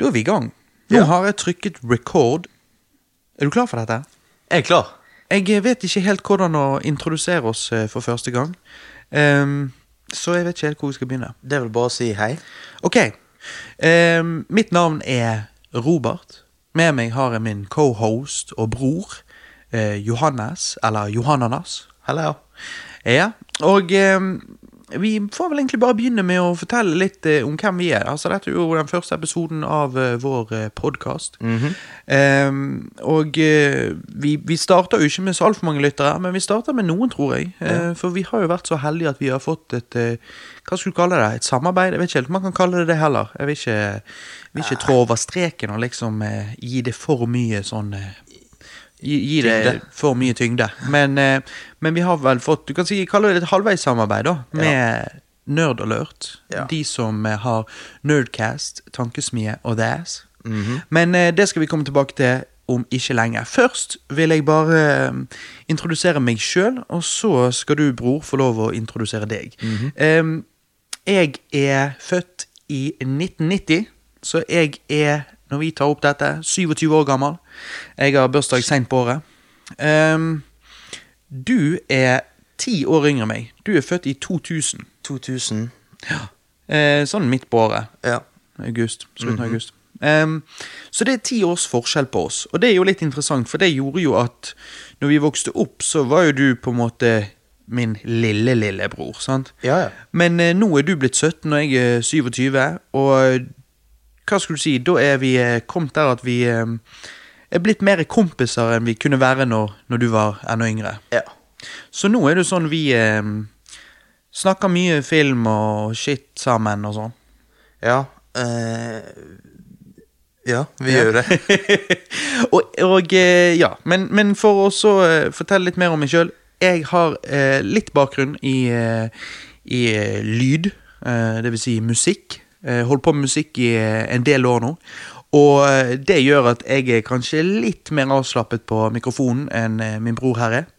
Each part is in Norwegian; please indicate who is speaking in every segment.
Speaker 1: Da er vi i gang. Nå
Speaker 2: Ja.
Speaker 1: har jeg trykket record. Er du klar for dette?
Speaker 2: Jeg er klar.
Speaker 1: Jeg eh, vet ikke helt hvordan å introdusere oss eh, for første gang. Ehm, så jeg vet ikke helt hvor vi skal begynne.
Speaker 2: Det er vel bare å si hei.
Speaker 1: Ok. Ehm, mitt navn er Robert. Med meg har jeg min co-host og bror eh, Johannes, eller Johananas.
Speaker 2: Hallo.
Speaker 1: Ja, og eh, vi får vel egentlig bare begynne med å fortelle litt eh, om hvem vi er. Altså, dette er jo den første episoden av eh, vår eh, podkast. Mhm. Ehm, og eh, vi, vi starter jo ikke med så altfor mange lyttere, men vi starter med noen, tror jeg. Eh, for vi har jo vært så heldige at vi har fått et eh, Hva skulle du kalle det? Et samarbeid? Jeg vet ikke helt om man kan kalle det det heller. Jeg vil ikke, vil ikke trå over streken og liksom eh, gi det for mye sånn eh, gi, gi det
Speaker 2: Tyngde.
Speaker 1: for mye tyngde. Men, eh, men vi har vel fått Du kan si, kalle det et halvveissamarbeid da, med Nerd Alert.
Speaker 2: Ja.
Speaker 1: De som eh, har Nerdcast, Tankesmie og The Ass. Men eh, det skal vi komme tilbake til om ikke lenge. Først vil jeg bare eh, introdusere meg sjøl, og så skal du, bror, få lov å introdusere deg. Em, jeg er født i 1990, så jeg er, når vi tar opp dette, 27 år gammel. Jeg har bursdag seint på året. Em, du er ti år yngre enn meg. Du er født i 2000.
Speaker 2: 2000.
Speaker 1: Eh, sånn midt på året.
Speaker 2: Ja.
Speaker 1: August. Slutten av august. Em, så det er ti års forskjell på oss, og det er jo litt interessant, for det gjorde jo at når vi vokste opp, så var jo du på en måte min lille, lillebror, sant?
Speaker 2: Ja, ja.
Speaker 1: Men eh, nå er du blitt 17, og jeg er 27, og eh, hva skulle du si, da er vi eh, kommet der at vi eh, er blitt mer kompiser enn vi kunne være når, når du var enda yngre.
Speaker 2: Ja.
Speaker 1: Så nå er det jo sånn vi eh, snakker mye film og shit sammen og sånn.
Speaker 2: Ja. eh, ja, vi gjør det.
Speaker 1: og, og eh, ja, men, men for å så eh, fortelle litt mer om meg sjøl Jeg har eh, litt bakgrunn i, eh, i eh, lyd, eh, det vil si musikk. Eh, holdt på med musikk i eh, en del år nå. Og eh, det gjør at jeg er kanskje litt mer avslappet på mikrofonen enn eh, min bror her er.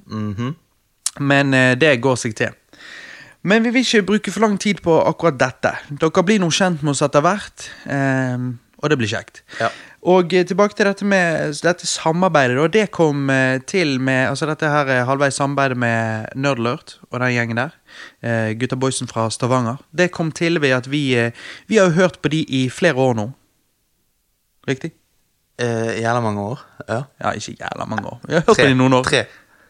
Speaker 1: Men eh, det går seg til. Men vi vil ikke bruke for lang tid på akkurat dette. Dere blir nå kjent med oss etter hvert, eh, og det blir kjekt.
Speaker 2: Ja.
Speaker 1: Og eh, tilbake til dette med dette samarbeidet. da. det kom eh, til med altså dette her er halvveis samarbeidet med Nerdlert og den gjengen der. Eh, gutta boysen fra Stavanger. Det kom til ved at vi, eh, vi har jo hørt på de i flere år nå. Riktig?
Speaker 2: Eh, Jævla mange år. Ja.
Speaker 1: Ja, ikke jævla mange år. Vi har hørt på de i noen år.
Speaker 2: Tre.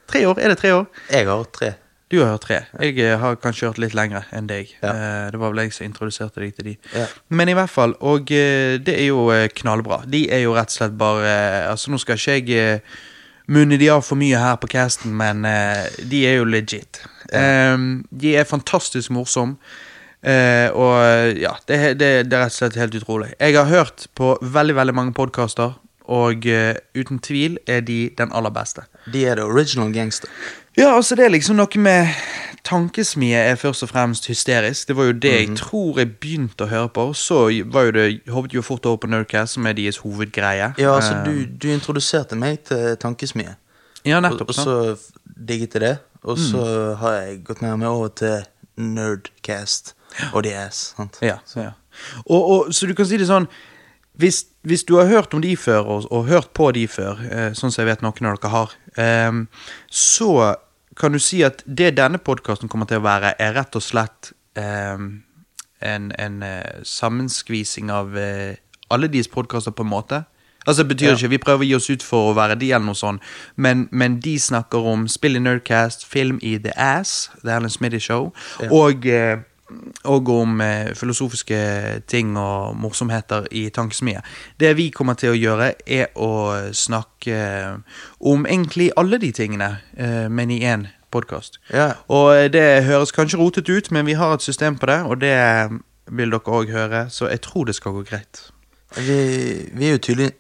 Speaker 1: Tre år? Er det tre år?
Speaker 2: Jeg har tre.
Speaker 1: Du har hørt tre. Jeg eh, har kanskje hørt litt lengre enn deg.
Speaker 2: Ja.
Speaker 1: Eh, Det var vel jeg som introduserte deg til de.
Speaker 2: Ja.
Speaker 1: Men i hvert fall, og eh, det er jo eh, knallbra. De er jo rett og slett bare eh, Altså, nå skal ikke jeg eh, munne de av for mye her på casten, men eh, de er jo legit. Eh, De er fantastisk morsomme. Eh, og eh, ja, det, er- det, er- det er rett og slett helt utrolig. Jeg har hørt på veldig veldig mange podkaster, og eh, uten tvil er de den aller beste.
Speaker 2: De er the original gangster.
Speaker 1: Ja, altså det er liksom noe med Tankesmie er først og fremst hysterisk. Det var jo det
Speaker 2: Mhm.
Speaker 1: jeg tror jeg begynte å høre på. og Så var jo det hoppet jo fort over på Nerdcast, som er deres hovedgreie.
Speaker 2: Ja, altså,
Speaker 1: Eh,
Speaker 2: du, du introduserte meg til Tankesmie.
Speaker 1: Ja,
Speaker 2: Og,
Speaker 1: nettopp.
Speaker 2: og
Speaker 1: sant? Mm.
Speaker 2: så f- digget jeg det. Og så har jeg gått mer og mer over til Nerdcast og The Ass. Sant?
Speaker 1: Ja, så, ja. Og, og, så du kan si det sånn hvis, hvis du har hørt om de før, og, og hørt på de før, eh, sånn som jeg vet noen av dere har, ehm, så kan du si at det denne podkasten kommer til å være, er rett og slett ehm, en, en eh, sammenskvising av eh, alle deres podkaster på en måte. Altså, det betyr ikke Vi prøver å gi oss ut for å være de, eller noe sånt, men, men de snakker om spill i Nerdcast, film i The Ass, The Alan Smitty Show, og, eh, og om eh, filosofiske ting og morsomheter i Tankesmie. Det vi kommer til å gjøre, er å snakke eh, om egentlig alle de tingene, eh, men i én podkast.
Speaker 2: Ja.
Speaker 1: Og eh, det høres kanskje rotet ut, men vi har et system på det, og det eh, vil dere òg høre, så jeg tror det skal gå greit.
Speaker 2: Vi, vi er jo tydelig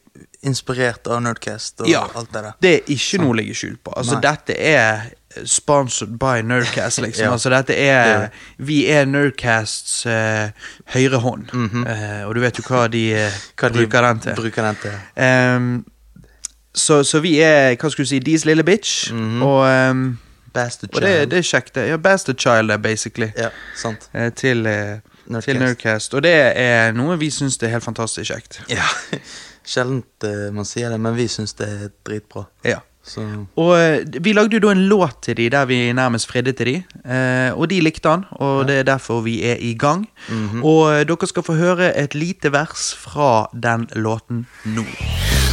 Speaker 2: inspirert av Nerdcast og
Speaker 1: Ja.
Speaker 2: alt det der.
Speaker 1: Det er ikke noe å legge skjul på. Altså,
Speaker 2: Nei.
Speaker 1: dette er sponsored by Nerdcast, liksom.
Speaker 2: Ja.
Speaker 1: Altså, dette
Speaker 2: Det
Speaker 1: er
Speaker 2: er det.
Speaker 1: Vi er Nerdcasts eh, høyre hånd, Eh, og du vet jo hva de eh,
Speaker 2: Mhm. Hva de
Speaker 1: bruker den til.
Speaker 2: Bruker den til.
Speaker 1: Ehm, så, så vi er, hva skulle du si, deres lille bitch,
Speaker 2: Mhm.
Speaker 1: og, ehm,
Speaker 2: Bastard
Speaker 1: og det, det er kjekt, det. Ja, bastard child, eh, basically.
Speaker 2: Ja, sant.
Speaker 1: eh, til eh, til
Speaker 2: Nerdcast.
Speaker 1: Nerdcast. Og det er noe vi syns er helt fantastisk kjekt.
Speaker 2: Ja. Sjeldent eh, man sier det, men vi syns det er dritbra.
Speaker 1: Ja.
Speaker 2: Så
Speaker 1: Og eh, vi lagde jo da en låt til de der vi nærmest fridde til de, eh, og de likte han, og det er derfor vi er i gang. Og eh, dere skal få høre et lite vers fra den låten nå.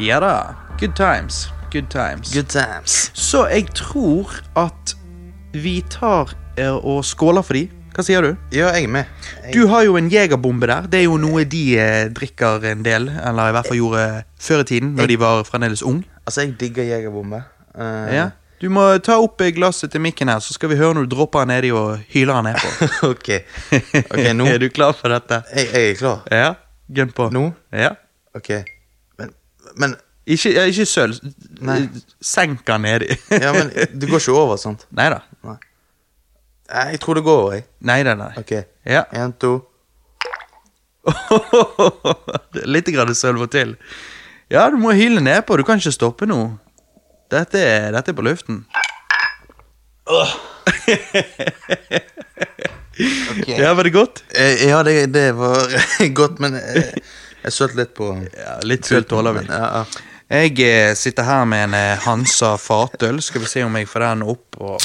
Speaker 1: Ja da. Good times. Good times.
Speaker 2: good times.
Speaker 1: Så jeg tror at vi tar eh, og skåler for de. Hva sier du?
Speaker 2: Ja, jeg er med. Jeg,
Speaker 1: Du har jo en jegerbombe der. Det er jo noe de eh, drikker en del, eller i hvert fall gjorde før i tiden, når de var fremdeles ung.
Speaker 2: altså, jeg digger jegerbombe. Eh,
Speaker 1: Ja. Du må ta opp glasset til mikken her, så skal vi høre når du dropper den nedi og hyler den nedpå.
Speaker 2: ok. Ok, nå
Speaker 1: Er du klar for dette?
Speaker 2: jeg, jeg er klar.
Speaker 1: Ja. Gun på.
Speaker 2: Nå?
Speaker 1: Ja.
Speaker 2: Ok. Men, men
Speaker 1: Ikke, ja, ikke søl.
Speaker 2: Nei.
Speaker 1: Senk den nedi.
Speaker 2: Ja, men det går ikke over, sant?
Speaker 1: Nei da.
Speaker 2: Nei, Jeg tror det går over, jeg.
Speaker 1: Nei da, nei.
Speaker 2: Ok.
Speaker 1: Ja.
Speaker 2: En, to
Speaker 1: Litt grann søl må til. Ja, du må hyle nedpå. Du kan ikke stoppe nå. Dette er, dette er på luften. Ja, Var det godt?
Speaker 2: Eh, Ja, det, det var godt, men eh, jeg sølte litt på
Speaker 1: Ja, Litt søl tåler vi.
Speaker 2: Ja, ja.
Speaker 1: Jeg eh, sitter her med en eh, Hansa fatøl. Skal vi se om jeg får den opp og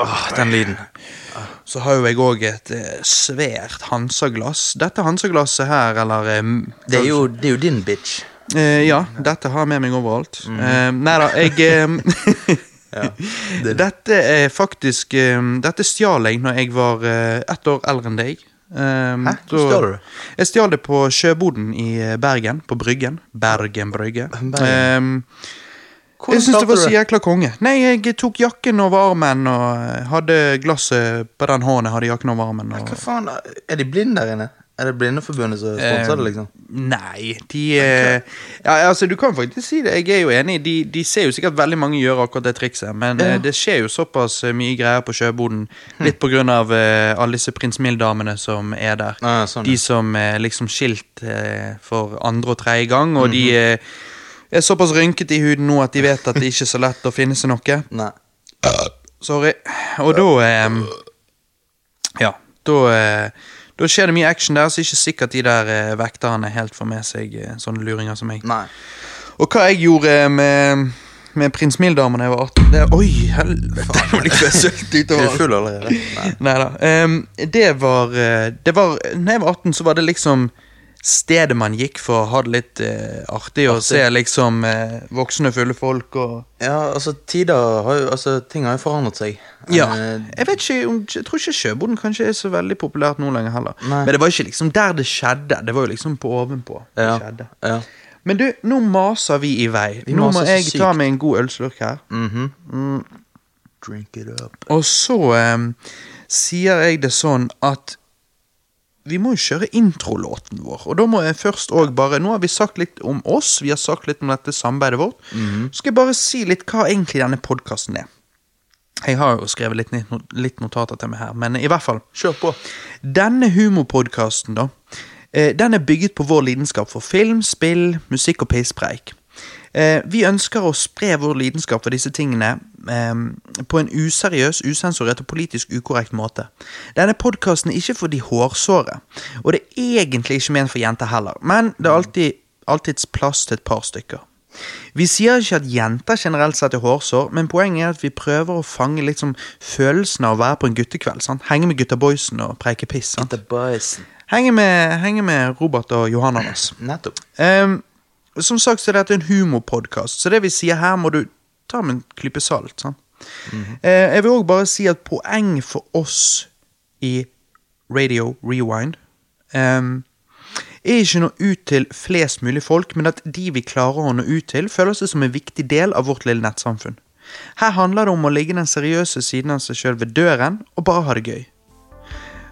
Speaker 1: Åh, Den lyden. Så har jo jeg òg et eh, svært Hansa-glass. Dette Hansa-glasset her, eller eh, m-
Speaker 2: Det er jo, det er jo din bitch.
Speaker 1: Eh, Ja, dette har jeg med meg overalt. Eh, nei da, jeg eh, Dette er faktisk eh, Dette stjal jeg når jeg var eh, ett år eldre enn deg. Hæ?
Speaker 2: Hvor stjal du det?
Speaker 1: Jeg stjal det på sjøboden i eh, Bergen. På Bryggen. Bergen Brygge.
Speaker 2: Bergen.
Speaker 1: Eh, jeg syns det var så jækla konge. Nei, jeg tok jakken over armen og eh, hadde glasset på den hånden jeg hadde jakken over armen. Og...
Speaker 2: Hva faen, er de blinde der inne? Er det Blindeforbundet
Speaker 1: Eh,
Speaker 2: som sponser det, liksom?
Speaker 1: Nei, de eh, ja, altså, Du kan faktisk si det. Jeg er jo enig. De, de ser jo sikkert veldig mange gjøre akkurat det trikset, men eh, det skjer jo såpass eh, mye greier på sjøboden.
Speaker 2: Hm.
Speaker 1: Litt på grunn av eh, alle disse Prins Mild-damene som er der.
Speaker 2: Ah, sånn,
Speaker 1: de
Speaker 2: ja.
Speaker 1: som er liksom skilt eh, for andre og tredje gang, og
Speaker 2: Mhm.
Speaker 1: de eh, er såpass rynket i huden nå at de vet at det ikke er så lett å finne seg noe.
Speaker 2: Nei.
Speaker 1: Sorry. Og da ehm, Ja, da eh, Da skjer det mye action der, så det er ikke sikkert de der eh, vekterne helt får med seg eh, sånne luringer som meg.
Speaker 2: Nei.
Speaker 1: Og hva jeg gjorde eh, med, med prins Mild-damen da jeg var 18 det, Oi, helvete! Nå blir jeg sølt
Speaker 2: Er du
Speaker 1: utover.
Speaker 2: full allerede? Nei.
Speaker 1: Nei da. det var eh, Det var Når jeg var 18, så var det liksom stedet man gikk for å ha det litt eh, artig, og se liksom eh, voksne, fulle folk og
Speaker 2: Ja, altså, tider har jo Altså, ting har jo forandret seg.
Speaker 1: Ja.
Speaker 2: Eh,
Speaker 1: Jeg vet ikke, om- jeg tror ikke sjøboden kanskje er så veldig populært nå lenger heller.
Speaker 2: Nei.
Speaker 1: Men det var ikke liksom der det skjedde. Det var jo liksom på ovenpå. det
Speaker 2: ja.
Speaker 1: skjedde.
Speaker 2: ja.
Speaker 1: Men du, nå maser vi i vei. nå
Speaker 2: maser
Speaker 1: må
Speaker 2: så
Speaker 1: jeg
Speaker 2: sykt.
Speaker 1: ta meg en god ølslurk her.
Speaker 2: Mhm. Mm. Drink it up.
Speaker 1: Og så em, sier jeg det sånn at vi må jo kjøre introlåten vår. Og da må jeg først òg bare Nå har vi sagt litt om oss, vi har sagt litt om dette samarbeidet vårt.
Speaker 2: Mhm.
Speaker 1: Så skal jeg bare si litt hva egentlig denne podkasten er. Jeg har jo skrevet litt, not- litt notater til meg her, men i hvert fall.
Speaker 2: Kjør på.
Speaker 1: Denne humorpodkasten, da, eh, den er bygget på vår lidenskap for film, spill, musikk og pisspreik. Eh, Vi ønsker å spre vår lidenskap for disse tingene eh, på en useriøs, usensurert og politisk ukorrekt måte. Denne podkasten er ikke for de hårsåre, og det er egentlig ikke ment for jenter heller, men det er alltid, alltids plass til et par stykker. Vi sier ikke at jenter generelt sett er hårsår, men poenget er at vi prøver å fange liksom følelsen av å være på en guttekveld. sant? Henge med gutta boysen og preike piss. sant?
Speaker 2: The boys.
Speaker 1: Henge med, henge med Robert og Johannes.
Speaker 2: Nettopp.
Speaker 1: Ehm, som sagt så er dette en humorpodkast, så det vi sier her, må du ta med en klype salt. sant? Eh, jeg vil òg bare si at poeng for oss i Radio Rewind ehm, er ikke nå ut til flest mulig folk, men at de vi klarer å nå ut til, føler seg som en viktig del av vårt lille nettsamfunn. Her handler det om å ligge den seriøse siden av seg sjøl ved døren, og bare ha det gøy.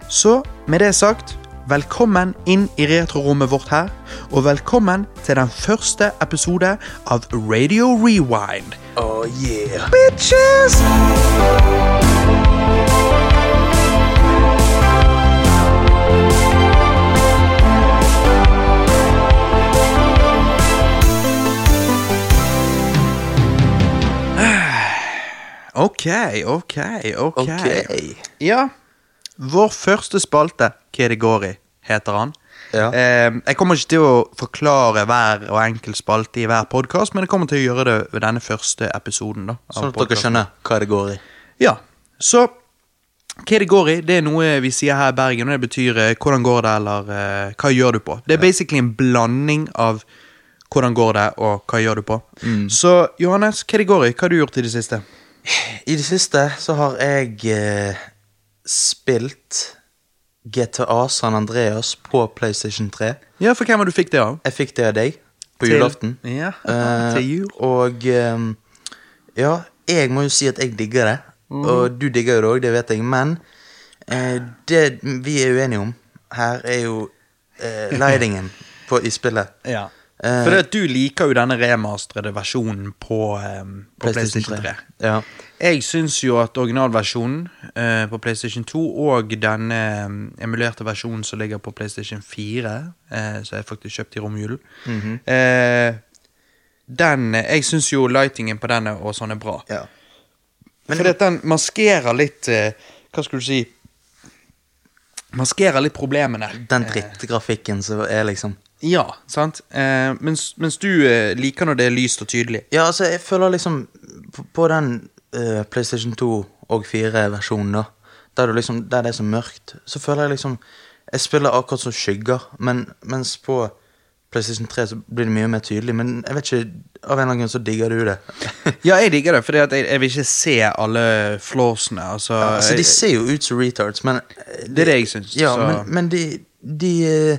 Speaker 1: Så med det sagt, velkommen inn i retrorommet vårt her, og velkommen til den første episode av Radio Rewind.
Speaker 2: Oh yeah.
Speaker 1: Bitches! Ok, ok, ok.
Speaker 2: Ok.
Speaker 1: Ja. Vår første spalte, Hva det går i, heter han.
Speaker 2: Ja.
Speaker 1: Eh, jeg kommer ikke til å forklare hver og enkel spalte i hver podkast, men jeg kommer til å gjøre det ved denne første episoden. da. av
Speaker 2: Sånn at dere
Speaker 1: podcasten.
Speaker 2: skjønner hva det går i.
Speaker 1: Ja, så hva det går i, det er noe vi sier her i Bergen, og det betyr eh, 'hvordan går det', eller eh, 'hva gjør du på'? Det er basically en blanding av 'hvordan går det' og 'hva gjør du på'. Så Johannes, hva det går i, hva har du gjort i det siste?
Speaker 2: I det siste så har jeg eh, spilt GTA San Andreas på PlayStation 3.
Speaker 1: Ja, for hvem var det du fikk det av?
Speaker 2: Jeg fikk det av deg på
Speaker 1: Til-
Speaker 2: julaften.
Speaker 1: Ja,
Speaker 2: Eh,
Speaker 1: til jul.
Speaker 2: Og ehm, ja, jeg må jo si at jeg digger det.
Speaker 1: Mhm.
Speaker 2: Og du digger jo det òg, det vet jeg. Men eh, det vi er uenige om her, er jo eh, lightingen på, i spillet.
Speaker 1: Ja.
Speaker 2: Eh,
Speaker 1: For det at du liker jo denne remasterede versjonen på, eh, på PlayStation 3.
Speaker 2: Ja.
Speaker 1: Jeg syns jo at originalversjonen eh, på PlayStation 2 og denne eh, emulerte versjonen som ligger på PlayStation 4, eh, som jeg faktisk kjøpte i romjulen
Speaker 2: Mhm.
Speaker 1: eh, Den Jeg syns jo lightingen på den og sånn er bra.
Speaker 2: ja.
Speaker 1: Men Fordi at den maskerer litt eh, Hva skulle du si Maskerer litt problemene.
Speaker 2: Den drittgrafikken som er liksom
Speaker 1: Ja, sant? Eh, mens, mens du eh, liker når det er lyst og tydelig.
Speaker 2: Ja, altså, jeg føler liksom På, på den eh, PlayStation 2 og 4-versjonen, da, der, du liksom, der det er så mørkt, så føler jeg liksom Jeg spiller akkurat som skygger, men, mens på PlayStation 3 så blir det mye mer tydelig. Men jeg vet ikke, av en eller annen grunn så digger du det.
Speaker 1: Ja, jeg digger det, for jeg, jeg vil ikke se alle flawsene. Altså,
Speaker 2: altså, de
Speaker 1: jeg-
Speaker 2: ser jo ut som retards, men eh,
Speaker 1: Det er det jeg syns,
Speaker 2: Ja,
Speaker 1: så-
Speaker 2: men, men de, de eh,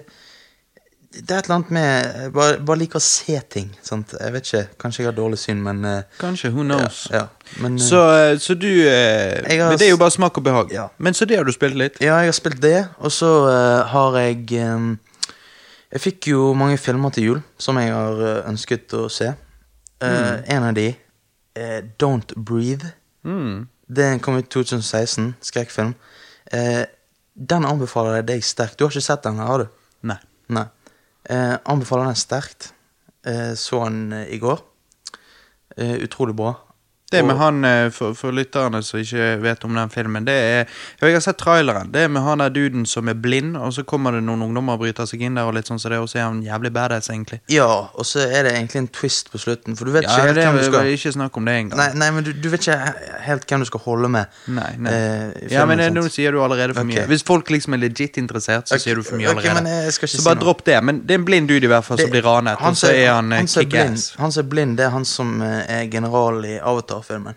Speaker 2: Det er et eller annet med jeg Bare, bare liker å se ting. Sant? Jeg vet ikke, kanskje jeg har dårlig syn, men eh,
Speaker 1: Kanskje, who knows.
Speaker 2: ja, men, eh,
Speaker 1: Så, eh, så du eh,
Speaker 2: Jeg har
Speaker 1: Men det er jo
Speaker 2: s-
Speaker 1: bare smak og behag.
Speaker 2: Ja.
Speaker 1: Men så det har du spilt litt.
Speaker 2: Ja, jeg har spilt det, og så eh, har jeg eh, Jeg fikk jo mange filmer til jul som jeg har eh, ønsket å se. Eh,
Speaker 1: Mm.
Speaker 2: En av de, eh, Don't Breathe.
Speaker 1: Mm.
Speaker 2: Den kom ut i 2016, skrekkfilm. Eh, den anbefaler jeg deg sterkt. Du har ikke sett den, har du?
Speaker 1: Nei.
Speaker 2: Nei. Eh, anbefaler den sterkt. Eh, så den eh, i går. Eh, utrolig bra.
Speaker 1: Det med
Speaker 2: Og-
Speaker 1: han, eh, for, for lytterne som ikke vet om den filmen, det er ja, Jeg har sett traileren. Det er med han der duden som er blind, og så kommer det noen ungdommer og bryter seg inn der, og litt sånn så det, og så er han jævlig badass, egentlig.
Speaker 2: Ja, og så er det egentlig en twist på slutten, for du vet
Speaker 1: Ja,
Speaker 2: ikke helt
Speaker 1: det
Speaker 2: hvem du skal
Speaker 1: er ikke snakk om det engang.
Speaker 2: Nei, nei men du, du vet ikke he- helt hvem du skal holde med.
Speaker 1: Nei, nei.
Speaker 2: eh, i
Speaker 1: ja, men
Speaker 2: filmen,
Speaker 1: eh,
Speaker 2: sant?
Speaker 1: nå sier du allerede for mye.
Speaker 2: Ok.
Speaker 1: Hvis folk liksom er legit interessert, så
Speaker 2: Ok,
Speaker 1: sier du for mye
Speaker 2: ok,
Speaker 1: allerede.
Speaker 2: men eh, jeg skal ikke
Speaker 1: så
Speaker 2: si
Speaker 1: bare
Speaker 2: noe.
Speaker 1: dropp det. Men det er en blind dude i hvert fall som blir ranet, og så
Speaker 2: som-
Speaker 1: er han, eh,
Speaker 2: som er blind-
Speaker 1: kickass.
Speaker 2: Han som er blind, det er han som eh, er general i Avatar-filmen.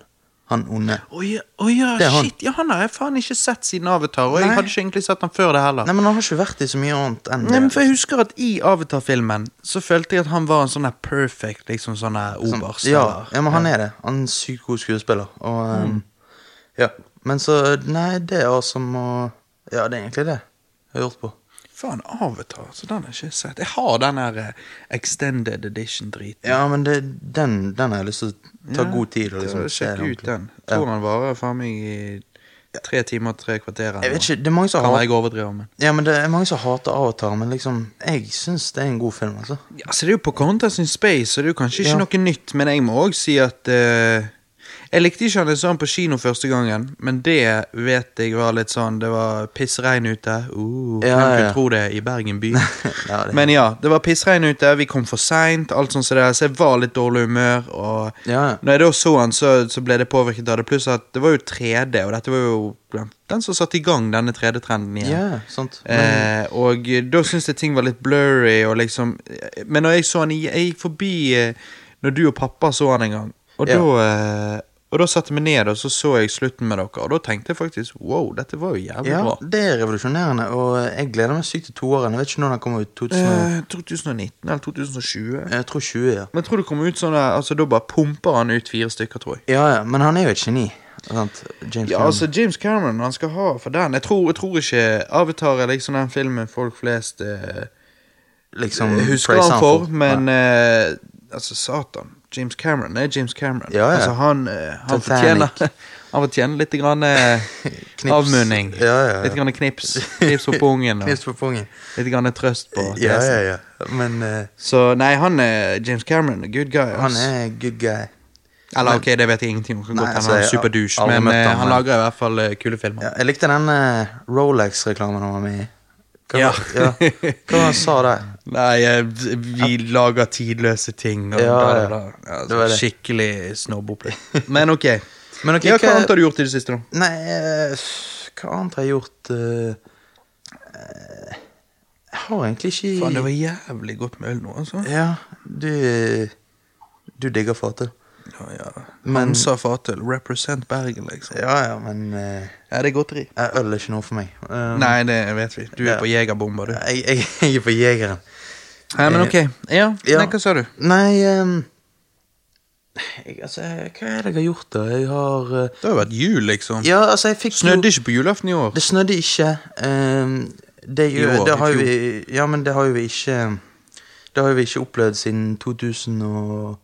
Speaker 2: Han onde.
Speaker 1: Å ja, å ja,
Speaker 2: Det er han.
Speaker 1: shit. Ja, han har jeg faen ikke sett siden Avatar. Og
Speaker 2: Nei.
Speaker 1: jeg hadde ikke egentlig sett han før det heller.
Speaker 2: Nei, men han har ikke vært i så mye annet enn
Speaker 1: Nei, men
Speaker 2: det.
Speaker 1: for Jeg husker at i Avatar-filmen så følte jeg at han var en sånn her perfect liksom sånn her oberst.
Speaker 2: Ja,
Speaker 1: eller- Mm.
Speaker 2: ja, men han er det. Han er en sykt god skuespiller. Og, eh, ja. Men så Nei, det er altså må Ja, det er egentlig det jeg har gjort på.
Speaker 1: Faen, Avatar. Så den har jeg ikke sett. Jeg har den her eh, extended edition-driten.
Speaker 2: Ja, men det, den, den har jeg lyst til å ta
Speaker 1: Ja,
Speaker 2: god tid og liksom se
Speaker 1: Sjekk
Speaker 2: den
Speaker 1: ut
Speaker 2: ordentlig.
Speaker 1: den. Jeg tror han varer faen meg i tre timer og tre kvarter.
Speaker 2: Jeg
Speaker 1: eller
Speaker 2: vet
Speaker 1: noe.
Speaker 2: ikke, det er mange som
Speaker 1: Kan
Speaker 2: har
Speaker 1: jeg overdrive, men
Speaker 2: Ja, men det er mange som hater Avatar, men liksom, jeg syns det er en god film, altså.
Speaker 1: Ja, så det er jo Pocahontas in Space, så det er jo kanskje ikke
Speaker 2: Ja.
Speaker 1: noe nytt, men jeg må òg si at eh, Jeg likte ikke han jeg så han på kino første gangen, men det vet jeg var litt sånn Det var pissregn ute. Uh, hvem
Speaker 2: Ja, ja,
Speaker 1: kunne
Speaker 2: ja.
Speaker 1: tro det i Bergen by?
Speaker 2: Ja, det-
Speaker 1: Men ja, det var pissregn ute, vi kom for seint, alt sånt som det, så jeg var litt dårlig humør. Og
Speaker 2: Ja, ja.
Speaker 1: når jeg da så han, så, så ble det påvirket av det. Pluss at det var jo 3D, og dette var jo den- den som satte i gang denne 3D-trenden igjen.
Speaker 2: Ja, sant. Men,
Speaker 1: Eh, og da syntes jeg ting var litt blurry, og liksom Men eh, når jeg så han i- Jeg gikk forbi eh, når du og pappa så han en gang, og
Speaker 2: Ja.
Speaker 1: da eh, Og da satte jeg meg ned, og så så jeg slutten med dere, og da tenkte jeg faktisk wow, dette var jo jævlig
Speaker 2: Ja,
Speaker 1: bra.
Speaker 2: det er revolusjonerende, og jeg gleder meg sykt til toåren. Jeg vet ikke når den kommer ut. 2000,
Speaker 1: Eh, 2019 eller 2020.
Speaker 2: Jeg tror 20, ja.
Speaker 1: Men jeg tror det kommer ut sånn der, altså Da bare pumper han ut fire stykker, tror jeg.
Speaker 2: Ja, ja, Men han er jo et geni. Sant? James
Speaker 1: Ja,
Speaker 2: Cameron.
Speaker 1: altså James Cameron han skal ha for den. Jeg tror, jeg tror ikke Avatar er liksom den filmen folk flest eh,
Speaker 2: liksom,
Speaker 1: husker
Speaker 2: praise
Speaker 1: han for,
Speaker 2: Ja.
Speaker 1: men eh, altså, satan. James Cameron er James Cameron.
Speaker 2: Ja, ja.
Speaker 1: Altså, han, eh, han
Speaker 2: Titanic.
Speaker 1: fortjener Han fortjener litt grann eh,
Speaker 2: Knips.
Speaker 1: avmunning.
Speaker 2: Ja, ja, ja.
Speaker 1: Litt grann knips. Knips på pungen. Og
Speaker 2: Knips på pungen.
Speaker 1: litt grann trøst på
Speaker 2: Ja,
Speaker 1: tesen.
Speaker 2: ja, ja. Men eh,
Speaker 1: Så nei, han er James Cameron. Good guy. ass.
Speaker 2: han er good guy.
Speaker 1: Eller ok, det vet jeg ingenting om. Kan
Speaker 2: Nei,
Speaker 1: godt hende
Speaker 2: altså,
Speaker 1: han er
Speaker 2: jeg har
Speaker 1: superdouche,
Speaker 2: aldri
Speaker 1: men
Speaker 2: møtt
Speaker 1: eh,
Speaker 2: han,
Speaker 1: han
Speaker 2: men-
Speaker 1: lager i hvert fall eh, kule filmer.
Speaker 2: Ja, jeg likte den eh, Rolex-reklamen han var med i. Hva,
Speaker 1: Ja.
Speaker 2: ja. Hva var det han sa der?
Speaker 1: Nei, eh, vi lager tidløse ting og
Speaker 2: Ja,
Speaker 1: da, da,
Speaker 2: ja.
Speaker 1: da. Ja,
Speaker 2: Det var
Speaker 1: så
Speaker 2: det.
Speaker 1: Skikkelig snobbopplegg. Men ok.
Speaker 2: Men ok,
Speaker 1: ja, hva
Speaker 2: hva-
Speaker 1: annet har du gjort i det siste, da?
Speaker 2: Nei, eh, hva annet har jeg gjort eh, eh, Jeg har egentlig ikke
Speaker 1: Faen, det var jævlig godt med øl nå, altså.
Speaker 2: Ja, du Du digger fatet.
Speaker 1: Ja, ja.
Speaker 2: Men-
Speaker 1: Hansa Fatøl, represent Bergen, liksom.
Speaker 2: Ja, ja, men eh,
Speaker 1: Ja, det er godteri.
Speaker 2: eh, øl er ikke noe for meg. Um,
Speaker 1: Nei, det vet vi. Du er
Speaker 2: Ja.
Speaker 1: på jegerbomba, du.
Speaker 2: Jeg, jeg, jeg er på Jegeren.
Speaker 1: Nei, men ok. Ja,
Speaker 2: Ja.
Speaker 1: Nei, hva sa du?
Speaker 2: Nei ehm, eh, jeg, Altså, jeg- hva er det jeg har gjort, da? Jeg har eh,
Speaker 1: Det har jo vært jul, liksom.
Speaker 2: Ja, altså, jeg fikk jo
Speaker 1: Snødde ikke på julaften i år.
Speaker 2: Det snødde ikke. ehm, det,
Speaker 1: I
Speaker 2: gjør,
Speaker 1: år,
Speaker 2: det har
Speaker 1: i
Speaker 2: jo vi Ja, men det har jo vi ikke Det har jo vi ikke opplevd siden 2013,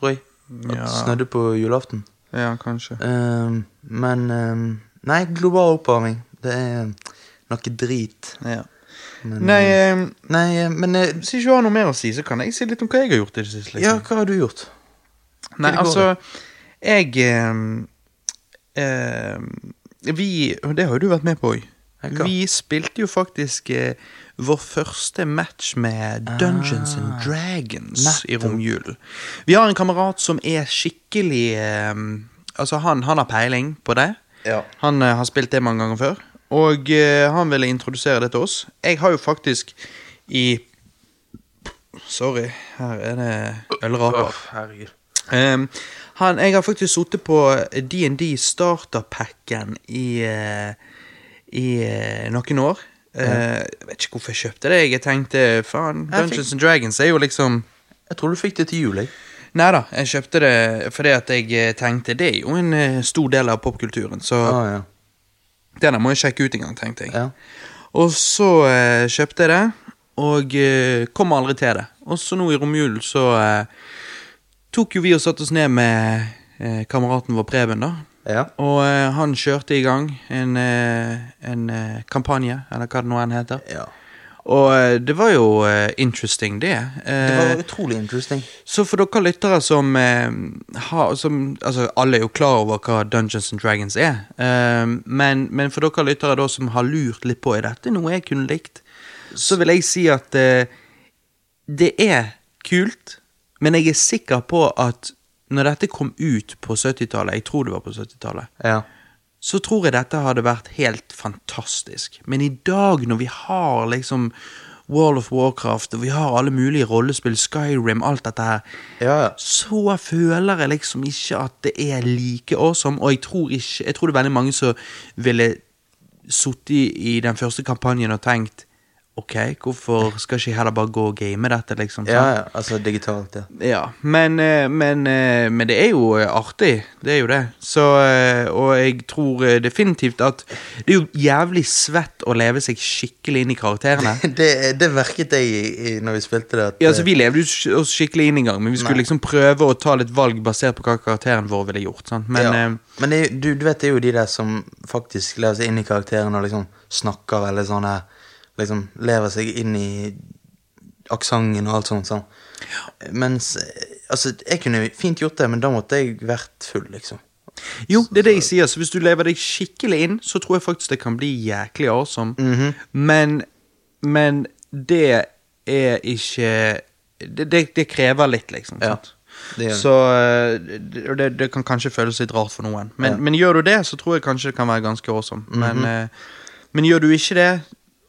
Speaker 2: tror jeg. At
Speaker 1: Ja.
Speaker 2: det snødde på julaften.
Speaker 1: Ja, kanskje.
Speaker 2: Ehm, men ehm, Nei, global oppvarming. Det er noe drit.
Speaker 1: Ja.
Speaker 2: Men,
Speaker 1: Nei, eh,
Speaker 2: Nei, eh, men eh,
Speaker 1: Hvis ikke du har noe mer å si, så kan jeg si litt om hva jeg har gjort i det siste.
Speaker 2: Ja,
Speaker 1: Liksom.
Speaker 2: hva har du gjort?
Speaker 1: Nei,
Speaker 2: det går
Speaker 1: altså, jeg eh, eh, Vi og Det har jo du vært med på òg.
Speaker 2: Ja, hva?
Speaker 1: Vi spilte jo faktisk eh, vår første match med Dungeons and Dragons i
Speaker 2: Ah. nettopp.
Speaker 1: romjulen. Vi har en kamerat som er skikkelig eh, Altså, han, han har peiling på det.
Speaker 2: Ja.
Speaker 1: Han eh, har spilt det mange ganger før. Og eh, han ville introdusere det til oss. Jeg har jo faktisk i Sorry, her er det ølraper.
Speaker 2: herregud.
Speaker 1: Ehm, han, jeg har faktisk sittet på D&D starterpacken i, eh, i eh, noen år. Eh, jeg vet ikke hvorfor jeg kjøpte det. Jeg tenkte faen,
Speaker 2: Jeg fikk-
Speaker 1: Dungeons and Dragons er jo liksom
Speaker 2: Jeg tror du fikk det til jul, jeg.
Speaker 1: Nei da, jeg kjøpte det fordi at jeg eh, tenkte det er jo en eh, stor del av popkulturen, så
Speaker 2: Ah, ja.
Speaker 1: det der må jeg sjekke ut en gang, tenkte jeg.
Speaker 2: Ja.
Speaker 1: Og så eh, kjøpte jeg det, og eh, kom aldri til det. Og så nå i romjulen så eh, tok jo vi og satte oss ned med eh, kameraten vår Preben, da.
Speaker 2: ja.
Speaker 1: Og eh, han kjørte i gang en, eh, en eh, kampanje, eller hva det nå enn heter.
Speaker 2: ja.
Speaker 1: Og eh, det var jo eh, interesting, det. Eh,
Speaker 2: Det var utrolig interesting.
Speaker 1: så for dere lyttere som, eh, har, som altså Alle er jo klar over hva Dungeons and Dragons er. Eh, men, men for dere lyttere da som har lurt litt på er dette noe jeg kunne likt, så vil jeg si at eh, det er kult, men jeg er sikker på at når dette kom ut på 70-tallet, jeg tror det var på 70-tallet,
Speaker 2: Ja.
Speaker 1: så tror jeg dette hadde vært helt fantastisk. Men i dag, når vi har liksom World of Warcraft, og vi har alle mulige rollespill, Skyrim, alt dette her,
Speaker 2: Ja, ja.
Speaker 1: så føler jeg liksom ikke at det er like awesome, og jeg tror, ikke, jeg tror det er veldig mange som ville sittet i den første kampanjen og tenkt Ok, hvorfor skal ikke jeg heller bare gå og game dette, liksom? sant?
Speaker 2: Ja, ja, altså digitalt, ja.
Speaker 1: Ja, men, eh, men, eh, men det er jo eh, artig. Det er jo det. Så, eh, og jeg tror eh, definitivt at Det er jo jævlig svett å leve seg skikkelig inn i karakterene.
Speaker 2: Det, det merket jeg i, i, når vi spilte det. At,
Speaker 1: Ja, altså Vi levde jo ikke oss skikkelig inn i gang, men vi skulle liksom prøve å ta litt valg basert på hva karakteren vår ville gjort. Sant? Men
Speaker 2: ja.
Speaker 1: eh,
Speaker 2: men det, er- du, du vet det er jo de der som faktisk lever seg inn i karakteren og liksom snakker eller sånn her Liksom lever seg inn i aksenten og alt sånt. sånn Mens eh, Altså, jeg kunne fint gjort det, men da måtte jeg vært full, liksom.
Speaker 1: jo, det er det jeg sier. Så hvis du lever deg skikkelig inn, så tror jeg faktisk det kan bli jæklig awesome.
Speaker 2: Mhm.
Speaker 1: Men Men det er ikke Det, det, det krever litt, liksom.
Speaker 2: Ja,
Speaker 1: sant?
Speaker 2: det gjør det.
Speaker 1: så eh, det, og det, det kan kanskje føles litt rart for noen.
Speaker 2: Mhm.
Speaker 1: Men, men gjør du det, så tror jeg kanskje det kan være ganske awesome. men, eh, men gjør du ikke det,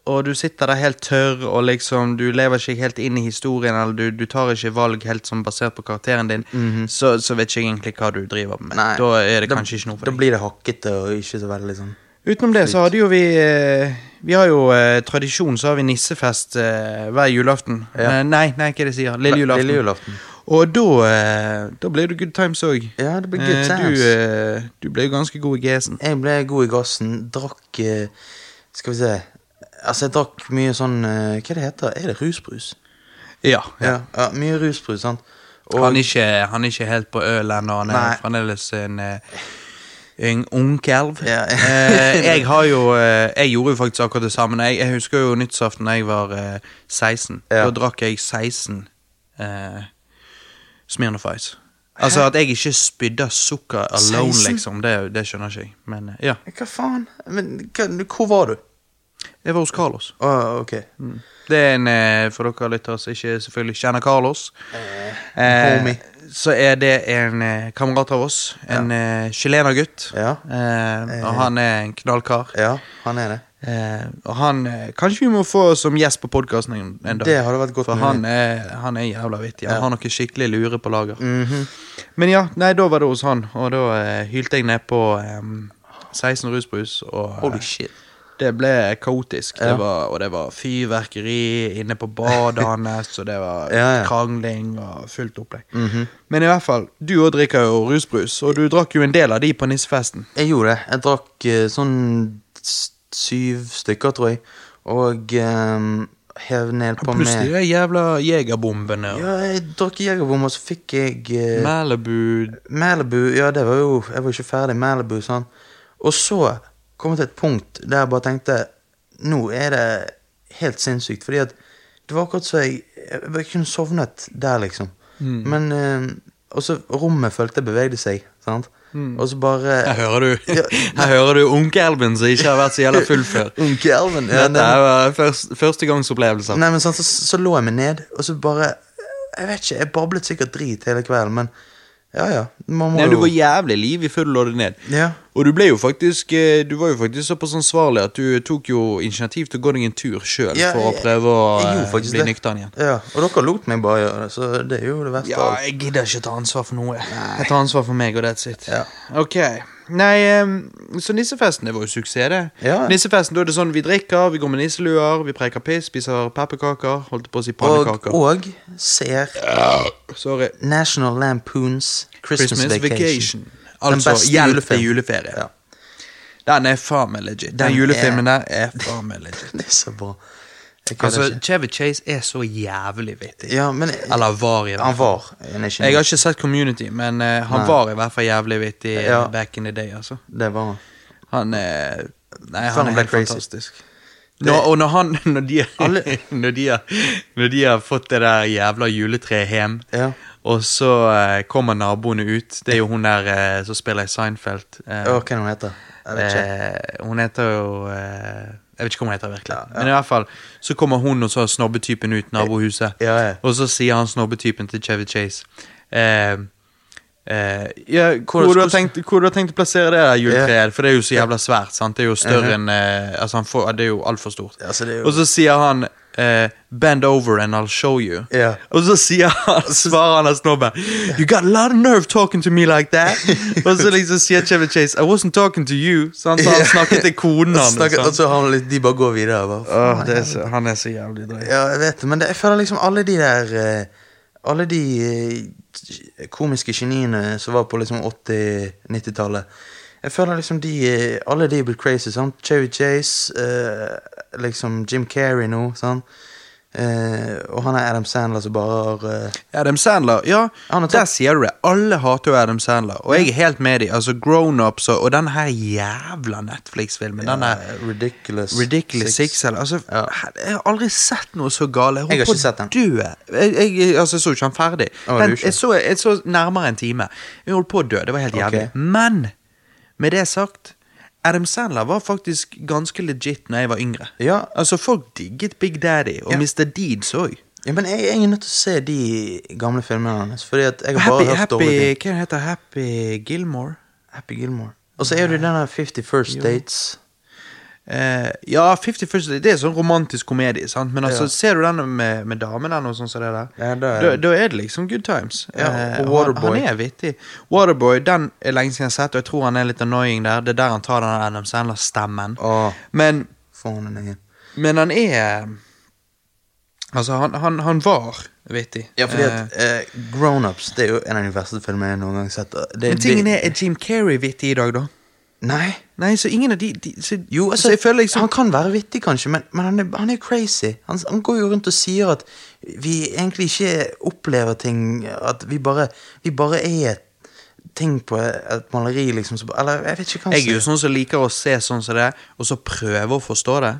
Speaker 1: og du sitter der helt tørr, og liksom du lever ikke helt inn i historien, eller du, du tar ikke valg helt sånn basert på karakteren din,
Speaker 2: Mhm.
Speaker 1: så, så vet ikke jeg egentlig hva du driver med.
Speaker 2: Nei,
Speaker 1: da er det
Speaker 2: da-
Speaker 1: kanskje ikke noe for
Speaker 2: Da
Speaker 1: deg.
Speaker 2: blir det hakkete og ikke så veldig sånn
Speaker 1: Utenom det så hadde jo vi eh, Vi har jo eh, tradisjon, så har vi nissefest eh, hver julaften. Eh,
Speaker 2: Ja.
Speaker 1: Nei, nei, hva er det jeg sier? Lille
Speaker 2: Nei,
Speaker 1: julaften.
Speaker 2: lille julaften.
Speaker 1: Og da, eh, da ble det good times òg.
Speaker 2: Ja, det blir good times.
Speaker 1: Du, eh, du ble jo ganske god i GS-en.
Speaker 2: Jeg ble god i gassen, drakk eh, Skal vi se Altså, jeg drakk mye sånn eh, Hva det heter Er det rusbrus?
Speaker 1: Ja.
Speaker 2: Ja, ja mye rusbrus, sant?
Speaker 1: han, er ikke, han er ikke helt på øl ennå, han er
Speaker 2: Nei.
Speaker 1: fremdeles en eh, en ungkalv.
Speaker 2: Ja.
Speaker 1: eh, jeg har jo eh, Jeg gjorde jo faktisk akkurat det samme. Jeg, jeg husker jo nyttårsaften da jeg var eh, 16.
Speaker 2: Ja.
Speaker 1: Da drakk jeg 16 eh, Smirnoff Ice. Altså at jeg ikke spydde sukker alone,
Speaker 2: 16?
Speaker 1: liksom. Det, det skjønner ikke jeg. Men eh, ja.
Speaker 2: Hva faen? Men hva, hvor var du?
Speaker 1: Det var hos Carlos.
Speaker 2: Å, ok.
Speaker 1: Det er en, eh, for dere lyttere som ikke selvfølgelig kjenner Carlos,
Speaker 2: Eh,
Speaker 1: eh,
Speaker 2: homie.
Speaker 1: så er det en eh, kamerat av oss. En eh, chilenergutt.
Speaker 2: Ja.
Speaker 1: Eh, og han er en knallkar.
Speaker 2: Ja, han er det.
Speaker 1: Eh, og han eh, Kanskje vi må få som gjest på podkasten en, en dag.
Speaker 2: Det hadde vært godt
Speaker 1: For
Speaker 2: mulig.
Speaker 1: han er, han er jævla vittig. Han har noe skikkelig lure på lager.
Speaker 2: Mhm.
Speaker 1: Men ja, nei, da var det hos han, og da eh, hylte jeg ned på em, 16 rusbrus, og eh,
Speaker 2: Holy shit.
Speaker 1: det ble kaotisk.
Speaker 2: Ja.
Speaker 1: Det var, og det var fyrverkeri inne på badet hans, og det var
Speaker 2: Ja, Mhm. ja.
Speaker 1: krangling og fullt opplegg. Men i hvert fall, du òg drikker jo rusbrus, og du drakk jo en del av de på nissefesten.
Speaker 2: Jeg gjorde det. Jeg drakk eh, sånn s- syv stykker, tror jeg. Og eh, hev ned på
Speaker 1: Plutselig
Speaker 2: meg
Speaker 1: de jævla jegerbombene og
Speaker 2: Ja, jeg drakk jegerbom, og så fikk jeg eh,
Speaker 1: Malibu
Speaker 2: Malibu, ja, det var jo Jeg var ikke ferdig med Malibu, sant. Og så kom jeg til et punkt der jeg bare tenkte Nå er det helt sinnssykt. Fordi at det var akkurat så jeg Jeg, jeg kunne sovnet der, liksom.
Speaker 1: Mm.
Speaker 2: Men eh, Og så rommet følte jeg bevegde seg, sant. Og så bare
Speaker 1: Her Mm. hører du
Speaker 2: Ja.
Speaker 1: Her hører du onkelben som ikke har vært så jævla full før.
Speaker 2: Onkel Elven. Ja,
Speaker 1: Dette
Speaker 2: nei,
Speaker 1: er jo eh, først, førstegangsopplevelser.
Speaker 2: Nei, men sant, så, så lå jeg meg ned, og så bare Jeg vet ikke, jeg bablet sikkert drit hele kvelden, men ja, ja. Man må
Speaker 1: Nei, du
Speaker 2: jo
Speaker 1: var jævlig liv i full lodde ned.
Speaker 2: Ja.
Speaker 1: Og du ble jo faktisk eh, Du var jo faktisk såpass ansvarlig at du tok jo initiativ til å gå deg en tur sjøl
Speaker 2: Ja,
Speaker 1: for å
Speaker 2: jeg-
Speaker 1: prøve å
Speaker 2: jeg
Speaker 1: eh,
Speaker 2: gjorde faktisk
Speaker 1: bli
Speaker 2: det.
Speaker 1: nøktern igjen.
Speaker 2: Ja, og dere lot meg bare gjøre det, så det er jo det verste.
Speaker 1: Ja,
Speaker 2: av alt.
Speaker 1: jeg gidder ikke ta ansvar for noe. Jeg tar ansvar for meg, og that's it.
Speaker 2: Ja.
Speaker 1: Ok. Nei, em, så nissefesten det var jo suksess, det.
Speaker 2: Ja.
Speaker 1: Nissefesten, Da er det sånn vi drikker, vi går med nisseluer, vi preker piss, spiser pepperkaker. Holdt på å si
Speaker 2: og,
Speaker 1: pannekaker.
Speaker 2: og ser
Speaker 1: Sorry.
Speaker 2: National Lampoons Christmas,
Speaker 1: Christmas Vacation.
Speaker 2: Vacation.
Speaker 1: Altså
Speaker 2: beste
Speaker 1: Hjelp til
Speaker 2: julefilm.
Speaker 1: juleferie.
Speaker 2: Ja.
Speaker 1: Den er faen meg legit. Den,
Speaker 2: Den
Speaker 1: julefilmen
Speaker 2: er-
Speaker 1: der er faen meg legit.
Speaker 2: Det er så bra. Jeg kødder
Speaker 1: Altså,
Speaker 2: ikke.
Speaker 1: Chevy Chase er så jævlig vittig.
Speaker 2: Ja, men
Speaker 1: Eller var, i hvert
Speaker 2: Han
Speaker 1: fall.
Speaker 2: var en ingeniør.
Speaker 1: Jeg har ikke sett Community, men eh, han
Speaker 2: Nei.
Speaker 1: var i hvert fall jævlig vittig eh,
Speaker 2: Ja.
Speaker 1: back in the day. altså.
Speaker 2: Det var han.
Speaker 1: Han er Nei,
Speaker 2: Før
Speaker 1: han
Speaker 2: han
Speaker 1: er
Speaker 2: ble
Speaker 1: helt
Speaker 2: crazy.
Speaker 1: fantastisk. Nå, og når han Når de,
Speaker 2: Alle-
Speaker 1: når, de har, når de har fått det der jævla juletreet hjem,
Speaker 2: Ja.
Speaker 1: og så eh, kommer naboene ut Det er jo hun der eh, som spiller i Seinfeld. eh,
Speaker 2: Å, hva er det hun heter? Jeg vet ikke.
Speaker 1: Eh, hun heter jo eh, Jeg vet ikke hva hun heter virkelig. Men i hvert fall så kommer hun og så snobbetypen ut nabohuset.
Speaker 2: Ja, ja.
Speaker 1: Og så sier han snobbetypen til Chevy Chase eh, eh, ja, hvor,
Speaker 2: Hvordan-
Speaker 1: du har tenkt, hvor du har tenkt å plassere det der juletreet?
Speaker 2: Ja.
Speaker 1: For det er jo så jævla svært. sant? Det er jo større enn eh, Altså, han får, det er jo altfor stort.
Speaker 2: Ja, så Altså, det er jo-
Speaker 1: Og så sier han eh, 'Bend over and I'll show you'.
Speaker 2: Ja.
Speaker 1: Og så sier han, svarer han av snobben You got a lot of nerve talking to me like that Og så liksom sier Chevy Chase I wasn't talking to you Så han, så han snakket til konen
Speaker 2: Og så
Speaker 1: hans
Speaker 2: snakker-
Speaker 1: sant?
Speaker 2: Og så har han litt, de bare går videre. og Bare,
Speaker 1: Åh, det er så, Han er så jævlig drøy
Speaker 2: Ja, jeg vet det, men det, jeg føler liksom alle de der eh, Alle de eh, komiske geniene som var på liksom 80-90-tallet Jeg føler liksom de eh, Alle de er blitt crazy, sant? Chevy Chase, eh, liksom Jim Carrey nå, sant? Eh, og han er Adam Sandler som bare har eh,
Speaker 1: Adam Sandler, ja,
Speaker 2: Han har tatt-
Speaker 1: der sier du det Alle hater jo Adam Sandler Og jeg er helt med i, altså grown-ups og, og den her jævla Netflix-filmen Den er- der
Speaker 2: eh, Ridiculous
Speaker 1: Ridiculous Six,
Speaker 2: Six.
Speaker 1: eller altså,
Speaker 2: Ja.
Speaker 1: Jeg har aldri sett noe så gale.
Speaker 2: Jeg har ikke sett den.
Speaker 1: Du, jeg, jeg, altså, jeg så ikke han ferdig.
Speaker 2: Å,
Speaker 1: Den-
Speaker 2: du ikke?
Speaker 1: jeg, så, jeg så nærmere en time. Jeg holdt på å dø. Det var helt
Speaker 2: Ok.
Speaker 1: jævlig. Men med det sagt Adam Sandler var faktisk ganske legit når jeg var yngre.
Speaker 2: Ja.
Speaker 1: Altså Folk digget Big Daddy og
Speaker 2: Ja.
Speaker 1: Mr. Deeds òg.
Speaker 2: Ja, men jeg, jeg er nødt til å se de gamle filmene hans, fordi at jeg har
Speaker 1: Happy,
Speaker 2: bare hørt
Speaker 1: happy,
Speaker 2: dårlige ting.
Speaker 1: hva heter Happy Gilmore?
Speaker 2: Happy Gilmore. Og så er det den der 51st Dates.
Speaker 1: eh, Ja, 50 First Dates, det er sånn romantisk komedie, sant? men altså,
Speaker 2: Ja.
Speaker 1: ser du den med, med damen og sånn som det der,
Speaker 2: Ja, da er
Speaker 1: da,
Speaker 2: det-
Speaker 1: da er det liksom good times.
Speaker 2: Ja, og
Speaker 1: Eh, han-
Speaker 2: Waterboy.
Speaker 1: Han er vittig. Waterboy den er lenge siden jeg har sett, og jeg tror han er litt annoying der. Det er der han tar den Adam Sandler-stemmen.
Speaker 2: Åh,
Speaker 1: Men,
Speaker 2: faen den er
Speaker 1: men han er Altså, han, han, han var vittig.
Speaker 2: Ja, fordi
Speaker 1: Eh,
Speaker 2: at eh, Grown-ups det er jo en av de verste filmene jeg noen gang har sett. Det-
Speaker 1: Eh, Men tingen
Speaker 2: det-
Speaker 1: er, er Jim Carrey vittig i dag, da?
Speaker 2: Nei.
Speaker 1: Nei, så ingen av de, de så,
Speaker 2: Jo, altså,
Speaker 1: så jeg føler liksom
Speaker 2: Han kan være vittig, kanskje, men, men han, er, han er crazy. Han, han går jo rundt og sier at vi egentlig ikke opplever ting At vi bare, vi bare er et ting på et maleri, liksom. Så, eller jeg vet ikke hva han
Speaker 1: Jeg er jo
Speaker 2: sier.
Speaker 1: sånn som liker å se sånn som det, og så prøve å forstå det.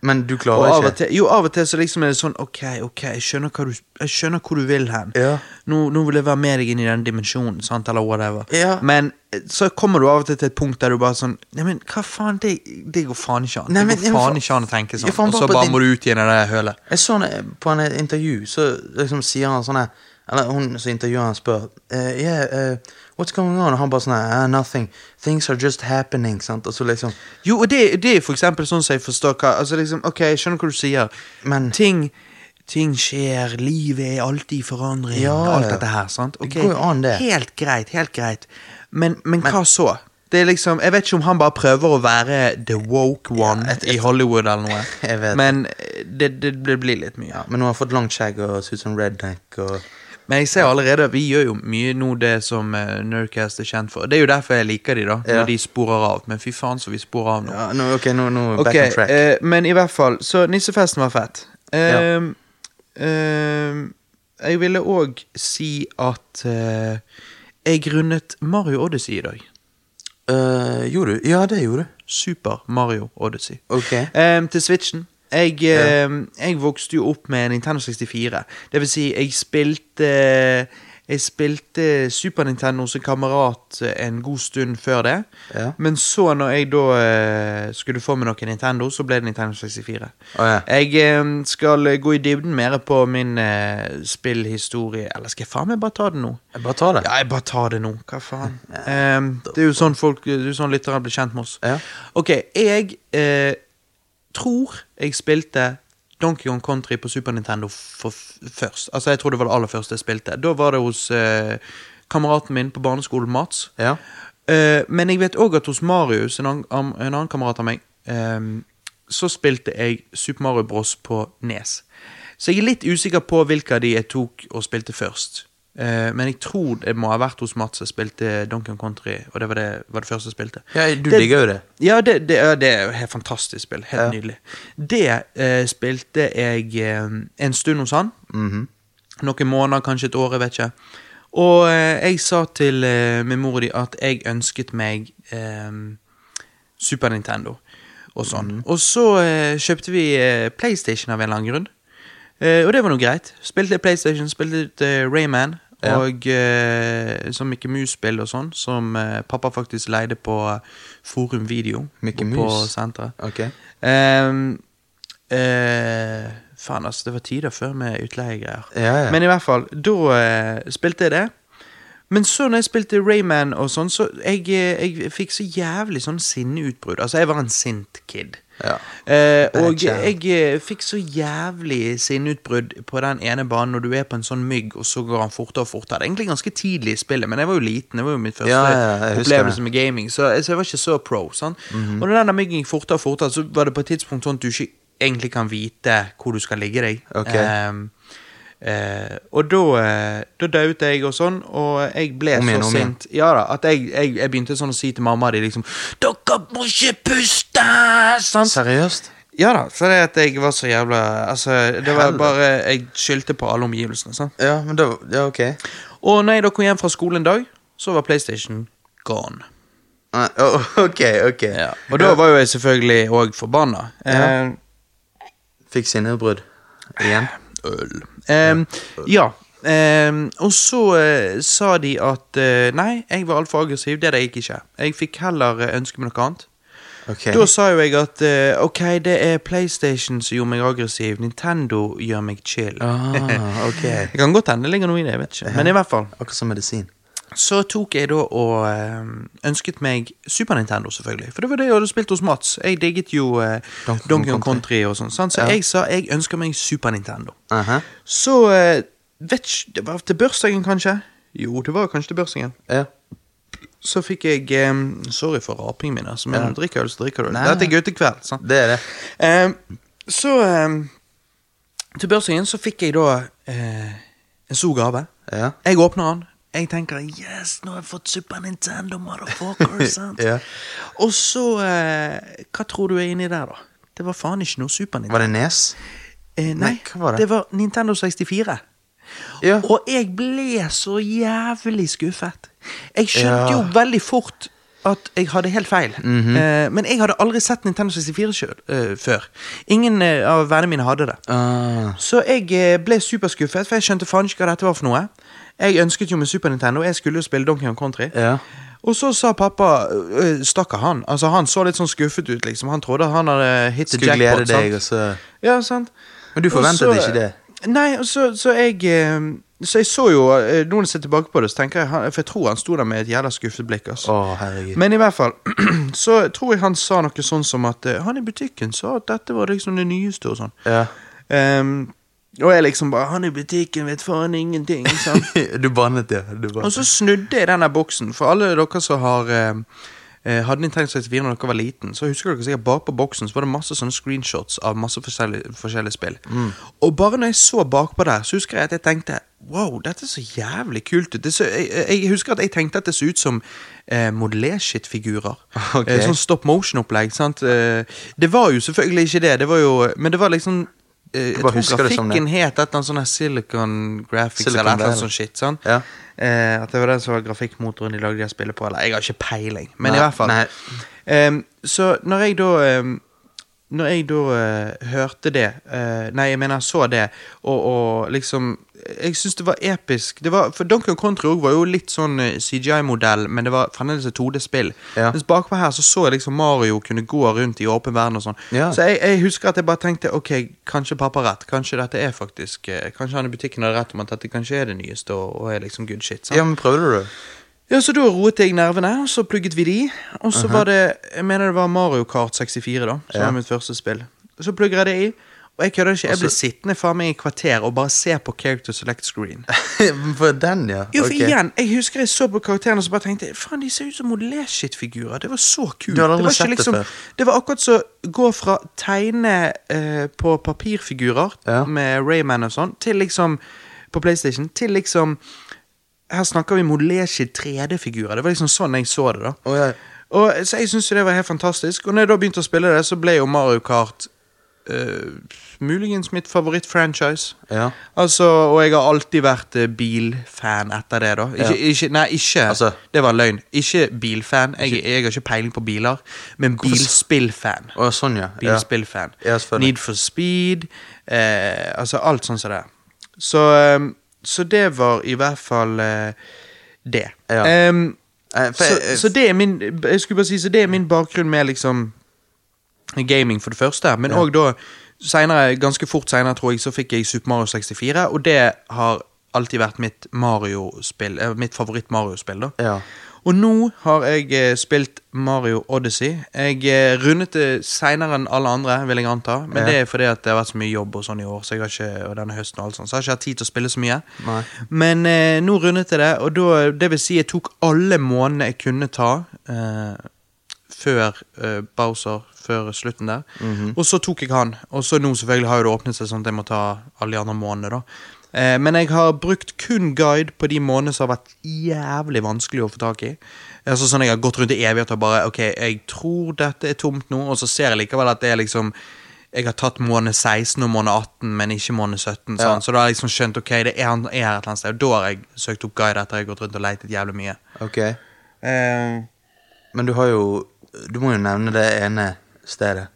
Speaker 2: Men du
Speaker 1: sånn- Og av og
Speaker 2: klarer ikke.
Speaker 1: til, jo, av og til så liksom er det sånn Ok, ok, jeg skjønner, hva du, jeg skjønner hvor du vil hen.
Speaker 2: Ja.
Speaker 1: Nå, nå vil jeg være med deg inn i den dimensjonen, sant, eller whatever.
Speaker 2: Ja.
Speaker 1: Men eh, så kommer du av og til til et punkt der du bare sånn Nei, men hva faen, det, det går faen ikke an.
Speaker 2: Nei, men-
Speaker 1: det går faen ikke an å tenke
Speaker 2: Ja,
Speaker 1: sånn.
Speaker 2: for han
Speaker 1: Og
Speaker 2: var
Speaker 1: så
Speaker 2: på
Speaker 1: bare
Speaker 2: din-
Speaker 1: må du ut igjen i det hølet.
Speaker 2: Jeg så henne på en intervju, så liksom sier han sånn her Eller hun som intervjuer han spør eh, Yeah, eh, what's going on? Og han bare sånn her "Ah, Nothing. Things are just happening. Sant? Og så liksom
Speaker 1: Jo, og det, det er for eksempel sånn som jeg forstår hva Altså liksom, ok, jeg skjønner hva du sier
Speaker 2: Men-
Speaker 1: Ting, ting skjer, livet er alltid i forandring
Speaker 2: Ja, ja.
Speaker 1: Alt dette her, sant?
Speaker 2: Det
Speaker 1: Ok,
Speaker 2: går jo an, det.
Speaker 1: Helt greit, helt greit Men, men, hva så? Det er liksom, jeg vet ikke om han bare prøver å være the woke one
Speaker 2: jeg- jeg-
Speaker 1: i Hollywood eller noe
Speaker 2: Jeg vet.
Speaker 1: Men eh, det, det blir- blir litt mye
Speaker 2: Ja, men hun har fått langt skjegg og ser ut som redneck og
Speaker 1: Men jeg ser allerede, vi gjør jo mye nå det som eh, Nerdcast er kjent for Det er jo derfor jeg liker de da, når
Speaker 2: Ja.
Speaker 1: de sporer av Men fy faen så vi sporer av nå
Speaker 2: ja, nå, Ok, nå, nå
Speaker 1: Ok,
Speaker 2: back on track.
Speaker 1: eh, men i hvert fall, så nissefesten var fett.
Speaker 2: Ja.
Speaker 1: Ehm, ehm, jeg ville òg si at eh, jeg rundet Mario Odyssey i dag.
Speaker 2: Eh, gjorde du? Ja, det gjorde du.
Speaker 1: Super Mario Odyssey.
Speaker 2: Ok.
Speaker 1: Ehm, til Switchen. Jeg, ehm, jeg vokste jo opp med Nintendo 64. Det vil si, jeg spilte jeg spilte Super Nintendo som kamerat eh, en god stund før det.
Speaker 2: Ja.
Speaker 1: Men så, når jeg da eh, skulle få meg noe Nintendo, så ble det Nintendo 64.
Speaker 2: Å, ja.
Speaker 1: Jeg eh, skal gå i dybden mer på min eh, spillhistorie. Eller skal jeg faen meg bare ta det nå?
Speaker 2: Jeg Bare ta det.
Speaker 1: Ja, jeg bare tar det nå. Hva faen? Ehm, det er jo sånn folk Det er jo sånn lytterne blir kjent med oss.
Speaker 2: Ja.
Speaker 1: Ok, jeg eh, tror jeg spilte Donkey Kong Country på Super Nintendo for f først. Altså, jeg tror det var det aller første jeg spilte. Da var det hos eh, kameraten min på barneskolen, Mats.
Speaker 2: Ja.
Speaker 1: Eh, men jeg vet òg at hos Marius, en annen, am- en annen kamerat av meg, ehm, så spilte jeg Super Mario Bros. på Nes. Så jeg er litt usikker på hvilke av de jeg tok og spilte først. Eh, men jeg tror det må ha vært hos Mats jeg spilte Donkey Kong Country, og det var det, var det første jeg spilte.
Speaker 2: Ja, du digger jo det.
Speaker 1: Ja, det, det, er- det er jo et helt fantastisk spill. Helt
Speaker 2: Ja.
Speaker 1: nydelig. Det eh, spilte jeg eh, en stund hos han.
Speaker 2: Mhm,
Speaker 1: Noen måneder, kanskje et år, jeg vet ikke. Og eh, jeg sa til eh, min mor og de at jeg ønsket meg eh, Super Nintendo og sånn.
Speaker 2: Mhm.
Speaker 1: Og så eh, kjøpte vi eh, PlayStation av en eller annen grunn. Eh, og det var nå greit. Spilte PlayStation, spilte eh, Rayman.
Speaker 2: Ja.
Speaker 1: Og eh, som Mickey Mouse-spill og sånn, som eh, pappa faktisk leide på Forum Video.
Speaker 2: Mickey
Speaker 1: oppe på
Speaker 2: Mouse?
Speaker 1: senteret.
Speaker 2: Ok.
Speaker 1: Ehm, eh, faen, altså. Det var tider før med utleiegreier.
Speaker 2: Ja, ja.
Speaker 1: Men i hvert fall, da eh, spilte jeg det. Men så når jeg spilte Rayman og sånn, så jeg, eh, jeg fikk så jævlig sånn sinneutbrudd. Altså, jeg var en sint kid.
Speaker 2: Ja.
Speaker 1: Eh,
Speaker 2: Bad
Speaker 1: og jeg
Speaker 2: child.
Speaker 1: eh, fikk så jævlig sinneutbrudd på den ene banen når du er på en sånn mygg, og så går han fortere og fortere. Det er Egentlig ganske tidlig i spillet, men jeg var jo liten. Det var jo mitt første
Speaker 2: Ja, ja, jeg husker
Speaker 1: opplevelse
Speaker 2: det.
Speaker 1: med gaming, så jeg, så jeg var ikke så pro. Sant? Og når den der myggen gikk fortere og fortere, så var det på et tidspunkt sånn at du ikke egentlig kan vite hvor du skal ligge deg.
Speaker 2: Ok.
Speaker 1: Ehm, eh, og da eh, Da dauet jeg og sånn, og jeg ble
Speaker 2: Om igjen,
Speaker 1: så
Speaker 2: om igjen.
Speaker 1: sint Ja da, at jeg, jeg, jeg begynte sånn å si til mamma di liksom 'Dere må ikke puste!' Sant?
Speaker 2: Seriøst?
Speaker 1: Ja da, så det at jeg var så jævla Altså, det var
Speaker 2: Helvete.
Speaker 1: bare Jeg skyldte på alle omgivelsene. Sant?
Speaker 2: Ja, men da Ja, ok.
Speaker 1: Og når jeg da kom hjem fra skolen en dag, så var PlayStation gone.
Speaker 2: Nei, å, ok, ok.
Speaker 1: Og da var jo jeg selvfølgelig òg forbanna. Eh,
Speaker 2: Fikk sinneutbrudd. Igjen.
Speaker 1: øl. Ehm, ja. ehm, og så eh, sa de at eh, nei, jeg var altfor aggressiv. Det er det jeg ikke. Jeg fikk heller eh, ønske meg noe annet.
Speaker 2: Ok.
Speaker 1: Da sa jo jeg at eh, ok, det er PlayStation som gjorde meg aggressiv. Nintendo gjør meg chill.
Speaker 2: Ah, ok.
Speaker 1: Det kan godt hende det ligger noe i det. jeg vet ikke Men i hvert fall
Speaker 2: Akkurat som medisin.
Speaker 1: Så tok jeg da og eh, ønsket meg Super Nintendo, selvfølgelig. For det var det jeg hadde spilt hos Mats. Jeg digget jo eh,
Speaker 2: Donkey
Speaker 1: Donkey Kong
Speaker 2: Kong
Speaker 1: Country og sånn. sant? Så jeg sa jeg ønsker meg Super Nintendo.
Speaker 2: Aha.
Speaker 1: Så eh, vet ikke Det var til bursdagen, kanskje? Jo, det var kanskje til bursdagen.
Speaker 2: Ja.
Speaker 1: Så fikk jeg eh, Sorry for rapingen min, altså. Men
Speaker 2: Ja.
Speaker 1: når du drikker øl, så drikker du øl.
Speaker 2: Nei,
Speaker 1: Dette er guttekveld. sant?
Speaker 2: Det er det.
Speaker 1: Ehm, så ehm, Til bursdagen så fikk jeg da eh, en stor gave.
Speaker 2: Ja.
Speaker 1: Jeg åpner den. Jeg tenker 'yes, nå har jeg fått Super Nintendo, motherfucker'. sant?
Speaker 2: Ja.
Speaker 1: Og så eh, Hva tror du er inni der, da? Det var faen ikke noe Super Nintendo.
Speaker 2: Var det Nes?
Speaker 1: Eh, nei,
Speaker 2: Nei, hva var det?
Speaker 1: det var Nintendo 64.
Speaker 2: Ja.
Speaker 1: Og jeg ble så jævlig skuffet. Jeg skjønte
Speaker 2: Ja. Mhm.
Speaker 1: jo veldig fort at jeg hadde helt feil. eh, men jeg hadde aldri sett Nintendo 64 sjøl, eh, før. Ingen eh, av vennene mine hadde det.
Speaker 2: Ah.
Speaker 1: Så jeg eh, ble superskuffet, for jeg skjønte faen ikke hva dette var for noe. Jeg ønsket jo med Super Nintendo, jeg skulle jo spille Donkey Kong Country.
Speaker 2: Ja.
Speaker 1: Og så sa pappa øh, Stakkar han. Altså Han så litt sånn skuffet ut, liksom. Han trodde han hadde hit the
Speaker 2: Skulle glede
Speaker 1: jackpot.
Speaker 2: deg,
Speaker 1: Sant?
Speaker 2: og så
Speaker 1: Ja, sant?
Speaker 2: Men du
Speaker 1: Og
Speaker 2: forventet
Speaker 1: så-
Speaker 2: ikke det?
Speaker 1: Nei, og så, så jeg eh, Så jeg så jo eh, Noen ser tilbake på det, så tenker jeg han- For jeg tror han sto der med et jævla skuffet blikk. Altså.
Speaker 2: Å, herregud.
Speaker 1: Men i hvert fall så tror jeg han sa noe sånn som at eh, han i butikken sa at dette var liksom det nyeste og sånn.
Speaker 2: Ja.
Speaker 1: Ehm, og jeg liksom bare Han i butikken vet faen ingenting. Sant?
Speaker 2: Du bannet, ja. Du
Speaker 1: Og
Speaker 2: bannet.
Speaker 1: så snudde jeg den der boksen. For alle dere som har eh, eh, hadde Nintendo 64 når dere var liten, så husker dere sikkert bakpå boksen så var det masse sånne screenshots av masse forskjellige, forskjellige spill.
Speaker 2: Mm.
Speaker 1: Og bare når jeg så bakpå der, så husker jeg at jeg tenkte Wow, dette er så jævlig kult ut. Det så, jeg, jeg- jeg husker at jeg tenkte at det så ut som eh, modellerskittfigurer.
Speaker 2: Ok.
Speaker 1: Eh, sånn stop motion-opplegg. sant? Eh, det var jo selvfølgelig ikke det, det var jo, men det var liksom eh, Jeg
Speaker 2: bare
Speaker 1: tror
Speaker 2: husker det som det.
Speaker 1: grafikken het et eller annet sånn her Silicon Graphics
Speaker 2: Silicon
Speaker 1: eller et eller
Speaker 2: Valley.
Speaker 1: annet sånn sånt shit. sant?
Speaker 2: Ja.
Speaker 1: Eh, at det var den som var grafikkmotoren de lagde de spillet på. Eller jeg har ikke peiling, men
Speaker 2: Nei,
Speaker 1: i hvert fall.
Speaker 2: nei.
Speaker 1: Ehm, så når jeg da ehm, Når jeg da eh, hørte det eh, Nei, jeg mener så det, og, og liksom Jeg syns det var episk. Det var, for Donkey Kong Country også var jo litt sånn eh, CGI-modell, men det var fremdeles et 2D-spill.
Speaker 2: Ja.
Speaker 1: Mens bakpå her så så jeg liksom Mario kunne gå rundt i åpen verden og sånn.
Speaker 2: Ja.
Speaker 1: Så jeg, jeg husker at jeg bare tenkte ok, kanskje pappa har rett. Kanskje dette er faktisk eh, Kanskje han i butikken hadde rett om at dette kanskje er det nyeste og, og er liksom good shit. sant?
Speaker 2: ja, men prøvde du det?
Speaker 1: Ja, så da roet jeg nervene, og så plugget vi de. Og så var det jeg mener det var Mario Kart 64, da, som var
Speaker 2: Ja.
Speaker 1: mitt første spill. Så plugger jeg det i, og jeg kødder ikke. Jeg ble sittende faen meg i et kvarter og bare se på Character Select Screen.
Speaker 2: For den, ja.
Speaker 1: Jo, for
Speaker 2: Ok.
Speaker 1: igjen, jeg husker jeg så på karakterene og så bare tenkte jeg, faen, de ser ut som modellerskittfigurer. Det var så kult.
Speaker 2: Du hadde aldri
Speaker 1: det, var liksom-
Speaker 2: sett det før.
Speaker 1: det var akkurat som å gå fra tegne eh, på papirfigurer
Speaker 2: Ja.
Speaker 1: med Rayman og sånn, til liksom på PlayStation, til liksom Her snakker vi modellerskitt 3D-figurer. Det var liksom sånn jeg så det, da.
Speaker 2: Å, ja.
Speaker 1: Og så Jeg syns jo det var helt fantastisk. Og når jeg da begynte å spille det, så ble jo Mario Kart eh, muligens mitt favorittfranchise.
Speaker 2: Ja.
Speaker 1: Altså, og jeg har alltid vært eh, bilfan etter det, da. Ikke,
Speaker 2: Ja.
Speaker 1: ikke, nei, ikke
Speaker 2: Altså-
Speaker 1: Det var løgn. Ikke bilfan. Jeg, jeg har ikke peiling på biler, men bilspillfan.
Speaker 2: Å, sånn, ja. ja.
Speaker 1: Bilspillfan.
Speaker 2: Ja, selvfølgelig.
Speaker 1: Need for speed. Eh, altså alt sånn som det. Så, eh, så det var i hvert fall eh, det.
Speaker 2: Ja.
Speaker 1: Em,
Speaker 2: Eh, for
Speaker 1: så,
Speaker 2: jeg-
Speaker 1: så det er min Jeg skulle bare si Så det er min bakgrunn med liksom gaming, for det første. Men òg da senere, Ganske fort senere, tror jeg, så fikk jeg Super Mario 64, og det har alltid vært mitt Mario-spill eh, Mitt favoritt-Mario-spill, da.
Speaker 2: Ja.
Speaker 1: Og nå har jeg eh, spilt Mario Odyssey. Jeg eh, rundet det seinere enn alle andre, vil jeg anta. Men
Speaker 2: Ja.
Speaker 1: det er fordi at det har vært så mye jobb og sånn i år, så jeg har ikke, og denne høsten og alt sånt, så jeg har ikke hatt tid til å spille så mye.
Speaker 2: Nei.
Speaker 1: Men eh, nå rundet jeg det, og da, det vil si jeg tok alle månedene jeg kunne ta eh, før eh, Bowser, før slutten der. Og så tok jeg han, og så nå selvfølgelig har jo det åpnet seg sånn at jeg må ta alle de andre månedene da. Eh, men jeg har brukt kun guide på de månedene som har vært jævlig vanskelig å få tak i. Altså sånn Jeg har gått rundt i evigheter og bare Ok, jeg tror dette er tomt nå, og så ser jeg likevel at det er liksom jeg har tatt måned 16 og måned 18, men ikke måned 17.
Speaker 2: Ja.
Speaker 1: sant? Så da har jeg liksom skjønt ok, det er han er her et eller annet sted. Og da har jeg søkt opp guide etter jeg har gått rundt og leitet jævlig mye.
Speaker 2: Ok. Men du har jo Du må jo nevne det ene stedet.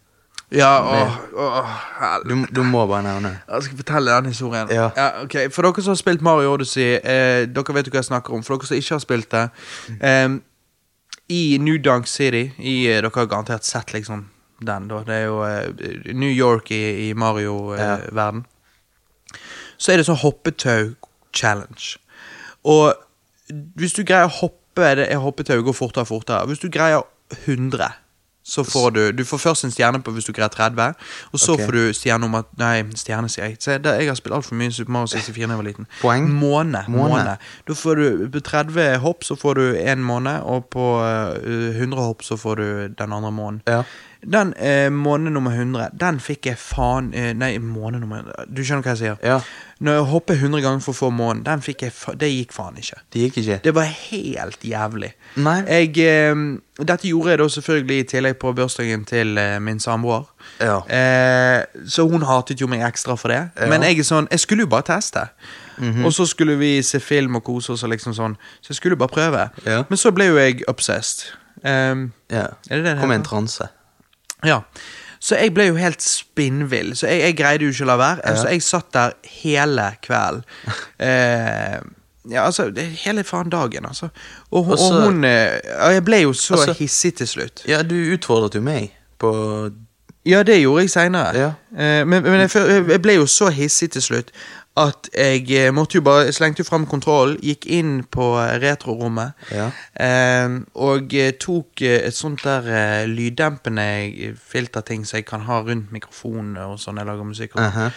Speaker 1: ja, åh, åh, hel-
Speaker 2: Du, du må bare nevne det.
Speaker 1: Jeg skal fortelle den historien.
Speaker 2: Ja.
Speaker 1: ok. For dere som har spilt Mario Odyssey, eh, dere vet jo hva jeg snakker om. For dere som ikke har spilt det em, I New Dunk City i, eh, Dere har garantert sett liksom den, da. Det er jo eh, New York i, eh, i
Speaker 2: Ja.
Speaker 1: Mario-verden. Så er det sånn hoppetau-challenge. Og Hvis du greier å hoppe det er hoppetau går fortere og fortere Hvis du greier 100, så får du Du får først en stjerne på hvis du greier 30, og så
Speaker 2: Ok.
Speaker 1: får du stjerne om at Nei, stjerne, sier jeg. Se, der, jeg har spilt altfor mye Super Mario 64 da jeg var liten.
Speaker 2: Poeng?
Speaker 1: Måne.
Speaker 2: Måne.
Speaker 1: måne. Da får du På 30 hopp så får du én måned, og på eh, 100 hopp så får du den andre måneden.
Speaker 2: Ja.
Speaker 1: Den eh, måned nummer 100, den fikk jeg faen eh, Nei, måned nummer 100 Du skjønner hva jeg sier?
Speaker 2: Ja.
Speaker 1: Når jeg hopper 100 ganger for å få månen, den fikk jeg fa det gikk faen ikke.
Speaker 2: Det gikk ikke.
Speaker 1: Det var helt jævlig.
Speaker 2: Nei.
Speaker 1: Jeg, eh, dette gjorde jeg da selvfølgelig i tillegg på bursdagen til eh, min samboer.
Speaker 2: Ja.
Speaker 1: Eh, så hun hatet jo meg ekstra for det.
Speaker 2: Ja. Mhm.
Speaker 1: Men jeg er sånn, jeg skulle jo bare teste. Og så skulle vi se film og kose oss, og liksom sånn så jeg skulle jo bare prøve.
Speaker 2: Ja.
Speaker 1: Men så ble jo jeg obsessed. Um,
Speaker 2: Ja.
Speaker 1: Er det det det
Speaker 2: Kom i en
Speaker 1: heter?
Speaker 2: transe.
Speaker 1: ja. Så jeg ble jo helt spinnvill. Så jeg, jeg greide jo ikke å la være. Altså, jeg satt der hele kvelden. Eh, ja, altså, det- hele faen dagen, altså. Og, hun-
Speaker 2: Og så-
Speaker 1: og hun eh, ja, Jeg ble jo så
Speaker 2: Altså-
Speaker 1: hissig til slutt.
Speaker 2: Ja, du utfordret jo meg på
Speaker 1: Ja, det gjorde jeg seinere.
Speaker 2: Ja.
Speaker 1: men men jeg, fø- jeg ble jo så hissig til slutt at jeg eh, måtte jo bare jeg slengte jo fram kontrollen, gikk inn på eh, retrorommet
Speaker 2: Ja.
Speaker 1: eh, og eh, tok eh, et sånt der eh, lyddempende eh, filterting som jeg kan ha rundt mikrofonen og sånn jeg lager musikk. Og,
Speaker 2: Mhm.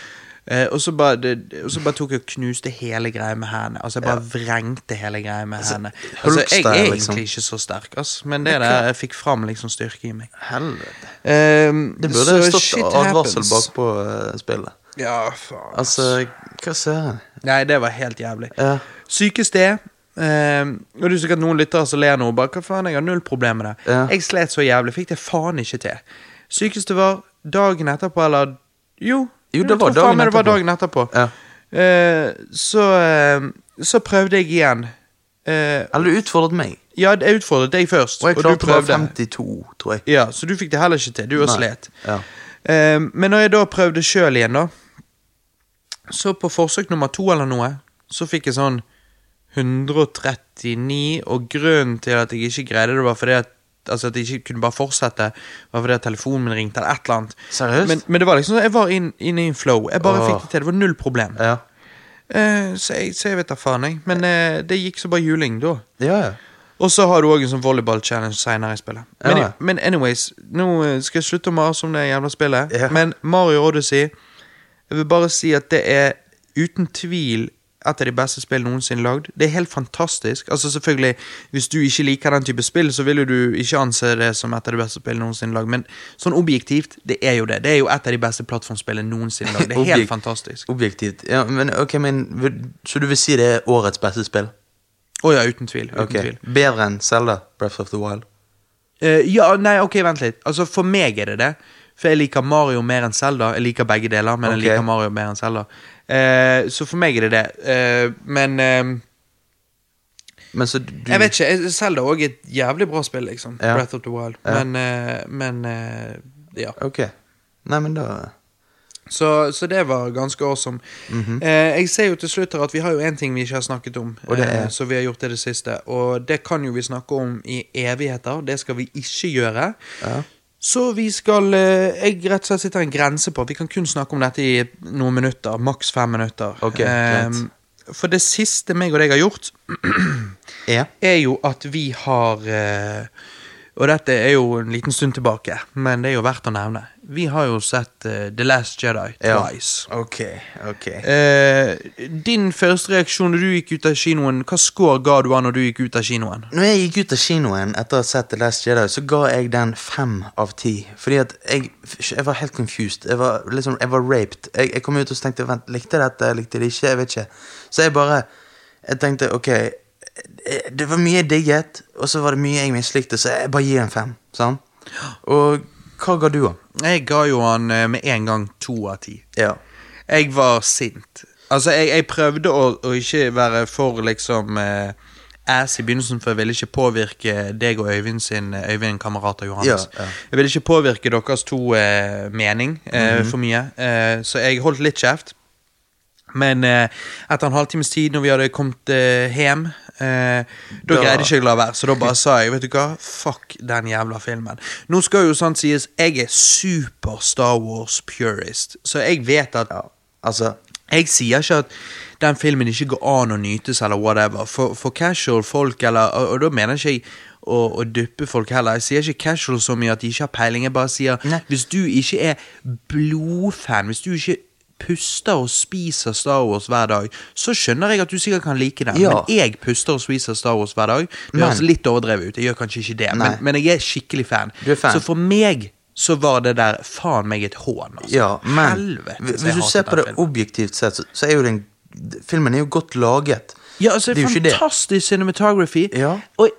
Speaker 1: eh, og, så bare, det, og så bare tok jeg og knuste hele greia med hendene. Altså, jeg bare vrengte hele greia med hendene. Altså, jeg er
Speaker 2: hulkstyle,
Speaker 1: egentlig
Speaker 2: liksom.
Speaker 1: ikke så sterk, ass, men det der jeg fikk fram liksom styrke i meg.
Speaker 2: Helvete.
Speaker 1: Ehm,
Speaker 2: Det burde
Speaker 1: så
Speaker 2: stått
Speaker 1: shit
Speaker 2: advarsel
Speaker 1: happens.
Speaker 2: bakpå eh, spillet.
Speaker 1: Ja, faen.
Speaker 2: Altså, hva ser jeg?
Speaker 1: Nei, det var helt jævlig.
Speaker 2: Ja.
Speaker 1: Syke sted. ehm, og det er sikkert noen lyttere som ler nå. og Bare, hva faen, jeg har null problem med det.
Speaker 2: Ja.
Speaker 1: Jeg slet så jævlig. Fikk det faen ikke til. Sykeste var dagen etterpå, eller Jo,
Speaker 2: Jo,
Speaker 1: jeg
Speaker 2: det var
Speaker 1: tror faen
Speaker 2: dagen
Speaker 1: meg det var
Speaker 2: etterpå.
Speaker 1: dagen etterpå.
Speaker 2: Ja.
Speaker 1: Eh, så, ehm, så prøvde jeg igjen. Eh,
Speaker 2: Eller du utfordret meg.
Speaker 1: ja, jeg utfordret deg først,
Speaker 2: Og jeg
Speaker 1: og du
Speaker 2: klarte bare
Speaker 1: prøvde.
Speaker 2: 52, tror jeg.
Speaker 1: Ja, Så du fikk det heller ikke til. Du og
Speaker 2: Nei.
Speaker 1: slet.
Speaker 2: Ja.
Speaker 1: Eh, men når jeg da prøvde sjøl igjen, da Så på forsøk nummer to eller noe, så fikk jeg sånn 139, og grunnen til at jeg ikke greide det, var fordi at Altså at jeg ikke kunne bare fortsette, var fordi at telefonen min ringte, eller et eller annet.
Speaker 2: Seriøst?
Speaker 1: Men, men det var liksom sånn, jeg var inne inn i en flow. Jeg bare
Speaker 2: Åh.
Speaker 1: fikk det til. Det var null problem.
Speaker 2: Ja.
Speaker 1: Eh, så, jeg, så jeg vet da faen, jeg. Men eh, det gikk så bare juling da.
Speaker 2: Ja, ja.
Speaker 1: Og så har du òg en sånn volleyball-challenge seinere i spillet. Men,
Speaker 2: Ja.
Speaker 1: men anyways, nå eh, skal jeg slutte å mase om det jævla spillet.
Speaker 2: Ja.
Speaker 1: Men Mario Odyssey Jeg vil bare si at det er uten tvil et av de beste spill noensinne lagd. Det er helt fantastisk. Altså selvfølgelig, Hvis du ikke liker den type spill, så vil jo du ikke anse det som et av de beste spill noensinne lagd. Men sånn objektivt, det er jo det. Det er jo et av de beste plattformspillene noensinne lagd. Det er
Speaker 2: Objekt-
Speaker 1: helt fantastisk.
Speaker 2: Objektivt. Ja, men, ok, men vil- Så du vil si det er årets beste spill?
Speaker 1: Å ja, uten tvil. Uten
Speaker 2: Ok.
Speaker 1: tvil.
Speaker 2: Bedre enn Zelda, Breath of the Wild?
Speaker 1: Eh, ja, nei, ok, vent litt. Altså, For meg er det det. For jeg liker Mario mer enn Zelda. Jeg liker begge deler, men
Speaker 2: Ok.
Speaker 1: jeg liker Mario mer enn Zelda. Eh, så for meg er det det. Eh, men eh,
Speaker 2: Men så du
Speaker 1: jeg vet ikke. jeg- Zelda òg er et jævlig bra spill, liksom.
Speaker 2: Ja.
Speaker 1: Breath of the Wild.
Speaker 2: Ja.
Speaker 1: Men, eh, men eh, ja.
Speaker 2: Ok. Nei, men da
Speaker 1: Så, så det var ganske awesome. eh, jeg ser jo til slutt her at vi har jo én ting vi ikke har snakket om,
Speaker 2: Mhm. Og det er?
Speaker 1: eh, så vi har gjort det det siste. Og det kan jo vi snakke om i evigheter. Det skal vi ikke gjøre.
Speaker 2: Ja.
Speaker 1: Så vi skal eh, Jeg rett og slett sitter en grense på. Vi kan kun snakke om dette i noen minutter. Maks fem minutter.
Speaker 2: Ok,
Speaker 1: Eh,
Speaker 2: greit.
Speaker 1: for det siste meg og deg har gjort,
Speaker 2: Ja.
Speaker 1: er jo at vi har eh, Og dette er jo en liten stund tilbake, men det er jo verdt å nevne. Vi har jo sett eh, The Last Jedi
Speaker 2: Ja.
Speaker 1: twice.
Speaker 2: Ok, ok.
Speaker 1: Eh, din første reaksjon da du gikk ut av kinoen, hva score ga du av når du gikk ut av kinoen?
Speaker 2: Når jeg gikk ut av kinoen etter å ha sett The Last Jedi, så ga jeg den fem av ti. Fordi at jeg, jeg var helt confused. Jeg var, liksom, jeg var raped. Jeg, jeg kom ut og så tenkte Vent, likte jeg dette? Likte jeg det ikke? Jeg vet ikke. Så jeg bare Jeg tenkte ok Det var mye jeg digget, og så var det mye jeg mislikte, så jeg bare gir en fem. Sant? Og hva ga du, da?
Speaker 1: Jeg ga jo han eh, med en gang to av ti.
Speaker 2: Ja.
Speaker 1: Jeg var sint. Altså, jeg, jeg prøvde å, å ikke være for liksom eh, ass i begynnelsen, for jeg ville ikke påvirke deg og Øyvind sin Øyvind, kamerat av Johannes.
Speaker 2: Ja, ja.
Speaker 1: Jeg ville ikke påvirke deres to eh, mening eh,
Speaker 2: Mhm.
Speaker 1: for mye, eh, så jeg holdt litt kjeft. Men eh, etter en halvtimes tid, når vi hadde kommet eh, hjem eh, Da
Speaker 2: Da-
Speaker 1: greide ikke jeg å la være, så da bare sa jeg vet du hva, fuck den jævla filmen. Nå skal jo sant sies, jeg er super Star Wars purist, så jeg vet at
Speaker 2: ja. Altså
Speaker 1: jeg sier ikke at den filmen ikke går an å nytes, eller whatever. For, for casual folk, eller Og, og da mener ikke jeg å, å duppe folk heller. Jeg sier ikke casual så mye at de ikke har peiling. Jeg bare sier
Speaker 2: Nei.
Speaker 1: hvis du ikke er blodfan, hvis du ikke puster og spiser Star Wars hver dag, så skjønner jeg at du sikkert kan like den.
Speaker 2: Ja.
Speaker 1: Men jeg puster og spiser Star Wars hver dag. Det
Speaker 2: Men-
Speaker 1: høres litt overdrevet ut. Jeg gjør kanskje ikke det, men,
Speaker 2: Nei.
Speaker 1: men jeg er skikkelig fan.
Speaker 2: Du er fan.
Speaker 1: Så for meg så var det der faen meg et hån. Altså.
Speaker 2: Ja, men
Speaker 1: Helvete, så
Speaker 2: hvis
Speaker 1: jeg
Speaker 2: du
Speaker 1: hatet
Speaker 2: ser på
Speaker 1: den
Speaker 2: det
Speaker 1: filmen.
Speaker 2: objektivt sett, så, så er jo den Filmen er jo godt laget.
Speaker 1: Ja, altså,
Speaker 2: Det er jo ikke det.
Speaker 1: fantastisk cinematography.
Speaker 2: Ja.
Speaker 1: Og jeg,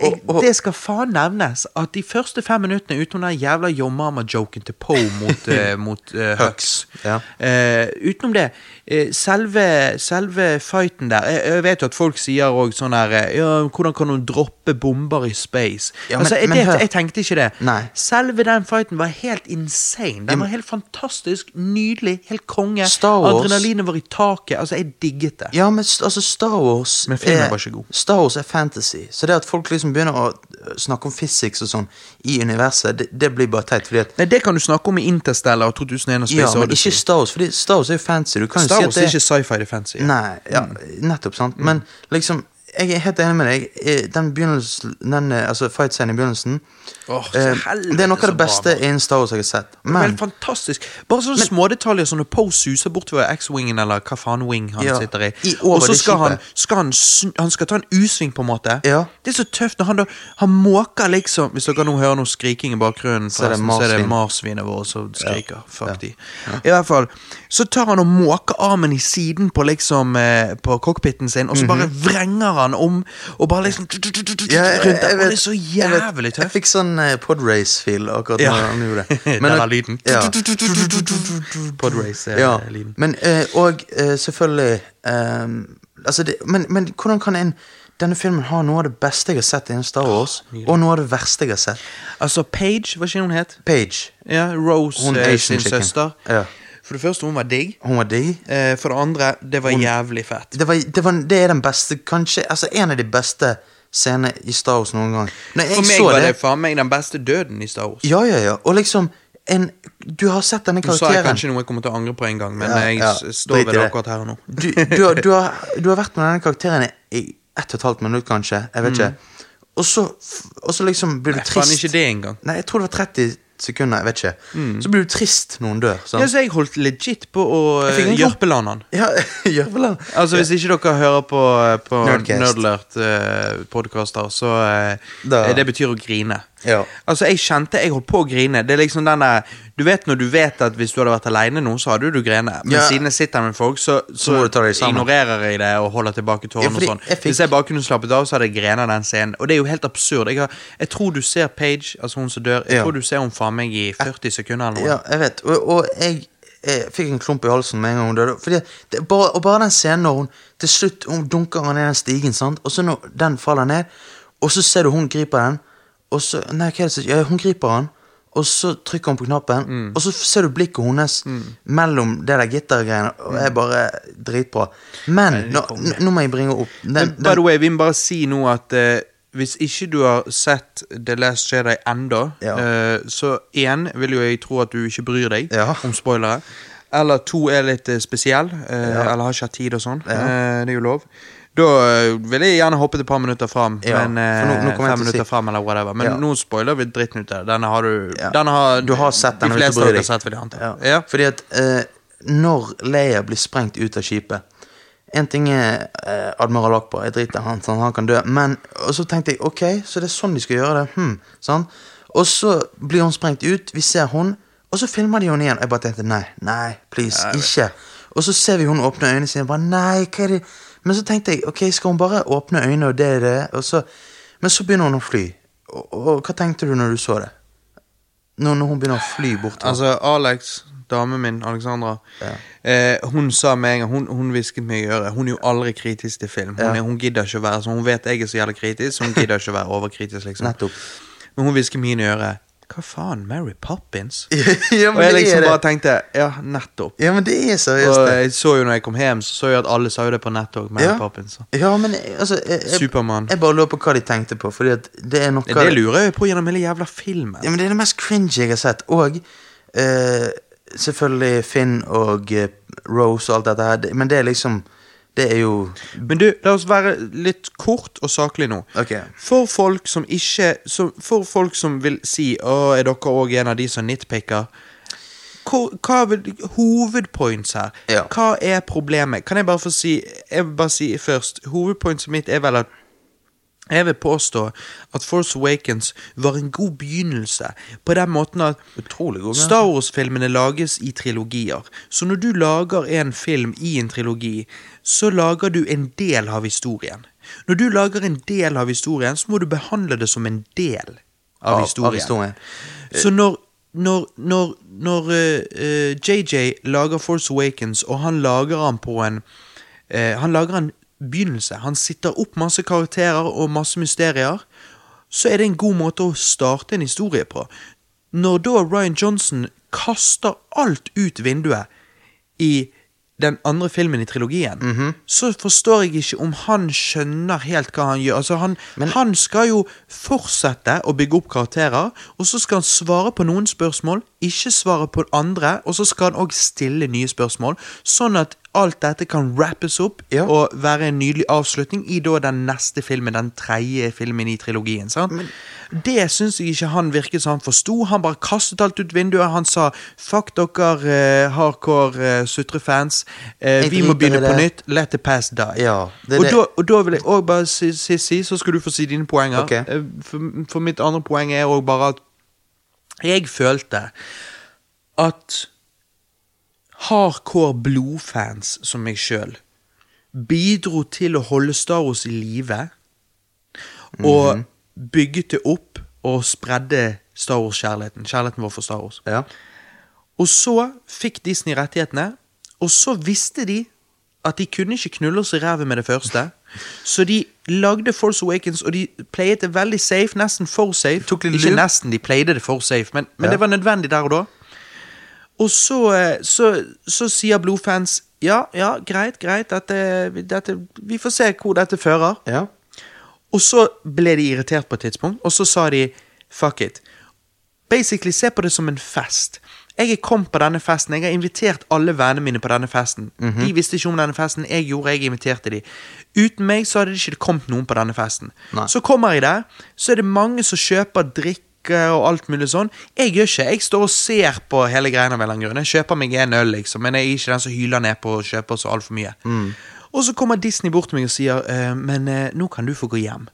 Speaker 2: Og- og-
Speaker 1: det skal faen nevnes at de første fem minuttene utenom den jævla Yo Mama-joken til Poe mot, eh, mot eh, Hux
Speaker 2: Ja.
Speaker 1: eh, Utenom det, eh, selve, selve fighten der Jeg, jeg vet jo at folk sier òg sånn her eh, ja, Hvordan kan hun droppe bomber i space?
Speaker 2: Ja, men-
Speaker 1: altså, jeg,
Speaker 2: men
Speaker 1: det,
Speaker 2: hør.
Speaker 1: jeg tenkte ikke det.
Speaker 2: Nei.
Speaker 1: Selve den fighten var helt insane. Den var helt fantastisk, nydelig, helt konge.
Speaker 2: Star Wars-
Speaker 1: Adrenalinet var i taket. Altså, jeg digget det.
Speaker 2: Ja, men st- altså Star Wars
Speaker 1: Men filmen var ikke god.
Speaker 2: Star Wars er fantasy. Så det at folk liksom begynner å øh, snakke om physics og sånn i universet, det, det blir bare teit. fordi at
Speaker 1: Nei, Det kan du snakke om i Interstellar og 2001 og Space
Speaker 2: Ja, men
Speaker 1: Odyssey.
Speaker 2: ikke Star Wars, fordi Star Wars er jo fancy. Du kan jo
Speaker 1: Star
Speaker 2: si
Speaker 1: Wars
Speaker 2: at
Speaker 1: er
Speaker 2: det
Speaker 1: ikke Mm. sci-fi defensive.
Speaker 2: Nei, ja, nettopp, sant. Men liksom, jeg er helt enig med deg. Eh, Den begynnelsen, den, eh, altså fight-scenen i begynnelsen
Speaker 1: Åh, så
Speaker 2: eh,
Speaker 1: helvete
Speaker 2: Det er noe av
Speaker 1: så
Speaker 2: det
Speaker 1: bra,
Speaker 2: beste
Speaker 1: mann.
Speaker 2: innen Star Wars jeg har sett.
Speaker 1: Men
Speaker 2: Men
Speaker 1: fantastisk. Bare sånne smådetaljer som når Poe suser bortover X-wingen, eller hva faen wing han
Speaker 2: Ja,
Speaker 1: sitter i.
Speaker 2: i over
Speaker 1: og så
Speaker 2: det
Speaker 1: skal han,
Speaker 2: skipet.
Speaker 1: skal han, sn- han skal ta en U-sving, på en måte.
Speaker 2: Ja.
Speaker 1: Det er så tøft når han da Han måker liksom Hvis dere nå hører noe skriking i bakgrunnen,
Speaker 2: Så er det
Speaker 1: forresten, så er det
Speaker 2: marsvin.
Speaker 1: marsvinet vårt som skriker. Fuck de. I hvert fall. Så tar han og måker armen i siden på liksom eh, På cockpiten sin, og så bare vrenger han om, og bare liksom
Speaker 2: Mhm. Ja,
Speaker 1: rundt der. Og det er så
Speaker 2: jeg vet-
Speaker 1: jævlig
Speaker 2: Jeg
Speaker 1: tøft.
Speaker 2: fikk sånn eh, podrace-feel akkurat
Speaker 1: Ja.
Speaker 2: når han gjorde det. eh,
Speaker 1: Der er lyden.
Speaker 2: Ja.
Speaker 1: Podrace er
Speaker 2: ja.
Speaker 1: lyden.
Speaker 2: Men, eh, og eh, selvfølgelig ehm, altså det, men, men hvordan kan en Denne filmen har noe av det beste jeg har sett innen Star Wars,
Speaker 1: Ah,
Speaker 2: og noe av det verste jeg har sett.
Speaker 1: Altså, Page, hva ikke hun het?
Speaker 2: Page.
Speaker 1: Ja, Rose
Speaker 2: Hun
Speaker 1: eh,
Speaker 2: Asian
Speaker 1: sin
Speaker 2: chicken.
Speaker 1: søster.
Speaker 2: Ja.
Speaker 1: For det første, hun var digg.
Speaker 2: Hun var digg.
Speaker 1: Eh, for det andre, det var jævlig fett.
Speaker 2: det, var, det, var, det er den beste, kanskje Altså en av de beste scenene i Star Wars noen gang. Når
Speaker 1: For
Speaker 2: jeg
Speaker 1: meg
Speaker 2: så
Speaker 1: var
Speaker 2: det,
Speaker 1: det faen meg den beste døden i Star Wars.
Speaker 2: Ja, ja, ja. Og liksom en, Du har sett denne
Speaker 1: Nå sa jeg
Speaker 2: karakteren.
Speaker 1: kanskje noe jeg kommer til å angre på en gang, men
Speaker 2: Ja,
Speaker 1: jeg
Speaker 2: ja,
Speaker 1: s- står
Speaker 2: drit i
Speaker 1: ved det
Speaker 2: det.
Speaker 1: akkurat her og nå.
Speaker 2: Du, du, har, du, har, du har vært med denne karakteren i- i ett og et halvt minutt, kanskje. Jeg vet ikke. Og så, og så liksom blir du
Speaker 1: Mm. Nei, faen,
Speaker 2: trist.
Speaker 1: ikke det engang. Mm.
Speaker 2: Nei, jeg tror det var 30 sekunder. Jeg vet ikke. Så blir du trist når hun dør.
Speaker 1: Ja,
Speaker 2: Sant?
Speaker 1: så jeg holdt legit på å eh,
Speaker 2: Jeg fikk en klump.
Speaker 1: jørpelande han.
Speaker 2: Ja, gjør vel det.
Speaker 1: Altså, Hvis ikke dere hører på, eh, på
Speaker 2: Nerdcast.
Speaker 1: Nerdlert-podkaster, så eh,
Speaker 2: Da-
Speaker 1: Det betyr å grine.
Speaker 2: Ja.
Speaker 1: Altså, jeg kjente jeg holdt på å grine. Det er liksom den der Du vet når du vet at hvis du hadde vært aleine nå, så hadde du grene. Men
Speaker 2: Ja.
Speaker 1: siden jeg sitter med folk, så, så,
Speaker 2: må du ta deg sammen.
Speaker 1: ignorerer jeg det og holder tilbake
Speaker 2: Ja,
Speaker 1: tårene.
Speaker 2: fordi
Speaker 1: og sånn
Speaker 2: jeg fikk-
Speaker 1: Hvis jeg bare kunne slappet av, så hadde jeg grena den scenen. Og det er jo helt absurd. Jeg, har, jeg tror du ser Page, altså hun som dør, jeg
Speaker 2: Ja.
Speaker 1: tror du ser hun faen meg i 40 sekunder eller noe.
Speaker 2: Ja, jeg vet. Og, og jeg, eh, fikk en klump i halsen med en gang hun døde. Fordi det, bare, og bare den scenen når hun til slutt hun dunker han ned den stigen, sant? og så når den faller ned, og så ser du hun griper den, og så Nei, hva er det som Ja, hun griper han. Og så trykker hun på knappen, og så ser du blikket hennes mellom det der gittergreiene. Og det er bare dritbra. Men nå, nå- nå må jeg bringe opp den,
Speaker 1: Men, by the way, vi må bare si nå at eh, hvis ikke du har sett The Last Jedi enda,
Speaker 2: Ja.
Speaker 1: eh, så én vil jo jeg tro at du ikke bryr deg
Speaker 2: Ja.
Speaker 1: om spoilere. Eller to er litt eh, spesiell, eh, eller har ikke hatt tid og sånn. Eh, det er jo lov. Da eh, vil jeg gjerne hoppe et par minutter fram.
Speaker 2: Ja,
Speaker 1: Men,
Speaker 2: for nå- nå
Speaker 1: eh,
Speaker 2: kommer
Speaker 1: fem
Speaker 2: jeg til å si-
Speaker 1: minutter fram eller whatever Men
Speaker 2: Ja.
Speaker 1: nå spoiler vi dritten ut av det. Denne har du
Speaker 2: Ja.
Speaker 1: denne har,
Speaker 2: Du har sett den,
Speaker 1: De
Speaker 2: hvis
Speaker 1: fleste
Speaker 2: du bryr
Speaker 1: av dere
Speaker 2: deg.
Speaker 1: har sett, vil jeg anta.
Speaker 2: Ja.
Speaker 1: Ja.
Speaker 2: Fordi at eh, når Leia blir sprengt ut av skipet En ting er eh, Admiral Akbar, jeg driter i han, sånn, han kan dø. Men, og så tenkte jeg ok, så det er sånn de skal gjøre det. Hm, sånn. Og så blir hun sprengt ut, vi ser hun, og så filmer de henne igjen. Og jeg bare tenkte nei, nei, please, ikke. Og så ser vi hun åpne øynene sine. bare nei, hva er det? Men så tenkte jeg ok, skal hun bare åpne øynene, og det er det? Og så, men så begynner hun å fly. Og, og, hva tenkte du når du så det? Når, når hun begynner å fly bort?
Speaker 1: Altså, Alex, damen min, Alexandra, eh, hun sa med en gang Hun, hun hvisket meg i øret. Hun er jo aldri kritisk til film. Hun,
Speaker 2: Ja.
Speaker 1: er, hun gidder ikke å være sånn. Hun vet jeg er så jævlig kritisk, så hun gidder ikke å være overkritisk, liksom.
Speaker 2: Nettopp.
Speaker 1: Men hun hvisket meg inn i øret. Hva faen, Mary Poppins?
Speaker 2: ja,
Speaker 1: Og jeg liksom
Speaker 2: det.
Speaker 1: bare tenkte Ja, nettopp.
Speaker 2: Ja, men det er seriøst,
Speaker 1: Og
Speaker 2: det.
Speaker 1: jeg så jo når jeg kom hjem, så så jeg at alle sa jo det på nett òg. Mary
Speaker 2: Ja.
Speaker 1: Poppins. så.
Speaker 2: Ja, men jeg- altså jeg, jeg,
Speaker 1: Superman.
Speaker 2: Jeg bare lurer på hva de tenkte på, fordi at det er noe
Speaker 1: Det lurer jeg på gjennom hele jævla filmen.
Speaker 2: Ja, men det er det mest cringe jeg har sett. Og eh, selvfølgelig Finn og eh, Rose og alt dette her, det- men det er liksom Det er jo
Speaker 1: Men du, la oss være litt kort og saklig nå.
Speaker 2: Ok.
Speaker 1: For folk som ikke som, For folk som vil si Å, er dere òg en av de som nitpicker? Hvor, hva er vel- hovedpoints her?
Speaker 2: Ja.
Speaker 1: Hva er problemet? Kan jeg bare få si Jeg vil bare si først Hovedpointset mitt er vel at jeg vil påstå at Force Awakens var en god begynnelse, på den måten at
Speaker 2: Utrolig god begynnelse.
Speaker 1: Star Wars-filmene lages i trilogier. Så når du lager en film i en trilogi, så lager du en del av historien. Når du lager en del av historien, så må du behandle det som en del av,
Speaker 2: Av- av
Speaker 1: historien.
Speaker 2: historien.
Speaker 1: Så når når, når, når eh, eh, JJ lager Force Awakens, og han lager han på en eh, Han lager en begynnelse. Han sitter opp masse karakterer og masse mysterier. Så er det en god måte å starte en historie på. Når da Ryan Johnson kaster alt ut vinduet i den andre filmen i trilogien, så forstår jeg ikke om han skjønner helt hva han gjør. Altså, han, han skal jo fortsette å bygge opp karakterer, og så skal han svare på noen spørsmål, ikke svare på andre, og så skal han òg stille nye spørsmål, sånn at alt dette kan wrappes opp
Speaker 2: Ja.
Speaker 1: og være en nydelig avslutning i da den neste filmen, den tredje filmen i trilogien. Sant? det syns jeg ikke han virket som han forsto. Han bare kastet alt ut vinduet. Han sa 'fuck dere eh, hardcore eh, sutrefans', eh,
Speaker 2: Jeg
Speaker 1: vi må
Speaker 2: driter i
Speaker 1: begynne på
Speaker 2: det."
Speaker 1: nytt. Let the past die.
Speaker 2: Ja, det er
Speaker 1: og,
Speaker 2: det-
Speaker 1: Da, og da vil jeg òg bare si, si, si, så skal du få si dine poenger.
Speaker 2: Ok.
Speaker 1: Eh, For, for mitt andre poeng er òg bare at jeg følte at hardcore blodfans som meg sjøl bidro til å holde Star Wars i live. Og bygget det opp og spredde Star Wars-kjærligheten. Kjærligheten vår for Star Wars.
Speaker 2: Ja.
Speaker 1: Og så fikk Disney rettighetene, og så visste de at de kunne ikke knulle oss i ræven med det første. Så de lagde Force Awakens, og de playet det veldig safe, nesten for safe.
Speaker 2: Tok litt
Speaker 1: ikke
Speaker 2: lur.
Speaker 1: nesten, de playede det for safe, men, men
Speaker 2: Ja.
Speaker 1: det var nødvendig der og da. Og så, eh, så, så sier Blodfans ja, ja, greit, greit, dette, dette, vi får se hvor dette fører.
Speaker 2: ja.
Speaker 1: Og så ble de irritert på et tidspunkt, og så sa de fuck it. Basically, se på det som en fest. Jeg er kommet på denne festen, jeg har invitert alle vennene mine på denne festen.
Speaker 2: Mhm.
Speaker 1: De visste ikke om denne festen, jeg gjorde, jeg inviterte de. Uten meg så hadde det ikke kommet noen på denne festen.
Speaker 2: Nei.
Speaker 1: Så kommer jeg der, så er det mange som kjøper drikke og alt mulig sånn. Jeg gjør ikke, jeg står og ser på hele greia av en eller annen grunn. Jeg kjøper meg en øl, liksom, men jeg er ikke den som hyler ned på og kjøper så altfor mye.
Speaker 2: Mm.
Speaker 1: Og så kommer Disney bort til meg og sier, «Eh, men eh, nå kan du få gå hjem.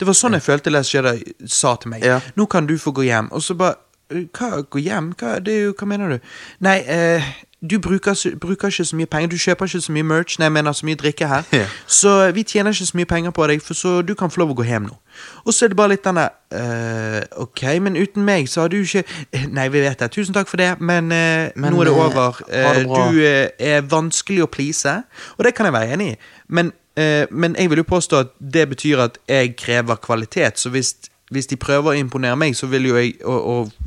Speaker 1: Det var sånn jeg følte Last Jedi sa til meg.
Speaker 2: Ja.
Speaker 1: Nå kan du få gå hjem. Og så bare øh, Hva, gå hjem? Hva, det, er jo- hva mener du? Nei, eh, du bruker, så- bruker ikke så mye penger. Du kjøper ikke så mye merch, nei, jeg mener så mye drikke her.
Speaker 2: Ja.
Speaker 1: Så vi tjener ikke så mye penger på deg, for så du kan få lov å gå hjem nå. Og så er det bare litt denne eh, Ok, men uten meg så har du ikke Nei, vi vet det. Tusen takk for det, men, eh,
Speaker 2: Men,
Speaker 1: nå er det
Speaker 2: eh,
Speaker 1: over.
Speaker 2: ha det
Speaker 1: Eh,
Speaker 2: bra.
Speaker 1: du eh, er vanskelig å please, og det kan jeg være enig i, men, eh, men jeg vil jo påstå at det betyr at jeg krever kvalitet, så hvis, hvis de prøver å imponere meg, så vil jo jeg, og,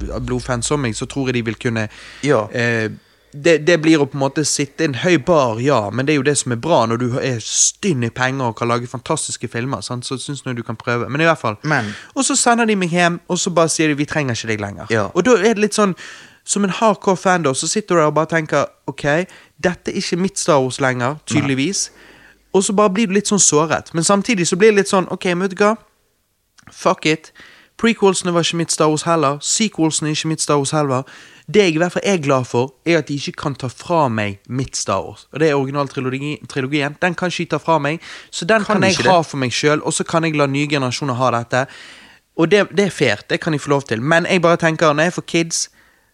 Speaker 1: og blodfans som meg, så tror jeg de vil kunne
Speaker 2: Ja.
Speaker 1: eh, det, det blir å på en måte sitte i en høy bar, ja, men det er jo det som er bra når du er stynn i penger og kan lage fantastiske filmer. Sant? Så syns jeg du kan prøve. Men i hvert fall.
Speaker 2: Men-
Speaker 1: Og så sender de meg hjem, og så bare sier de 'vi trenger ikke deg lenger'.
Speaker 2: Ja.
Speaker 1: Og da er det litt sånn Som en hardcore fan, da, så sitter du der og bare tenker 'ok, dette er ikke mitt Star Wars lenger', tydeligvis. Og så bare blir du litt sånn såret. Men samtidig så blir det litt sånn 'ok, men vet du hva'? Fuck it. Prequelsene var ikke mitt Star Wars heller. Sequelsene er ikke mitt Star Wars heller. Det jeg i hvert fall er glad for, er at de ikke kan ta fra meg mitt Star Wars. Og det er originaltrilogien. Den kan ikke de ta fra meg, så den
Speaker 2: Kan
Speaker 1: kan,
Speaker 2: de
Speaker 1: jeg
Speaker 2: ikke det?
Speaker 1: ha for meg sjøl, og så kan jeg la nye generasjoner ha dette. Og det, det er fair, det kan de få lov til, men jeg bare tenker, når jeg får kids,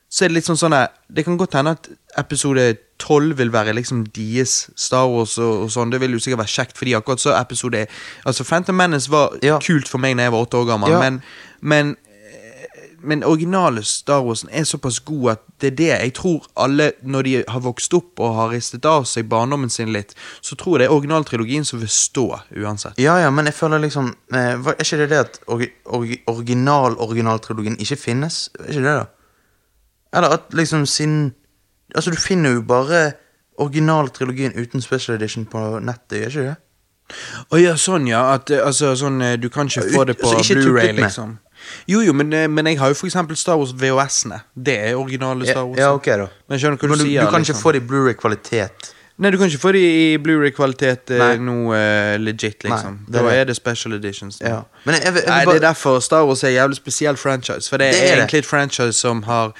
Speaker 1: så er det litt sånn sånn at Det kan godt hende at episode 12 vil være liksom deres Star Wars og, og sånn. Det vil jo sikkert være kjekt for de akkurat så episode Altså, Phantom Menace var
Speaker 2: Ja.
Speaker 1: kult for meg da jeg var åtte år gammel,
Speaker 2: Ja.
Speaker 1: men, men eh, men originale Star Warsen er såpass god at det er det jeg tror alle, når de har vokst opp og har ristet av seg barndommen sin litt, så tror jeg det er originaltrilogien som vil stå uansett.
Speaker 2: Ja, ja, men jeg føler liksom eh, hva- Er ikke det det at orgi- orgi- original-originaltrilogien ikke finnes? Er ikke det da? Eller at liksom siden Altså, du finner jo bare originaltrilogien uten special edition på nettet, gjør ikke det?
Speaker 1: Å ja, sånn ja. At, eh, altså, sånn, eh, du kan ikke få
Speaker 2: Ut-
Speaker 1: det på
Speaker 2: altså, ikke
Speaker 1: Blu-ray
Speaker 2: tuklet med.
Speaker 1: liksom. Jo, jo, men, eh, men jeg har jo for eksempel Star Wars VHS-ene. Det er originale Star Wars.
Speaker 2: Ja, ja, ok da.
Speaker 1: Men jeg skjønner hva
Speaker 2: Men
Speaker 1: du,
Speaker 2: du,
Speaker 1: sier.
Speaker 2: du kan
Speaker 1: liksom.
Speaker 2: ikke få det i Blu-ray-kvalitet.
Speaker 1: Nei, du kan ikke få de i Blu-ray-kvalitet eh,
Speaker 2: Nei.
Speaker 1: nå eh, legit, liksom.
Speaker 2: Nei, det er
Speaker 1: da
Speaker 2: det.
Speaker 1: er det special editions. nå.
Speaker 2: Ja. Men jeg, jeg, vil- jeg,
Speaker 1: Nei,
Speaker 2: vil
Speaker 1: det er
Speaker 2: bare-
Speaker 1: derfor Star Wars er en jævlig spesiell franchise. For det er,
Speaker 2: Det er det.
Speaker 1: egentlig et franchise som har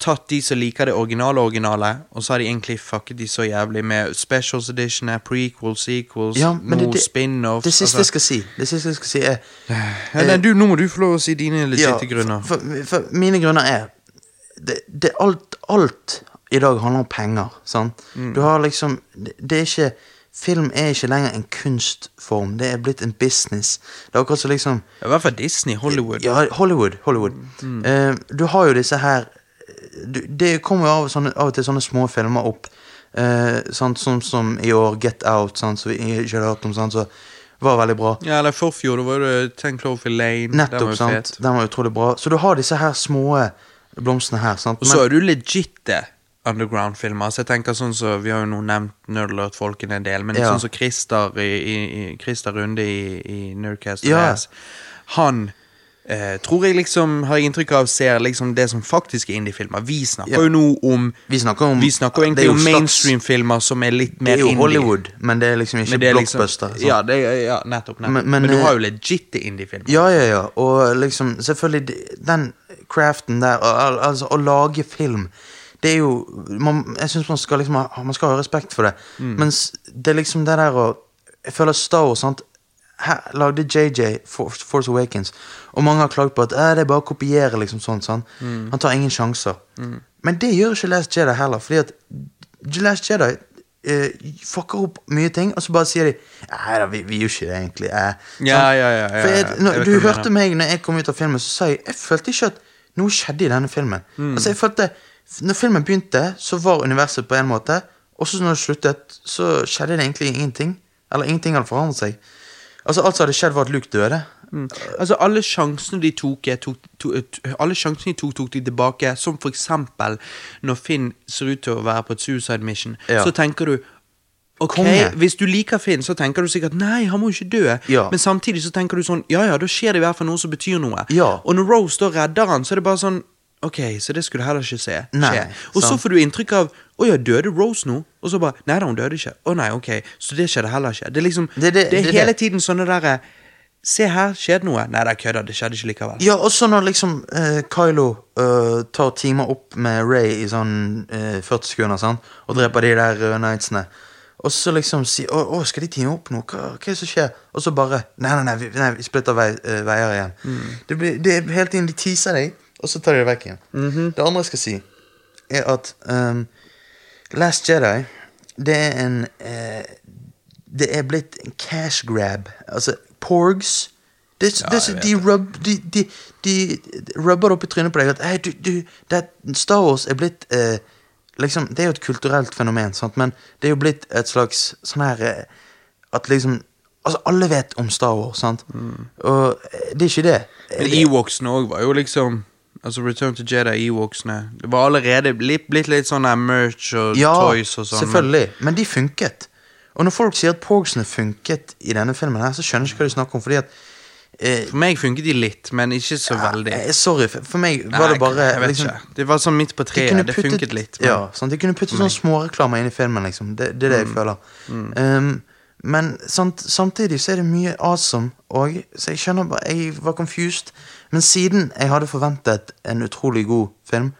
Speaker 1: tatt de som liker det originale originale, og så har de egentlig fucket de så jævlig med specials editioner, prequels, sequels,
Speaker 2: ja, men det,
Speaker 1: noe spin-offs
Speaker 2: det siste jeg
Speaker 1: altså.
Speaker 2: skal si, det siste jeg skal si er eh,
Speaker 1: ja, nei, du, Nå må du få lov å si dine
Speaker 2: ja,
Speaker 1: legitte grunner.
Speaker 2: For, for, for mine grunner er det, det er alt, alt i dag handler om penger. Sant? Du har liksom det, det er ikke Film er ikke lenger en kunstform. Det er blitt en business. Det er akkurat som liksom
Speaker 1: I hvert fall Disney, Hollywood.
Speaker 2: Ja, Hollywood. Hollywood. Eh, du har jo disse her du, Det kommer jo av, sånne, av og til sånne små filmer opp. eh, sant, som, som i år, Get Out, sant, som vi ikke hadde hørt om, sant, så var veldig bra.
Speaker 1: Ja, eller forfjor, da var det Ten Cloverfield Lane. den var
Speaker 2: Nettopp,
Speaker 1: jo
Speaker 2: sant.
Speaker 1: fet.
Speaker 2: Den Mm, var utrolig bra. Så du har disse her små blomstene her. sant?
Speaker 1: Og
Speaker 2: Men-
Speaker 1: så er du legitte underground-filmer. Så jeg tenker sånn så, Vi har jo nå nevnt Nerdlert-folkene en del, men
Speaker 2: Ja.
Speaker 1: sånn som Christer, i, i, i, Christer Runde i, i Nerdcast
Speaker 2: Ja.
Speaker 1: Jazz, Han eh, tror jeg liksom har jeg inntrykk av ser liksom det som faktisk er indie-filmer. Vi snakker
Speaker 2: Ja.
Speaker 1: jo nå om
Speaker 2: Vi snakker om-
Speaker 1: Vi snakker jo
Speaker 2: det
Speaker 1: egentlig
Speaker 2: er jo
Speaker 1: om
Speaker 2: slags-
Speaker 1: mainstream-filmer som er litt
Speaker 2: det
Speaker 1: mer
Speaker 2: er jo
Speaker 1: indie.
Speaker 2: Hollywood, men det er liksom ikke
Speaker 1: Men det er liksom-
Speaker 2: blockbuster. sant?
Speaker 1: ja, det er, ja, nettopp. nettopp.
Speaker 2: Men-
Speaker 1: Men,
Speaker 2: men,
Speaker 1: du
Speaker 2: eh,
Speaker 1: har jo legitte indie-filmer.
Speaker 2: Ja, ja, ja. Og liksom, selvfølgelig, de- den craften der, al- al- altså å lage film, det er jo man, Jeg syns man skal liksom ha, man skal ha respekt for det. Mens det er liksom det der å Jeg føler Star Wars, sant. Her lagde JJ Force, Force Awakens, og mange har klaget på at eh, det er bare å kopiere. liksom sånn, sånn. Han tar ingen sjanser. Men det gjør ikke Last Jedi heller, fordi at The Last Jedi eh, fucker opp mye ting, og så bare sier de Nei da, vi, vi gjør ikke det, egentlig. Eh.
Speaker 1: Ja,
Speaker 2: Sant?
Speaker 1: ja, ja, ja,
Speaker 2: For jeg,
Speaker 1: ja, ja.
Speaker 2: når,
Speaker 1: Jeg vet
Speaker 2: du
Speaker 1: hva du
Speaker 2: hørte meg når jeg kom ut av filmen, så sa jeg Jeg følte ikke at noe skjedde i denne filmen.
Speaker 1: Mm.
Speaker 2: Altså jeg følte Når filmen begynte, så var universet på en måte, og så når det sluttet, så skjedde det egentlig ingenting. Eller ingenting hadde forandret seg. Altså Alt som hadde skjedd, var at Luke døde.
Speaker 1: Altså, alle sjansene de tok, er- tok, to- eh, t- alle sjansene de tok, tok de tilbake. Som for eksempel når Finn ser ut til å være på et suicide mission.
Speaker 2: Ja.
Speaker 1: Så tenker du Ok,
Speaker 2: Konge.
Speaker 1: Hvis du liker Finn, så tenker du sikkert Nei, han må jo ikke dø.
Speaker 2: Ja.
Speaker 1: Men samtidig så tenker du sånn Ja ja, da skjer det i hvert fall noe som betyr noe.
Speaker 2: Ja.
Speaker 1: Og når Rose da redder han, så er det bare sånn Ok, så det skulle heller ikke se.
Speaker 2: Nei,
Speaker 1: skje. Og så
Speaker 2: sant.
Speaker 1: får du inntrykk av Å ja, døde Rose nå? Og så bare Nei da, hun døde ikke. Å nei, ok. Så det skjedde heller ikke. Det er liksom
Speaker 2: Det-
Speaker 1: det
Speaker 2: det- det-
Speaker 1: er
Speaker 2: det.
Speaker 1: hele tiden sånne derre Se her, skjedde noe? Nei, det er kødda, det skjedde ikke likevel.
Speaker 2: Ja, også når liksom eh, Kylo eh, tar timer opp med Ray i sånn eh, 40 sekunder sant? og dreper de der uh, knightsene. Og så liksom si å, å, skal de time opp nå? Hva, hva er det som skjer? Og så bare Nei, nei, nei, vi, nei, vi splitter vei, eh, veier igjen.
Speaker 1: Mm.
Speaker 2: Det, blir, det er hele tiden de teaser deg, og så tar de det vekk igjen.
Speaker 1: Mm-hmm.
Speaker 2: Det andre jeg skal si, er at ehm, Last Jedi, det er en eh, Det er blitt en cash grab. Altså, porgs det, er- det, er-
Speaker 1: jeg vet
Speaker 2: de, rub, de, de, de rubber det opp i trynet på deg at «Hei, du, du, det, er- Star Wars er blitt eh, liksom, Det er jo et kulturelt fenomen, sant? men det er jo blitt et slags sånn her eh, At liksom Altså, alle vet om Star Wars, sant?
Speaker 1: Mm.
Speaker 2: Og eh, det er ikke det.
Speaker 1: Men Ewoksene òg var jo liksom Altså Return to Jedi, Ewoksene Det var allerede blitt, blitt litt sånn der merch og
Speaker 2: Ja,
Speaker 1: toys og sånn. men-
Speaker 2: selvfølgelig. Men de funket. Og når folk sier at Porgsene funket i denne filmen, her, så skjønner jeg ikke hva de snakker om. Fordi at
Speaker 1: For meg funket de litt, men ikke så veldig.
Speaker 2: Eh, Sorry, for, for meg
Speaker 1: Nei,
Speaker 2: var det bare
Speaker 1: jeg vet
Speaker 2: liksom,
Speaker 1: ikke. Det var sånn midt på
Speaker 2: de
Speaker 1: treet.
Speaker 2: kunne
Speaker 1: Det
Speaker 2: puttet-
Speaker 1: funket litt. men- Mm.
Speaker 2: Ja, sant? De kunne puttet sånne småreklamer inn i filmen, liksom. Det, det er det jeg føler. Um, men sant, samtidig så er det mye awesome òg, så jeg skjønner bare Jeg var confused. Men siden jeg hadde forventet en utrolig god film,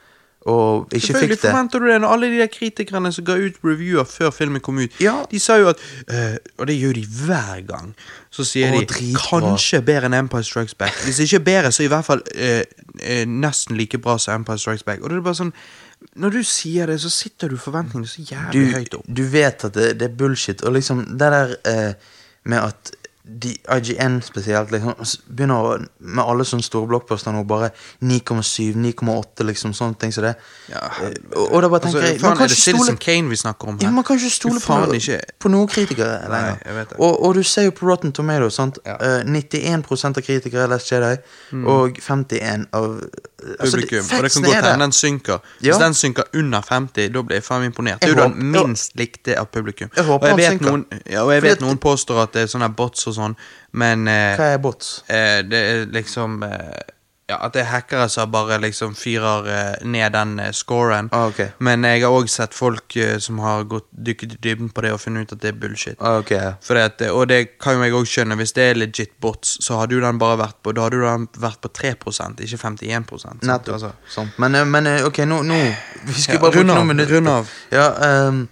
Speaker 2: og ikke
Speaker 1: Selvfølgelig
Speaker 2: fikk det
Speaker 1: forventer du det når alle de der kritikerne som ga ut reviewer før filmen kom ut,
Speaker 2: Ja.
Speaker 1: de sa jo at eh, Og det gjør de hver gang. Så sier
Speaker 2: Å,
Speaker 1: de
Speaker 2: dritbra.
Speaker 1: kanskje bedre enn Empire Strikes Back. Hvis ikke bedre, så i hvert fall eh, eh, nesten like bra som Empire Strikes Back. Og det er det bare sånn Når du sier det, så sitter du forventningene så jævlig høyt opp.
Speaker 2: du vet at det, det er bullshit, og liksom det der eh, med at de, IGN spesielt liksom, s- begynner å, med alle sånne store blokkposter nå bare 9,7, 9,8, liksom sånne ting som det.
Speaker 1: Ja,
Speaker 2: Eh, og, og da bare tenker
Speaker 1: Altså,
Speaker 2: jeg
Speaker 1: faen,
Speaker 2: man kan
Speaker 1: er det
Speaker 2: ikke stole-
Speaker 1: Citizen Kane vi snakker om her?
Speaker 2: ja, Man kan ikke stole
Speaker 1: Du faen
Speaker 2: på,
Speaker 1: ikke-
Speaker 2: på noen kritikere lenger.
Speaker 1: jeg vet det.
Speaker 2: og, og du ser jo på Rotten Tomatoes, sant?
Speaker 1: Ja. Mm.
Speaker 2: Eh, 91 av kritikere er Last Jedi, og 51 av altså,
Speaker 1: publikum,
Speaker 2: det-
Speaker 1: og det kan
Speaker 2: factsen
Speaker 1: godt
Speaker 2: er der.
Speaker 1: hende den synker. Hvis
Speaker 2: Ja.
Speaker 1: den synker under 50, da blir jeg faen imponert. Det
Speaker 2: Jeg
Speaker 1: er jo
Speaker 2: håper-
Speaker 1: den minst likte av publikum.
Speaker 2: Jeg håper
Speaker 1: og jeg
Speaker 2: han
Speaker 1: vet,
Speaker 2: synker.
Speaker 1: noen, ja, og jeg
Speaker 2: Fordi
Speaker 1: vet
Speaker 2: at-
Speaker 1: noen påstår at det er sånne bots og sånn, men eh,
Speaker 2: Hva er bots?
Speaker 1: eh, det er liksom eh, ja, at det er hackere som bare liksom fyrer eh, ned den eh, scoren.
Speaker 2: Ah, ok.
Speaker 1: Men jeg har òg sett folk eh, som har gått dykket i dybden på det og funnet ut at det er bullshit.
Speaker 2: Ah, Ok, ja.
Speaker 1: Fordi at, det- og det kan jo jeg òg skjønne, hvis det er legit bots, så hadde jo den bare vært på, da hadde jo den vært på 3 ikke 51 sant?
Speaker 2: Nettopp.
Speaker 1: Altså.
Speaker 2: Sant. Men, eh, men eh, ok, nå, nå Vi skulle
Speaker 1: Ja,
Speaker 2: bare bruke
Speaker 1: rund av,
Speaker 2: noen minutter.
Speaker 1: rund av.
Speaker 2: Ja, ehm,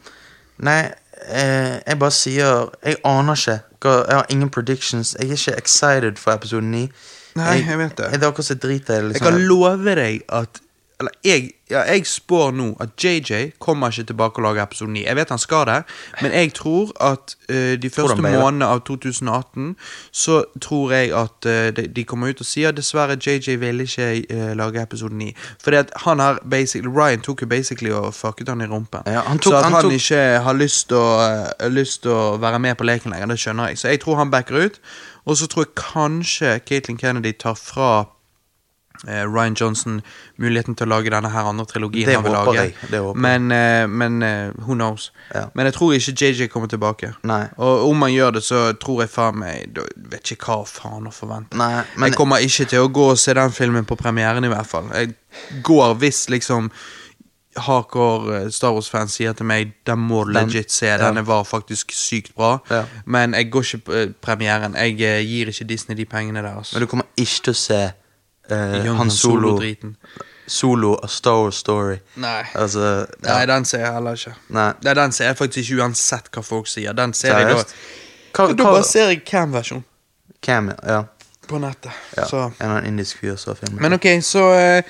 Speaker 2: nei, eh, jeg bare sier Jeg aner ikke. Hva, jeg har ingen predictions. Jeg er ikke excited for episode 9.
Speaker 1: Nei, jeg vet det.
Speaker 2: Jeg, det er akkurat som jeg driter i det.
Speaker 1: Jeg kan
Speaker 2: Liksom.
Speaker 1: love deg at Eller jeg, ja, jeg spår nå at JJ kommer ikke tilbake og lager episode 9. Jeg vet han skal det, men jeg tror at eh, de første
Speaker 2: ble det?
Speaker 1: månedene av 2018 så tror jeg at eh, de, de kommer ut og sier dessverre JJ ville ikke eh, lage episode 9. Fordi at han her basically Ryan tok jo basically og fucket han i rumpen.
Speaker 2: Ja, han tok-
Speaker 1: så at
Speaker 2: han
Speaker 1: han,
Speaker 2: tok-
Speaker 1: ikke har lyst til å, eh, lyst til å være med på leken lenger, det skjønner jeg. Så jeg tror han backer ut. Og så tror jeg kanskje Caitlyn Kennedy tar fra eh, Ryan Johnson muligheten til å lage denne her andre trilogien.
Speaker 2: Det
Speaker 1: han vil
Speaker 2: håper
Speaker 1: lage.
Speaker 2: jeg, det håper jeg.
Speaker 1: Men, eh, men eh, who knows.
Speaker 2: Ja.
Speaker 1: Men jeg tror ikke JJ kommer tilbake.
Speaker 2: Nei.
Speaker 1: Og om han gjør det, så tror jeg faen meg da Vet ikke hva faen å forvente.
Speaker 2: Nei, men-
Speaker 1: jeg kommer ikke til å gå og se den filmen på premieren, i hvert fall. Jeg går hvis liksom Hardcore eh, Star Wars-fans sier til meg den må du
Speaker 2: Den-
Speaker 1: legit se,
Speaker 2: ja.
Speaker 1: denne var faktisk sykt bra.
Speaker 2: Ja.
Speaker 1: Men jeg går ikke på eh, premieren. Jeg eh, gir ikke Disney de pengene der. Altså.
Speaker 2: Men du kommer ikke til å se eh,
Speaker 1: Young Han
Speaker 2: Han Solo
Speaker 1: Solo-driten.
Speaker 2: Solo A Star Wars Story.
Speaker 1: Nei.
Speaker 2: Altså ja.
Speaker 1: Nei, den ser jeg heller ikke.
Speaker 2: Nei.
Speaker 1: Nei, Den ser jeg faktisk ikke uansett hva folk sier. Den ser jeg da
Speaker 2: Seriøst? Hva,
Speaker 1: Da
Speaker 2: hva,
Speaker 1: bare ser jeg Cam-versjon
Speaker 2: Cam, ja.
Speaker 1: på nettet.
Speaker 2: ja.
Speaker 1: Så.
Speaker 2: En eller annen indisk fyr som har filmet.
Speaker 1: Men ok, så eh,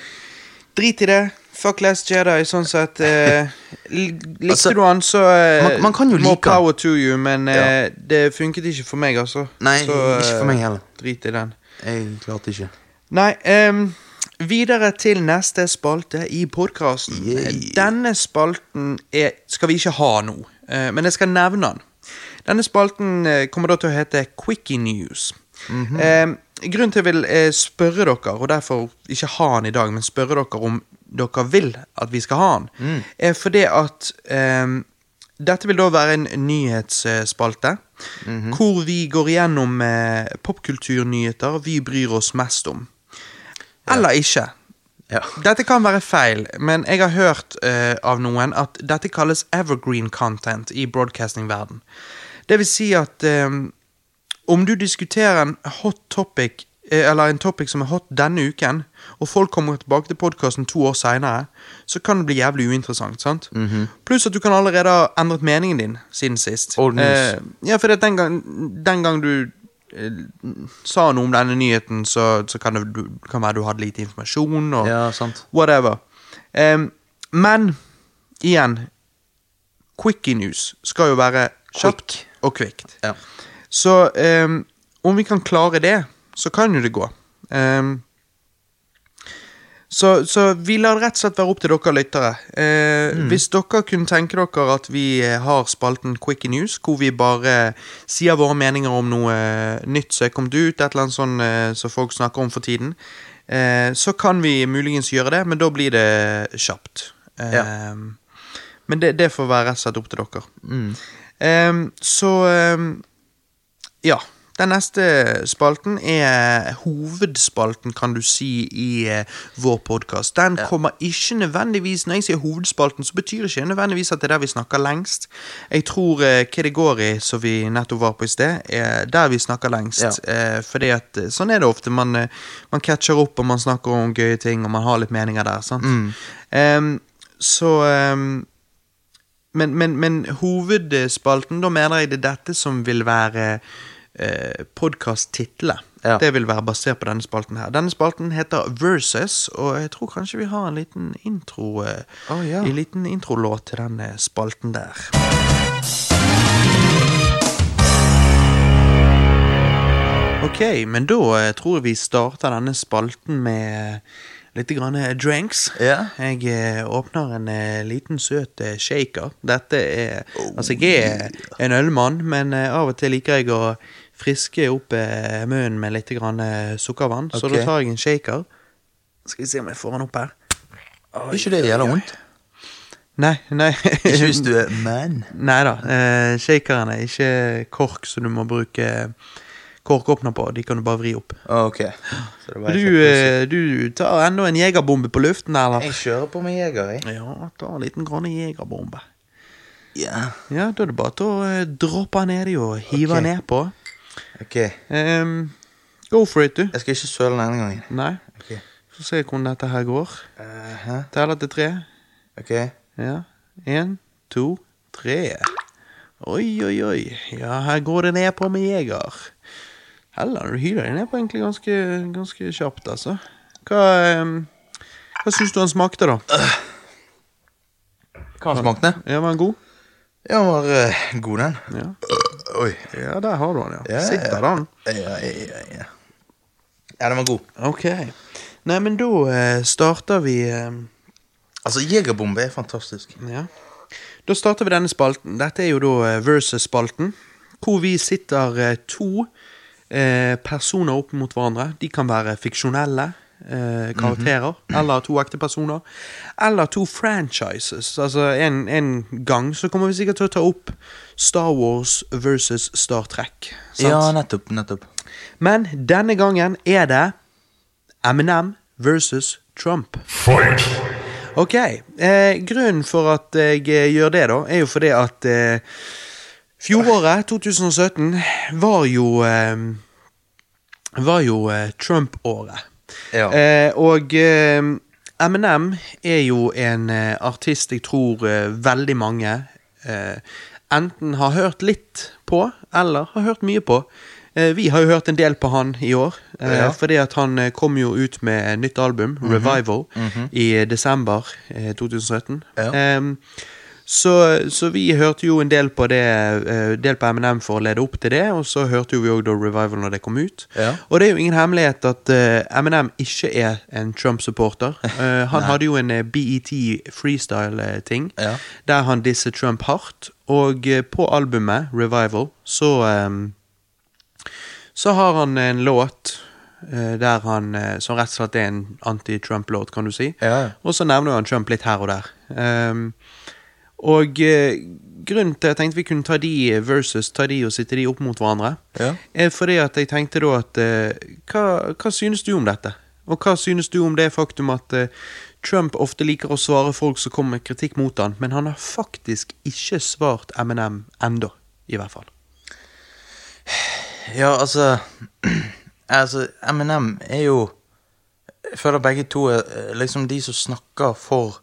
Speaker 1: drit i det. Fuck Last Jedi, sånn sett. eh, li- likte
Speaker 2: Altså,
Speaker 1: du han, så eh,
Speaker 2: man- man kan jo
Speaker 1: More
Speaker 2: like han.
Speaker 1: power to you, men eh, det funket ikke for meg, altså.
Speaker 2: Nei,
Speaker 1: Så, eh,
Speaker 2: ikke for meg heller.
Speaker 1: Drit i den.
Speaker 2: Jeg klarte ikke.
Speaker 1: Nei, ehm, videre til neste spalte i podkasten.
Speaker 2: Yay.
Speaker 1: Denne spalten er, skal vi ikke ha nå, eh, men jeg skal nevne den. Denne spalten eh, kommer da til å hete Quickie News. Ehm, grunnen til at jeg vil eh, spørre dere, og derfor ikke ha den i dag, men spørre dere om dere vil at vi skal ha den, er fordi at ehm, dette vil da være en nyhetsspalte, hvor vi går igjennom eh, popkulturnyheter vi bryr oss mest om. Eller ikke.
Speaker 2: Ja.
Speaker 1: Dette kan være feil, men jeg har hørt eh, av noen at dette kalles evergreen content i broadcasting-verden. Det vil si at eh, om du diskuterer en hot topic, eh, eller en topic som er hot denne uken, og folk kommer tilbake til podkasten to år seinere, så kan det bli jævlig uinteressant. sant?
Speaker 2: Mhm.
Speaker 1: Pluss at du kan allerede ha endret meningen din siden sist.
Speaker 2: Old news.
Speaker 1: Eh, ja, for den gang, den gang du eh, sa noe om denne nyheten, så, så kan det du, kan være du hadde lite informasjon. og
Speaker 2: Ja, sant.
Speaker 1: whatever. Em, men igjen Quickie news skal jo være kjapt og kvikt.
Speaker 2: Ja.
Speaker 1: Så em, om vi kan klare det, så kan jo det gå. Em, så, så vi lar det rett og slett være opp til dere lyttere. Eh, Hvis dere kunne tenke dere at vi eh, har spalten Quick News, hvor vi bare sier våre meninger om noe eh, nytt som er kommet ut, et eller annet sånn eh, som folk snakker om for tiden, eh, så kan vi muligens gjøre det, men da blir det kjapt. Eh,
Speaker 2: Ja.
Speaker 1: Men det, det får være rett og slett opp til dere. Eh, så eh, ja. Den neste spalten er hovedspalten, kan du si, i eh, vår podkast. Den kommer ikke nødvendigvis Når jeg sier hovedspalten, så betyr det ikke nødvendigvis at det er der vi snakker lengst. Jeg tror eh, hva det går i, som vi nettopp var på i sted, er der vi snakker lengst. Eh, fordi at eh, sånn er det ofte. Man, eh, man catcher opp, og man snakker om gøye ting, og man har litt meninger der. sant? Ehm, så ehm, men, men, men hovedspalten, da mener jeg det er dette som vil være eh, podkast-titlet.
Speaker 2: Ja.
Speaker 1: Det vil være basert på denne spalten her. Denne spalten heter Versus, og jeg tror kanskje vi har en liten intro eh,
Speaker 2: Å, ja.
Speaker 1: En liten introlåt til den eh, spalten der. Ok, men da eh, tror jeg vi starter denne spalten med eh, litt grann eh, drinks.
Speaker 2: Ja.
Speaker 1: Jeg eh, åpner en eh, liten søt eh, shaker. Dette er Altså, jeg er en ølmann, men eh, av og til liker jeg å friske opp eh, munnen med litt grann eh, sukkervann. Så
Speaker 2: Ok.
Speaker 1: da tar jeg en shaker. Skal vi se om jeg får den opp her.
Speaker 2: Er ikke det jævla vondt?
Speaker 1: Nei, nei.
Speaker 2: Ikke hvis du er man.
Speaker 1: Nei da. Eh, shakeren er ikke kork, så du må bruke korkåpner på. De kan du bare vri opp.
Speaker 2: Å, Ah, Ok. Så det var
Speaker 1: Du,
Speaker 2: ikke-
Speaker 1: eh, du tar enda en jegerbombe på luften, eller?
Speaker 2: Jeg kjører på med jeger, jeg.
Speaker 1: Ja, ta en liten grann jegerbombe.
Speaker 2: Ja.
Speaker 1: Ja, da er det bare til å eh, droppe nedi og hive
Speaker 2: Ok.
Speaker 1: nedpå.
Speaker 2: Ok. Jeg
Speaker 1: Ehm, go for it, du.
Speaker 2: skal ikke søle denne gangen.
Speaker 1: Nei.
Speaker 2: Ok.
Speaker 1: Så ser jeg hvordan dette her går.
Speaker 2: Eh, hæ?
Speaker 1: Teller til tre.
Speaker 2: Ok.
Speaker 1: Ja. Én, to, tre. Oi, oi, oi. Ja, her går det nedpå med jeger. Heller, du hyler deg nedpå egentlig ganske, ganske kjapt, altså. Hva, ehm, hva syns du han smakte, da?
Speaker 2: Hva smakte?
Speaker 1: Ja, Var han god?
Speaker 2: Ja, den var eh, god, den.
Speaker 1: Ja.
Speaker 2: Oi.
Speaker 1: ja, der har du han, ja.
Speaker 2: Ja, ja,
Speaker 1: Sitter
Speaker 2: ja.
Speaker 1: den.
Speaker 2: Ja, ja, ja, ja. ja, den var god.
Speaker 1: Ok. Nei, men da eh, starter vi ehm,
Speaker 2: Altså, jegerbombe er fantastisk.
Speaker 1: Ja. Da starter vi denne spalten. Dette er jo da eh, Versus-spalten. Hvor vi sitter eh, to eh, personer opp mot hverandre. De kan være fiksjonelle eh, karakterer. Eller to ekte personer. Eller to franchises. Altså, en, en gang så kommer vi sikkert til å ta opp Star Wars versus Star Trek. Sant?
Speaker 2: Ja, nettopp, nettopp.
Speaker 1: Men denne gangen er det Eminem versus Trump. Ok, eh, grunnen for at jeg eh, gjør det da, er jo fordi at eh, fjoråret, 2017, var jo, eh, var jo eh, Trump-året.
Speaker 2: Ja.
Speaker 1: Eh, og eh, Eminem er jo en eh, artist jeg tror eh, veldig mange eh, enten har hørt litt på, eller har hørt mye på. Eh, vi har jo hørt en del på han i år, eh,
Speaker 2: Ja. Mhm.
Speaker 1: fordi at han eh, kom jo ut med nytt album, Revival, i desember eh, 2017. Eh,
Speaker 2: Ja.
Speaker 1: Em, så, så vi hørte jo en del på det eh, Del på M&M for å lede opp til det, og så hørte jo vi òg Revival når det kom ut.
Speaker 2: Ja.
Speaker 1: Og det er jo ingen hemmelighet at eh, M&M ikke er en Trump-supporter. Eh, han hadde jo en eh, BET freestyle-ting
Speaker 2: Ja.
Speaker 1: der han disser Trump hardt, og eh, på albumet Revival så em, så har han en låt eh, der han, eh, som rett og slett er en anti-Trump-låt, kan du si.
Speaker 2: Ja, ja.
Speaker 1: Og så nevner jo han Trump litt her og der. Ehm, og eh, grunnen til at jeg tenkte vi kunne ta de versus ta de og sitte de opp mot hverandre,
Speaker 2: Ja.
Speaker 1: er fordi at jeg tenkte da at eh, hva, hva synes du om dette? Og hva synes du om det faktum at eh, Trump ofte liker å svare folk som kommer med kritikk mot han, men han har faktisk ikke svart Eminem enda, i hvert fall.
Speaker 2: Ja, altså Altså, Eminem er jo Jeg føler begge to er eh, liksom de som snakker for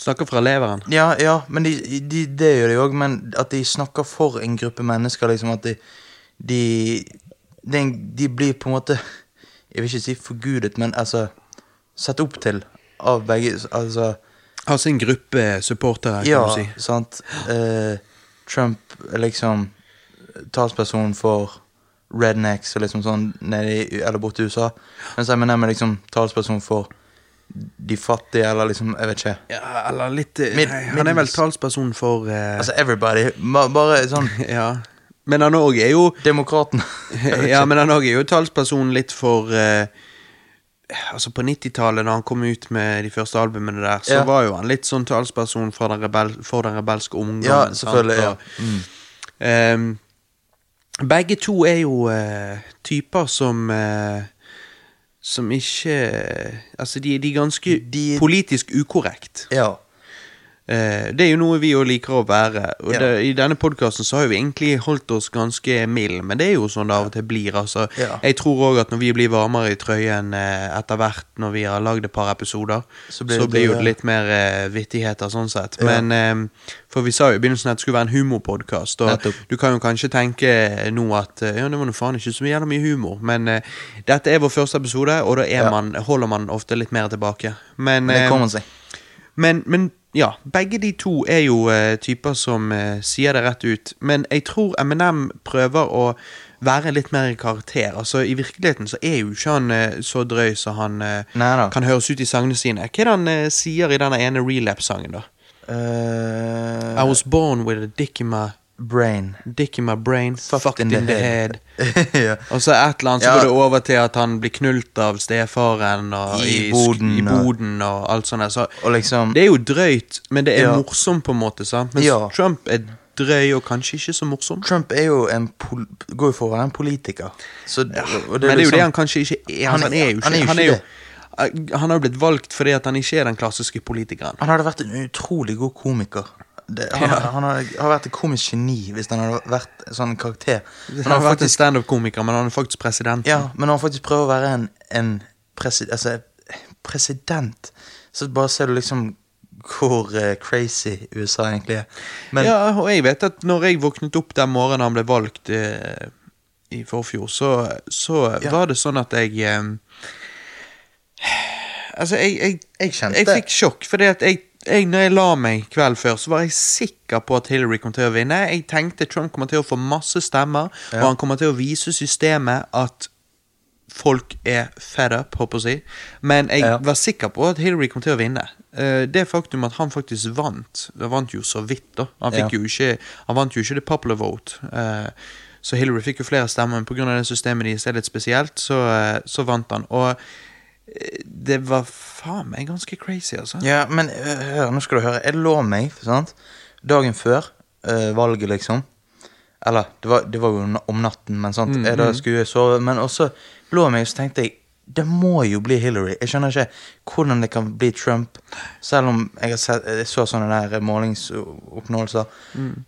Speaker 1: Snakker fra leveren.
Speaker 2: Ja, ja, men de, de, det gjør de òg, men at de snakker for en gruppe mennesker, liksom at de De, det er en- de blir på en måte Jeg vil ikke si forgudet, men altså Sett opp til av begge Altså
Speaker 1: Har sin gruppe supportere, kan
Speaker 2: Ja,
Speaker 1: du si.
Speaker 2: sant. Eh, Trump er liksom talsperson for rednecks og liksom sånn nede i, eller borte i USA. Mens Eminem er liksom talsperson for de fattige, eller liksom Jeg vet ikke.
Speaker 1: Ja, eller litt eh,
Speaker 2: Mid-
Speaker 1: nei, Han er vel
Speaker 2: middels.
Speaker 1: talsperson for eh,
Speaker 2: Altså everybody. ba- Bare sånn
Speaker 1: Ja. Men han òg er jo
Speaker 2: Demokraten. Jeg vet
Speaker 1: Ja,
Speaker 2: ikke.
Speaker 1: men han også er jo talsperson litt for eh, Altså, på 90-tallet, da han kom ut med de første albumene der, så
Speaker 2: Ja.
Speaker 1: var jo han litt sånn talsperson for den, rebel, for den rebelske ungdommen.
Speaker 2: Ja, selvfølgelig, ja.
Speaker 1: ja. begge to er jo eh, typer som eh, som ikke Altså, de, de er ganske
Speaker 2: De-
Speaker 1: politisk ukorrekt.
Speaker 2: ja.
Speaker 1: Eh, det er jo noe vi jo liker å være. Og
Speaker 2: Ja.
Speaker 1: det, I denne podkasten så har jo vi egentlig holdt oss ganske mild, men det er jo sånn det av og til blir. Altså.
Speaker 2: Ja.
Speaker 1: Jeg tror òg at når vi blir varmere i trøyen eh, etter hvert, når vi har lagd et par episoder,
Speaker 2: Så
Speaker 1: så
Speaker 2: blir
Speaker 1: blir,
Speaker 2: det-
Speaker 1: jo det litt mer eh, vittigheter sånn sett. Men eh, For vi sa jo i begynnelsen at det skulle være en humorpodkast, og
Speaker 2: Nettopp.
Speaker 1: du kan jo kanskje tenke nå at eh, ja, det var nå faen ikke så jævla mye humor, men eh, dette er vår første episode, og da er
Speaker 2: Ja.
Speaker 1: man, holder man ofte litt mer tilbake. Men,
Speaker 2: Men det
Speaker 1: eh,
Speaker 2: kommer seg.
Speaker 1: men, men ja, begge de to er jo eh, typer som eh, sier det rett ut. Men jeg tror Eminem prøver å være litt mer i karakter. Altså, I virkeligheten så er jo ikke han eh, så drøy som han eh,
Speaker 2: Neida.
Speaker 1: kan høres ut i sangene sine. Hva er det han eh, sier i denne ene relapse-sangen, da?
Speaker 2: Eh,
Speaker 1: I was born with a dick in my,
Speaker 2: brain.
Speaker 1: dick in my brain, fucked, in, the, head.
Speaker 2: ja.
Speaker 1: Og så et eller annet så
Speaker 2: Ja.
Speaker 1: går det over til at han blir knult av stefaren og
Speaker 2: I
Speaker 1: sk-
Speaker 2: boden,
Speaker 1: i
Speaker 2: og-
Speaker 1: boden og alt sånt. der. Så
Speaker 2: Og liksom
Speaker 1: det er jo drøyt, men det er
Speaker 2: Ja.
Speaker 1: morsomt på en måte, sant? Mens
Speaker 2: Ja.
Speaker 1: Trump er drøy og kanskje ikke så morsom.
Speaker 2: Trump er jo en pol går jo for å være en politiker. Så, og
Speaker 1: Men det er jo
Speaker 2: liksom-
Speaker 1: det han kanskje ikke er.
Speaker 2: Han
Speaker 1: Han,
Speaker 2: er-
Speaker 1: er jo ikke,
Speaker 2: han er jo
Speaker 1: han
Speaker 2: ikke
Speaker 1: jo- han har jo blitt valgt fordi at han ikke er den klassiske politikeren.
Speaker 2: Han hadde vært en utrolig god komiker. Det, han han hadde, har vært et komisk geni hvis han hadde vært en sånn karakter. Men
Speaker 1: Han har vært en
Speaker 2: faktisk,
Speaker 1: standup-komiker, men han er faktisk president.
Speaker 2: ja, men når han faktisk prøver å være en, en presi, altså, president, så bare ser du liksom hvor eh, crazy USA egentlig er. Men
Speaker 1: ja, og jeg vet at når jeg våknet opp den morgenen han ble valgt eh, i forfjor, så, så
Speaker 2: Ja.
Speaker 1: var det sånn at jeg eh, Altså, jeg, jeg,
Speaker 2: Jeg kjente-
Speaker 1: jeg fikk sjokk, fordi at jeg, jeg, når jeg la meg kvelden før, så var jeg sikker på at Hillary kom til å vinne. Jeg tenkte Trump kommer til å få masse stemmer, og han kommer til å vise systemet at folk er fed up, håper jeg å si. Men jeg
Speaker 2: Ja.
Speaker 1: var sikker på at Hillary kom til å vinne. Eh, Det faktum at han faktisk vant Han vant jo så vidt, da. Han, fikk
Speaker 2: Ja.
Speaker 1: jo ikke, han vant jo ikke the popular vote. Eh, Så Hillary fikk jo flere stemmer, men pga. det systemet deres er litt spesielt, så, eh, så vant han. Og eh, det var faen meg ganske crazy, altså.
Speaker 2: Ja, men øh, hør, nå skal du høre. Jeg lå meg sant? dagen før øh, valget, liksom. Eller, det var, det var jo na- om natten, men sant? jeg, da skulle jeg sove. Men også lå jeg meg, og så tenkte jeg det må jo bli Hillary. Jeg skjønner ikke hvordan det kan bli Trump, selv om jeg, har sett, jeg så sånne der målingsoppnåelser.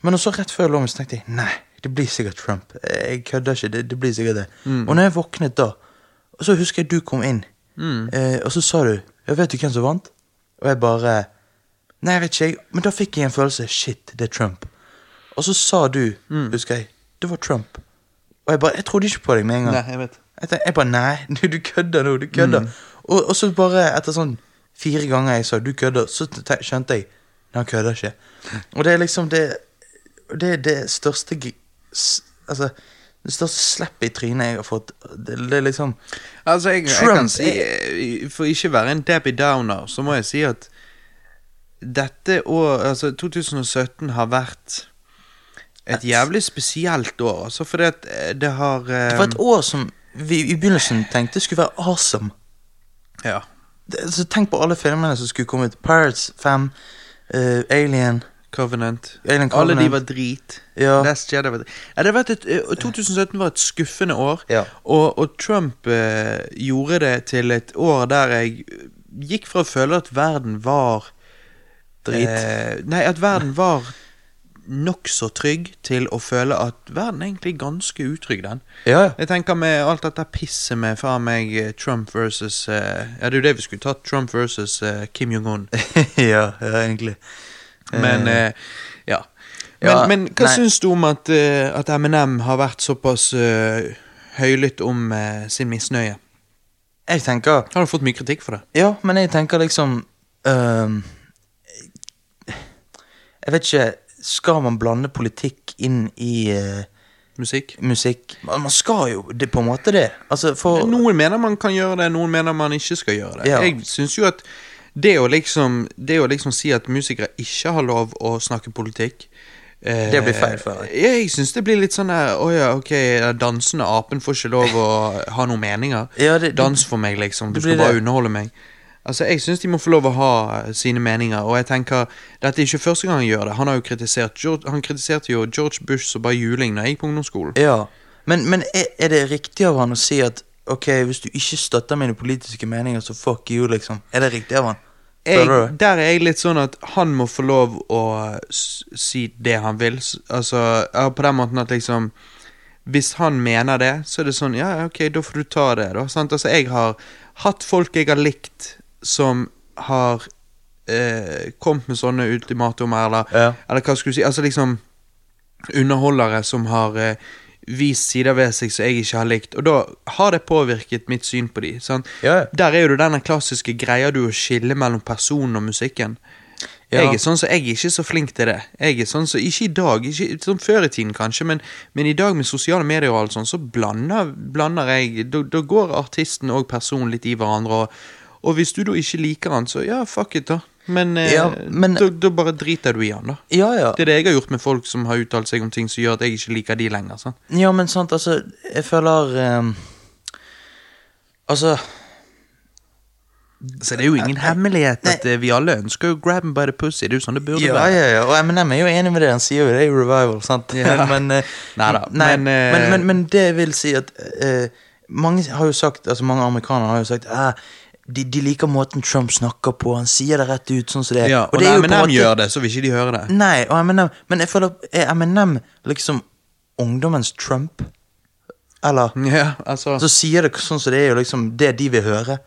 Speaker 2: Men også rett før jeg lå meg, så tenkte jeg nei, det blir sikkert Trump. Jeg kødder ikke. Det, det blir sikkert det. Og når jeg våknet da, og så husker jeg du kom inn, eh, og så sa du ja, 'Vet du hvem som vant?' Og jeg bare Nei, jeg vet ikke, jeg. Men da fikk jeg en følelse. Shit, det er Trump. Og så sa du,
Speaker 1: Mm.
Speaker 2: husker jeg, det var Trump. Og jeg bare Jeg trodde ikke på deg med en gang.
Speaker 1: Nei, jeg vet. Mm.
Speaker 2: Jeg, tenkte, jeg bare Nei, du, du kødder nå. Du kødder. Og, og så bare etter sånn fire ganger jeg sa du kødder, så te- skjønte jeg Nei, han kødder ikke. Og det er liksom det Det er det største gri- s- Altså, det største sleppet i trynet jeg har fått. Det, det er liksom
Speaker 1: Altså, jeg, jeg
Speaker 2: Trump
Speaker 1: kan si eh, For ikke å være en Debbie Downer, så må jeg si at dette år, altså 2017, har vært et jævlig spesielt år. Altså fordi at eh, det har eh,
Speaker 2: Det var et år som vi i begynnelsen tenkte skulle være awesome.
Speaker 1: Ja.
Speaker 2: Det- Så tenk på alle filmene som skulle komme ut. Pirates 5, eh, Alien
Speaker 1: Covenant.
Speaker 2: Alien
Speaker 1: Alle de
Speaker 2: Covenant.
Speaker 1: var drit.
Speaker 2: Ja.
Speaker 1: Last Jedi var drit. Ja, det har vært et, eh, 2017 var et skuffende år,
Speaker 2: Ja.
Speaker 1: og, og Trump eh, gjorde det til et år der jeg gikk fra å føle at verden var
Speaker 2: Drit.
Speaker 1: Eh, nei, at verden var nokså trygg til å føle at verden er egentlig ganske utrygg, den.
Speaker 2: Ja, ja.
Speaker 1: Jeg tenker med alt dette pisset med faen meg eh, Trump versus eh, Ja, det er jo det vi skulle tatt. Trump versus eh, Kim Jong-un.
Speaker 2: ja, ja, egentlig.
Speaker 1: Men eh, ja. Men,
Speaker 2: Ja,
Speaker 1: men hva
Speaker 2: nei.
Speaker 1: syns du om at, eh, at MNM har vært såpass eh, høylytt om eh, sin misnøye?
Speaker 2: Jeg tenker
Speaker 1: Har du fått mye kritikk for det?
Speaker 2: Ja, men jeg tenker liksom ehm, Jeg vet ikke Skal man blande politikk inn i eh,
Speaker 1: Musikk?
Speaker 2: musikk? Man man skal jo det, på en måte det. Altså, for
Speaker 1: Noen mener man kan gjøre det, noen mener man ikke skal gjøre det.
Speaker 2: Ja.
Speaker 1: Jeg synes jo at det å, liksom, det å liksom si at musikere ikke har lov å snakke politikk eh,
Speaker 2: Det blir feil for deg.
Speaker 1: Jeg, jeg syns det blir litt sånn der Å ja, ok, den dansende apen får ikke lov å ha noen meninger.
Speaker 2: Ja, det-
Speaker 1: Dans for meg, liksom. Du
Speaker 2: det blir
Speaker 1: skal bare
Speaker 2: det.
Speaker 1: underholde meg. Altså, Jeg syns de må få lov å ha eh, sine meninger, og jeg tenker Dette er ikke første gang han gjør det. Han har jo kritisert George, Han kritiserte jo George Bush som bare juling da jeg gikk på ungdomsskolen.
Speaker 2: Ja, men, men er, er det riktig av han å si at Ok, hvis du ikke støtter mine politiske meninger, så fuck you, liksom? Er det riktig av han? Føler
Speaker 1: jeg,
Speaker 2: du?
Speaker 1: der er jeg litt sånn at han må få lov å s- si det han vil. S- Altså, ja, På den måten at liksom Hvis han mener det, så er det sånn Ja, ja, ok, da får du ta det, da. Sant? Altså, jeg har hatt folk jeg har likt, som har eh, kommet med sånne ultimatumer, eller,
Speaker 2: Ja.
Speaker 1: eller hva skulle du si Altså liksom underholdere som har eh, vist sider ved seg som jeg ikke har likt. Og da har det påvirket mitt syn på de. Sant?
Speaker 2: Ja, ja.
Speaker 1: Der er jo det denne klassiske greia du å skille mellom personen og musikken.
Speaker 2: Ja.
Speaker 1: Jeg er sånn så jeg er ikke så flink til det. Jeg er sånn så, Ikke i dag, ikke som før i tiden kanskje, men, men i dag med sosiale medier og alt sånt, så blander, blander jeg da, da går artisten og personen litt i hverandre. Og, og hvis du da ikke liker han, så ja, fuck it, da. Men, eh,
Speaker 2: Ja, men-
Speaker 1: da, da bare driter du i han, da.
Speaker 2: Ja, ja.
Speaker 1: Det er det jeg har gjort med folk som har uttalt seg om ting som gjør at jeg ikke liker de lenger. sant?
Speaker 2: Ja, men sant, altså Jeg føler ehm, Altså
Speaker 1: Så det er jo ingen hemmelighet at eh, vi alle ønsker jo grab 'em by the pussy. Det er jo sånn det burde
Speaker 2: Ja,
Speaker 1: være.
Speaker 2: ja, ja. Og Eminem er jo enig med det. Han sier jo det er jo revival, sant?
Speaker 1: Ja.
Speaker 2: men, eh,
Speaker 1: Neida,
Speaker 2: nei,
Speaker 1: men,
Speaker 2: men,
Speaker 1: eh,
Speaker 2: men, men, det vil si at eh, mange har jo sagt, altså mange amerikanere har jo sagt eh, de, de liker måten Trump snakker på. Han sier det rett ut sånn som det er.
Speaker 1: Ja, og
Speaker 2: det er jo
Speaker 1: når
Speaker 2: på en
Speaker 1: Eminem
Speaker 2: måte-
Speaker 1: gjør det, så vil ikke de høre det.
Speaker 2: Nei, og Eminem Men jeg føler Er Eminem liksom ungdommens Trump? Eller?
Speaker 1: Ja, altså
Speaker 2: Så sier det sånn som det er, jo liksom det de vil høre.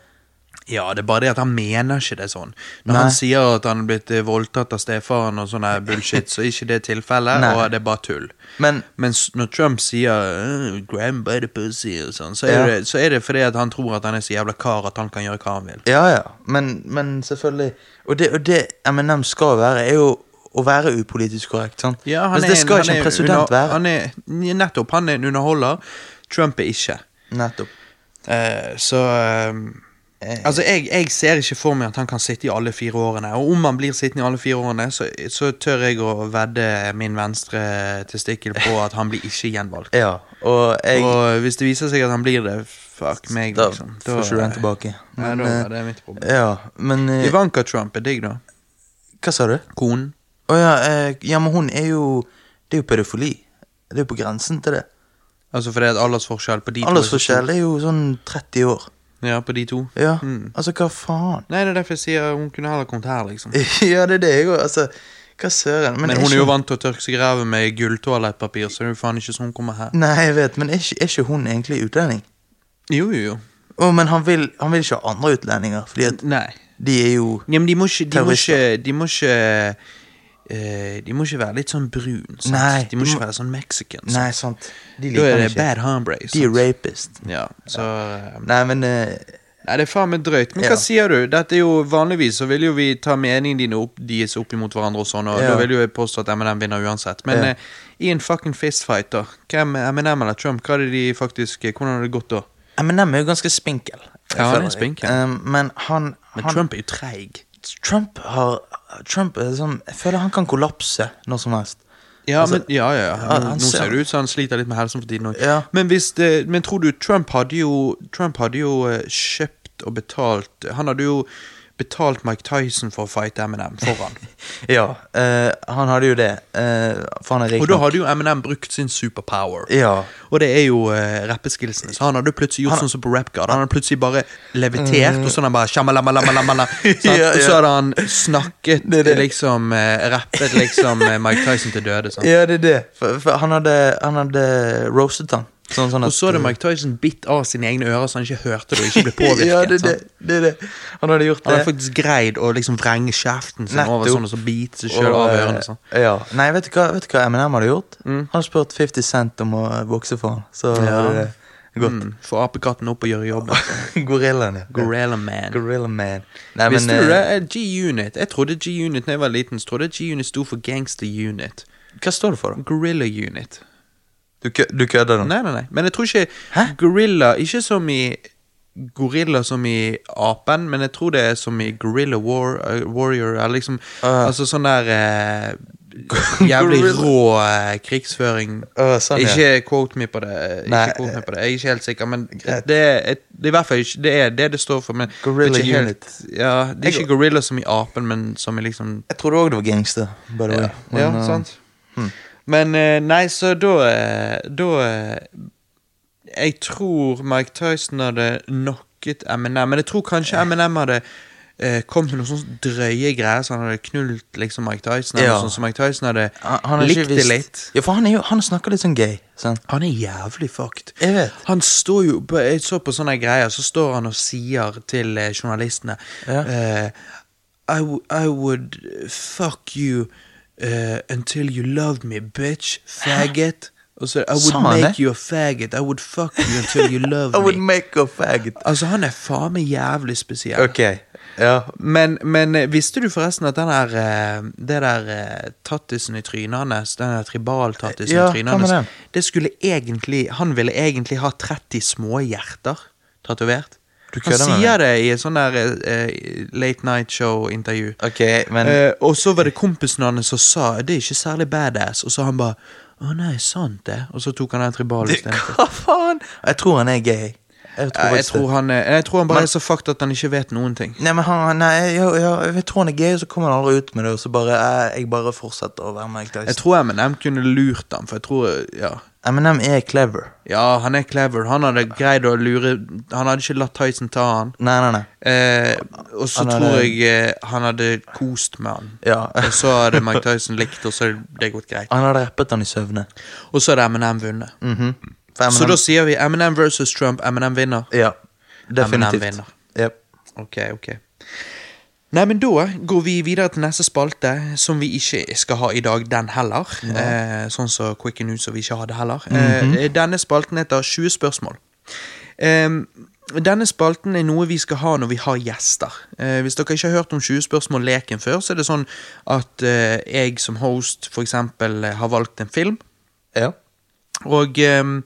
Speaker 1: Ja, det er bare det at han mener ikke det sånn. Når
Speaker 2: Nei.
Speaker 1: han sier at han er blitt eh, voldtatt av stefaren og sånn her bullshit, så er ikke det tilfellet,
Speaker 2: Nei.
Speaker 1: og det er bare tull.
Speaker 2: Men-
Speaker 1: Mens når Trump sier «Øh, 'Graham by the pussy' og sånn, så, er
Speaker 2: Ja.
Speaker 1: det- så er det fordi at han tror at han er så jævla kar at han kan gjøre hva han vil.
Speaker 2: Ja, ja, men, men selvfølgelig Og det, og det Eminem skal være, er jo å være upolitisk korrekt. sant?
Speaker 1: Ja, han
Speaker 2: altså,
Speaker 1: er
Speaker 2: det skal
Speaker 1: han
Speaker 2: ikke
Speaker 1: er
Speaker 2: en president
Speaker 1: under-
Speaker 2: være.
Speaker 1: Han er, nettopp. Han er en underholder. Trump er ikke.
Speaker 2: Nettopp.
Speaker 1: Eh, så eh, Altså, jeg, jeg ser ikke for meg at han kan sitte i alle fire årene. Og om han blir sittende i alle fire årene, så, så tør jeg å vedde min venstre testikkel på at han blir ikke gjenvalgt.
Speaker 2: Ja, og jeg
Speaker 1: Og hvis det viser seg at han blir det, fuck meg,
Speaker 2: Da
Speaker 1: liksom.
Speaker 2: får ikke du den tilbake.
Speaker 1: Nei, da
Speaker 2: eh,
Speaker 1: er det mitt problem.
Speaker 2: Ja, men eh,
Speaker 1: Ivanka Trump er digg, da.
Speaker 2: Hva sa du? Å
Speaker 1: Konen.
Speaker 2: ja, eh, ja, men hun er jo Det er jo pedofili. Det er jo på grensen til det.
Speaker 1: Altså fordi at aldersforskjell på de to er så
Speaker 2: Aldersforskjell er jo sånn 30 år.
Speaker 1: stor. Ja, på de to.
Speaker 2: Ja,
Speaker 1: Mm.
Speaker 2: altså, hva faen?
Speaker 1: Nei, det er derfor jeg sier hun kunne heller kommet her, liksom.
Speaker 2: ja, det er det jeg òg. Altså, hva søren?
Speaker 1: Men
Speaker 2: er
Speaker 1: hun er jo
Speaker 2: ikke-
Speaker 1: vant til å tørke seg i ræva med gulltoalettpapir, så det er jo faen ikke sånn hun kommer her.
Speaker 2: Nei, jeg vet, men er ikke, er ikke hun egentlig utlending?
Speaker 1: Jo, jo, jo.
Speaker 2: Å, men han vil, han vil ikke ha andre utlendinger, fordi at
Speaker 1: Nei.
Speaker 2: de er jo
Speaker 1: Ja, men de må ikke De må
Speaker 2: Terrorister.
Speaker 1: ikke, de må ikke eh, de må ikke være litt sånn brun. Sant?
Speaker 2: Nei,
Speaker 1: de må
Speaker 2: de
Speaker 1: ikke
Speaker 2: må-
Speaker 1: være sånn mexican. sant?
Speaker 2: Nei, sant. De
Speaker 1: da
Speaker 2: liker
Speaker 1: er
Speaker 2: han
Speaker 1: det
Speaker 2: ikke.
Speaker 1: bad hombre.
Speaker 2: De er
Speaker 1: sant?
Speaker 2: rapist.
Speaker 1: Ja, så eh,
Speaker 2: Nei, men eh,
Speaker 1: Nei, det er faen meg drøyt. Men
Speaker 2: Ja.
Speaker 1: hva sier du? Dette er jo Vanligvis så vil jo vi ta meningene dine opp, deres opp imot hverandre og sånn, og
Speaker 2: Ja.
Speaker 1: da vil jo jeg påstå at M&M vinner uansett. Men
Speaker 2: Ja.
Speaker 1: eh, i en fucking fistfight, da, hvem M&M eller Trump, hva er det de faktisk øh, Hvordan har det gått da?
Speaker 2: Eminem er jo ganske spinkel. jeg
Speaker 1: Ja, han er
Speaker 2: føler.
Speaker 1: spinkel.
Speaker 2: Eh, men han,
Speaker 1: Men
Speaker 2: han
Speaker 1: Trump er jo treig.
Speaker 2: Trump har Trump er sånn Jeg føler han kan kollapse når som helst.
Speaker 1: Ja,
Speaker 2: Altså,
Speaker 1: men, ja, ja, ja.
Speaker 2: han-
Speaker 1: Nå,
Speaker 2: han
Speaker 1: nå
Speaker 2: ser-
Speaker 1: ser det ut som han sliter litt med helsen for tiden òg.
Speaker 2: Ja.
Speaker 1: Men, hvis det- men tror du Trump hadde jo Trump hadde jo eh, kjøpt og betalt Han hadde jo betalt Mike Tyson for å fighte Eminem foran.
Speaker 2: Ja, eh, han hadde jo det. eh, for han er rik
Speaker 1: og da
Speaker 2: nok.
Speaker 1: hadde jo Eminem brukt sin superpower.
Speaker 2: Ja.
Speaker 1: Og det er jo eh, rappeskillsene. Så han hadde plutselig gjort sånn som på Rap God. Han hadde plutselig bare levitert, og sånn han bare «Shamalamalamalamala», sant?
Speaker 2: Mm. Ja,
Speaker 1: Og så
Speaker 2: ja.
Speaker 1: hadde han snakket
Speaker 2: Det er det.
Speaker 1: liksom eh, Rappet liksom eh, Mike Tyson til døde. Sant?
Speaker 2: Ja, det er det. For, for han hadde Han hadde roastet han. Sånn, sånn at,
Speaker 1: Og så hadde Mike Tyson bitt av sine egne ører, så han ikke hørte det og ikke ble påvirket.
Speaker 2: ja, det, er det,
Speaker 1: sant?
Speaker 2: det er det. sånn. Han hadde gjort
Speaker 1: Han
Speaker 2: det.
Speaker 1: hadde faktisk greid å liksom vrenge kjeften sin over
Speaker 2: Nettopp.
Speaker 1: sånn, og så bite seg sjøl
Speaker 2: Og,
Speaker 1: av
Speaker 2: eh,
Speaker 1: ørene. Mm. Sånn.
Speaker 2: Ja. Nei, vet du hva, vet du hva Eminem hadde gjort? Han hadde spurt 50 Cent om å vokse for han. Så hadde det gått.
Speaker 1: Mm, Få apekatten opp og gjøre jobben.
Speaker 2: Gorillaen, ja.
Speaker 1: Mm. Gorilla Man.
Speaker 2: Gorilla Man. Nei,
Speaker 1: Visste
Speaker 2: men,
Speaker 1: du
Speaker 2: eh,
Speaker 1: det? Eh, G-Unit. Jeg trodde G-Unit da jeg var liten, så trodde jeg G-Unit sto for Gangster Unit.
Speaker 2: Hva står det for, da?
Speaker 1: Gorilla Unit.
Speaker 2: Du, kø- du kødder nå?
Speaker 1: Nei, nei, nei. Men jeg tror ikke Gorilla Ikke som i Gorilla som i apen, men jeg tror det er som i Gorilla War, eh, Warrior eller liksom
Speaker 2: Ah.
Speaker 1: Altså sånn der eh, Jævlig
Speaker 2: Gorilla.
Speaker 1: rå eh, krigsføring.
Speaker 2: Ah, sånn, ja.
Speaker 1: Ikke quote me på det. eh,
Speaker 2: Nei,
Speaker 1: ikke quote me på det. Jeg er ikke helt sikker, men
Speaker 2: greit.
Speaker 1: det er, et- det er i hvert fall ikke det er det det står for. Men
Speaker 2: Gorilla
Speaker 1: ikke helt-
Speaker 2: unit.
Speaker 1: Ja, det er
Speaker 2: Jeg-
Speaker 1: ikke gorilla som i apen, men som i liksom
Speaker 2: Jeg trodde òg det var gangster. By the way.
Speaker 1: ja,
Speaker 2: Men,
Speaker 1: ja
Speaker 2: eh,
Speaker 1: sant. Men eh, nei, så da eh, Da eh, Jeg tror Mike Tyson hadde knocket Eminem, men jeg tror kanskje Eminem hadde eh, kommet med noen sånne drøye greier, så han hadde knult liksom Mike Tyson, eller
Speaker 2: Ja.
Speaker 1: noe sånt, så Mike Tyson hadde
Speaker 2: Han, han har ikke
Speaker 1: likt det
Speaker 2: visst-
Speaker 1: litt.
Speaker 2: Ja, for han, er jo, han snakker litt sånn gay. sant?
Speaker 1: Han er jævlig fucked.
Speaker 2: Jeg vet.
Speaker 1: Han står jo på, Jeg så på sånne greier, så står han og sier til eh, journalistene
Speaker 2: Ja.
Speaker 1: eh, I, w- I would fuck you eh, until you loved me, bitch. Faggot. Og så I
Speaker 2: Sa
Speaker 1: would
Speaker 2: han
Speaker 1: make
Speaker 2: det?
Speaker 1: you a faggot. I would fuck you until you loved me.
Speaker 2: make a faggot.
Speaker 1: Altså, han er faen meg jævlig spesiell.
Speaker 2: Ok, ja.
Speaker 1: Men, men eh, visste du forresten at den der, eh, det der eh, tattisen i trynet hans, den der tribaltattisen
Speaker 2: Ja,
Speaker 1: i trynet
Speaker 2: hva med
Speaker 1: hans,
Speaker 2: den?
Speaker 1: det skulle egentlig Han ville egentlig ha 30 små hjerter tatovert.
Speaker 2: Du
Speaker 1: Han
Speaker 2: kødder med
Speaker 1: sier det i et sånn der eh, eh, late night show-intervju.
Speaker 2: Ok, men
Speaker 1: Eh, og så var det kompisen hans som sa det er ikke særlig badass, og så han bare å nei, sant det. Og så tok han den tribalen
Speaker 2: Hva faen? Jeg tror han er gay. Jeg
Speaker 1: Nei,
Speaker 2: tror,
Speaker 1: Jeg
Speaker 2: faktisk det.
Speaker 1: tror han, er, jeg tror han bare er så fucked at han ikke vet noen ting.
Speaker 2: Nei, men han, nei, jeg, jeg, jeg, jeg tror han er gay, og så kommer han aldri ut med det. Og så bare, eh, jeg, jeg bare fortsetter å være Mike
Speaker 1: Jeg
Speaker 2: Tyson.
Speaker 1: tror Eminem kunne lurt ham, for jeg tror Ja,
Speaker 2: Eminem er clever.
Speaker 1: ja han er clever. Han hadde greid å lure Han hadde ikke latt Tyson ta han.
Speaker 2: Nei, nei, nei.
Speaker 1: Eh, og så
Speaker 2: Han hadde-
Speaker 1: tror jeg eh, han hadde kost med han.
Speaker 2: Ja.
Speaker 1: Og så hadde Mike Tyson likt, og så hadde det gått greit.
Speaker 2: Han hadde rappet han i søvne.
Speaker 1: Og så hadde Eminem vunnet.
Speaker 2: Mhm. For
Speaker 1: Så da
Speaker 2: Eminem,
Speaker 1: sier vi Eminem versus Trump. Eminem vinner.
Speaker 2: ja, definitivt.
Speaker 1: vinner.
Speaker 2: Jep.
Speaker 1: Ok, ok. Nei, men da går vi videre til neste spalte, som vi ikke skal ha i dag, den heller. Eh, sånn som så Quick and News, og vi ikke har det heller. eh, denne spalten heter 20 spørsmål. Em, denne spalten er noe vi skal ha når vi har gjester. Eh, hvis dere ikke har hørt om 20 spørsmål-leken før, så er det sånn at eh, jeg som host f.eks. har valgt en film.
Speaker 2: Ja.
Speaker 1: Og ehm,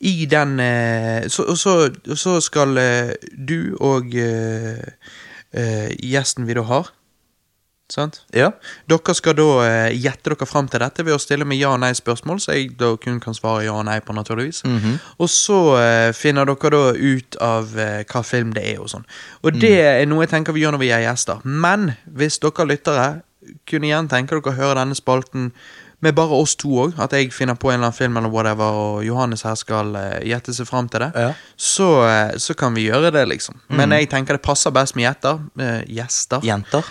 Speaker 1: i den eh, så, og så, og så skal eh, du og eh, eh, gjesten vi da har Sant?
Speaker 2: ja.
Speaker 1: Dere skal da eh, gjette dere fram til dette ved å stille med ja- og nei-spørsmål, så jeg da kun kan svare ja og nei på,
Speaker 2: Mm.
Speaker 1: naturligvis. Og så eh, finner dere da ut av eh, hva film det er og sånn. Og det er noe jeg tenker vi gjør når vi er gjester. Men hvis dere lyttere kunne igjen tenke dere å høre denne spalten med bare oss to òg, at jeg finner på en eller annen film eller whatever, og Johannes her skal eh, gjette seg fram til det,
Speaker 2: Ja.
Speaker 1: så, eh, så kan vi gjøre det, liksom. Men jeg tenker det passer best med gjetter. eh, gjester Eh,
Speaker 2: Jenter.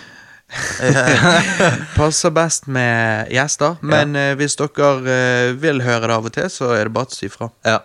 Speaker 1: passer best med gjester, men eh, hvis dere eh, vil høre det av og til, så er det bare å si fra.
Speaker 2: Ja.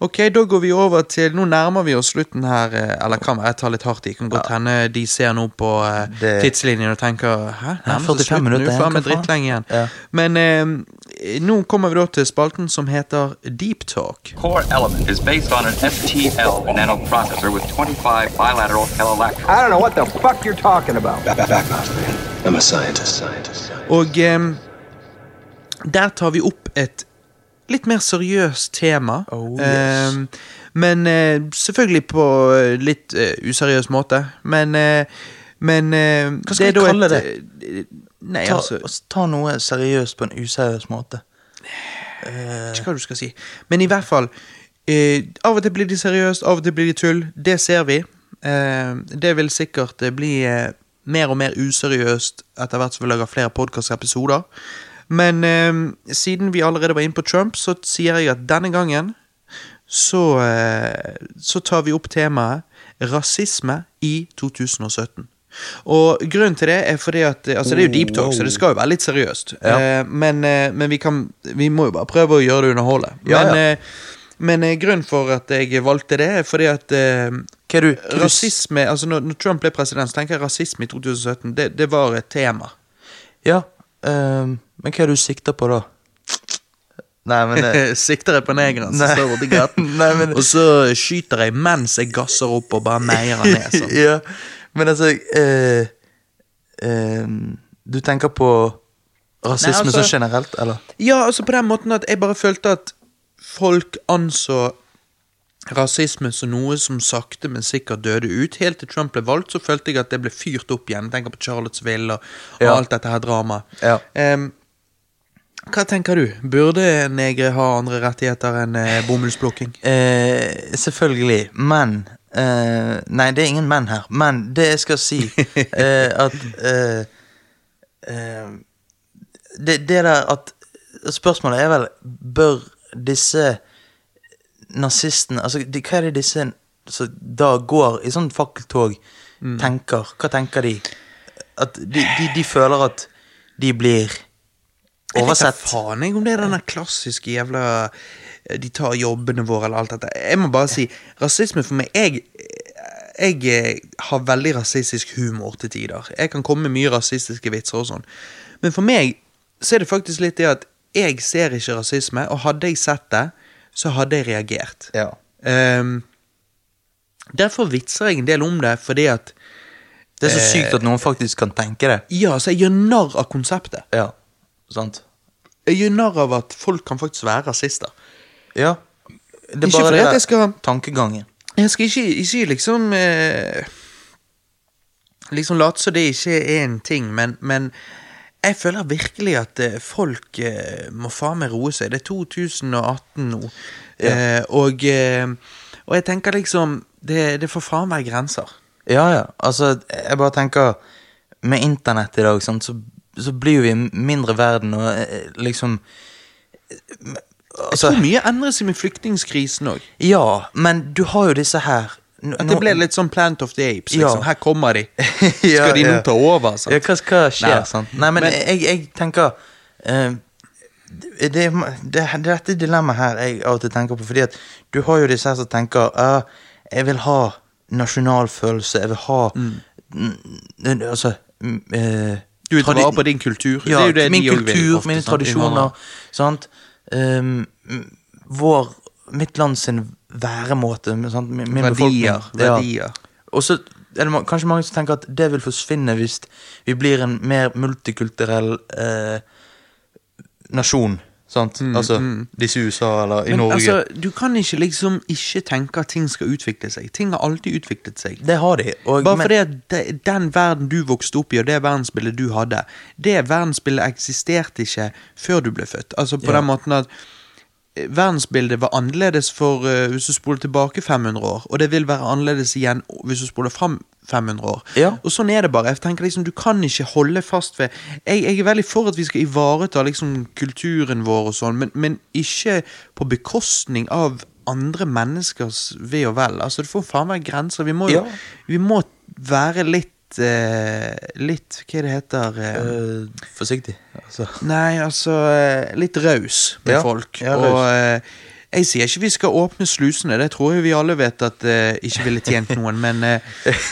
Speaker 1: Ok, da går vi over til Nå nærmer vi oss slutten her, eh, eller kan være jeg tar litt hardt i. Kan godt hende de ser nå på eh,
Speaker 2: Det-
Speaker 1: tidslinjen og tenker Hæ,
Speaker 2: Ja,
Speaker 1: nærmer seg
Speaker 2: 45
Speaker 1: slutten,
Speaker 2: minutter
Speaker 1: nå er
Speaker 2: igjen,
Speaker 1: faen meg
Speaker 2: hva faen?»
Speaker 1: drittlenge igjen.
Speaker 2: Ja.
Speaker 1: Men eh, nå kommer vi da til spalten som heter Deep Talk.
Speaker 3: Core Element is based on an FTL nanoprocessor with 25 bilateral electrons.
Speaker 4: I don't know what the fuck you're talking about.
Speaker 5: Back off, man. I'm a scientist. Scientist.
Speaker 1: Og em, der tar vi opp et litt mer seriøst tema.
Speaker 2: Oh, yes.
Speaker 1: Em, men eh, selvfølgelig på eh, litt eh, useriøs måte. Men, eh, men eh, Hva
Speaker 2: skal vi kalle
Speaker 1: det? eh, Nei,
Speaker 2: Ta,
Speaker 1: altså
Speaker 2: ta noe seriøst på en useriøs måte.
Speaker 1: ikke hva du skal si. Men i hvert fall eh, Av og til blir de seriøst, av og til blir de tull. Det ser vi. Eh, det vil sikkert eh, bli eh, mer og mer useriøst etter hvert som vi lager flere podkastepisoder. Men eh, siden vi allerede var inne på Trump, så sier jeg at denne gangen så, eh, så tar vi opp temaet rasisme i 2017. Og grunnen til det er fordi at eh, Altså, det er jo deep talk, så det skal jo være litt seriøst. Eh, men eh, men vi, kan, vi må jo bare prøve å gjøre det underholdet.
Speaker 2: Ja,
Speaker 1: men,
Speaker 2: ja.
Speaker 1: eh, men eh, grunnen for at jeg valgte det, er fordi at eh,
Speaker 2: Hva er du? hva er du s-
Speaker 1: Rasisme, altså når, når Trump ble president, så tenker jeg rasisme i 2017, det, det var et tema.
Speaker 2: Ja, ehm, men hva er det du sikter på da? Nei, men eh, det,
Speaker 1: Eh, Sikter jeg på negeren hans,
Speaker 2: Nei.
Speaker 1: så står jeg borti gaten,
Speaker 2: Nei, men-
Speaker 1: og så skyter jeg mens jeg gasser opp og bare meier han ned. Sånn.
Speaker 2: ja, men altså eh, ehm, Du tenker på rasisme
Speaker 1: Nei, altså-
Speaker 2: sånn generelt, eller?
Speaker 1: Ja, altså på den måten at jeg bare følte at folk anså rasisme som noe som sakte, men sikkert døde ut. Helt til Trump ble valgt, så følte jeg at det ble fyrt opp igjen. Tenker på Charlottesville og, og
Speaker 2: Ja.
Speaker 1: alt dette her dramaet.
Speaker 2: Ja.
Speaker 1: Em, hva tenker du? Burde negre ha andre rettigheter enn eh, bomullsplukking?
Speaker 2: Eh, selvfølgelig, men eh, Nei, det er ingen menn her, men det jeg skal si, eh, at eh, eh, det, det der at Spørsmålet er vel Bør disse nazistene Altså, de, hva er det disse som da går i sånn fakkeltog, tenker? Hva tenker de? At de, de, de føler at de blir oversett?
Speaker 1: Jeg vet da faen jeg om det er den der klassiske jævla eh, De tar jobbene våre eller alt dette. Jeg må bare si, rasisme for meg Jeg, jeg eh, har veldig rasistisk humor til tider. Jeg kan komme med mye rasistiske vitser og sånn. Men for meg så er det faktisk litt det at jeg ser ikke rasisme, og hadde jeg sett det, så hadde jeg reagert.
Speaker 2: Ja.
Speaker 1: Ehm, derfor vitser jeg en del om det, fordi at
Speaker 2: Det er så sykt at noen faktisk kan tenke det.
Speaker 1: Ja, så jeg gjør narr av konseptet.
Speaker 2: Ja, sant.
Speaker 1: Jeg gjør narr av at folk kan faktisk være rasister.
Speaker 2: Ja. Det er
Speaker 1: Ikke fordi
Speaker 2: det
Speaker 1: at
Speaker 2: der
Speaker 1: jeg skal-
Speaker 2: Tankegangen.
Speaker 1: Jeg skal ikke, ikke liksom eh, Liksom late som det ikke er en ting, men, men jeg føler virkelig at eh, folk eh, må faen meg roe seg. Det er 2018 nå, eh, og, eh, Og jeg tenker liksom Det, det får faen være grenser.
Speaker 2: Ja, ja. Altså, jeg bare tenker Med internett i dag, sant, så, så blir jo vi en mindre verden, og eh, liksom eh,
Speaker 1: Jeg
Speaker 2: Altså,
Speaker 1: tror mye endrer seg med flyktningkrisen òg.
Speaker 2: ja, men du har jo disse her. N-
Speaker 1: At
Speaker 2: nå-
Speaker 1: det ble litt sånn Plant of the Apes.
Speaker 2: Ja.
Speaker 1: Liksom. Her kommer de. Skal
Speaker 2: Ja,
Speaker 1: de nå
Speaker 2: ja.
Speaker 1: ta over? altså? Sant?
Speaker 2: Ja, hva skal skje?
Speaker 1: Nei.
Speaker 2: sant? Nei, men,
Speaker 1: Men-
Speaker 2: jeg, jeg tenker eh, det, det, det, Dette dilemmaet her jeg av og til tenker på, fordi at du har jo disse her som tenker «Ah, Jeg vil ha nasjonalfølelse, jeg vil ha mm, Altså mm, eh,
Speaker 1: Du vil ta
Speaker 2: tradi-
Speaker 1: vare på din kultur. det
Speaker 2: Ja,
Speaker 1: er jo det
Speaker 2: min
Speaker 1: de også vil,
Speaker 2: kultur,
Speaker 1: ofte,
Speaker 2: mine
Speaker 1: sant,
Speaker 2: tradisjoner.
Speaker 1: innvandrere.
Speaker 2: Sant? Um, mm, vår Mitt land sin væremåte. Sant? Min, min befolkning.
Speaker 1: Verdier.
Speaker 2: Ja.
Speaker 1: verdier.
Speaker 2: Og så er det ma- kanskje mange som tenker at det vil forsvinne hvis vi blir en mer multikulturell eh, nasjon. Sant? altså disse i USA eller i
Speaker 1: Mm, Men
Speaker 2: Norge.
Speaker 1: altså, du kan ikke liksom ikke tenke at ting skal utvikle seg. Ting har alltid utviklet seg.
Speaker 2: det har de. Og,
Speaker 1: Bare
Speaker 2: men-
Speaker 1: fordi at de- den verden du vokste opp i, og det verdensbildet du hadde, det verdensbildet eksisterte ikke før du ble født. Altså på
Speaker 2: Ja.
Speaker 1: den måten at eh, Verdensbildet var annerledes for eh, hvis du spoler tilbake 500 år, og det vil være annerledes igjen o- hvis du spoler fram 500 år.
Speaker 2: Ja.
Speaker 1: Og sånn er det bare. Jeg tenker liksom, Du kan ikke holde fast ved Jeg, jeg er veldig for at vi skal ivareta liksom, kulturen vår, og sånn, men, men ikke på bekostning av andre menneskers ve og vel. Altså, Det får faen meg grenser. Vi må jo
Speaker 2: Ja.
Speaker 1: vi må være litt eh, Litt Hva er det heter eh,
Speaker 2: Eh, Forsiktig. Altså.
Speaker 1: Nei, altså eh, Litt raus med
Speaker 2: Ja,
Speaker 1: folk.
Speaker 2: ja, raus.
Speaker 1: og eh, jeg sier ikke vi skal åpne slusene, det tror jeg vi alle vet at eh, ikke ville tjent noen, men, eh,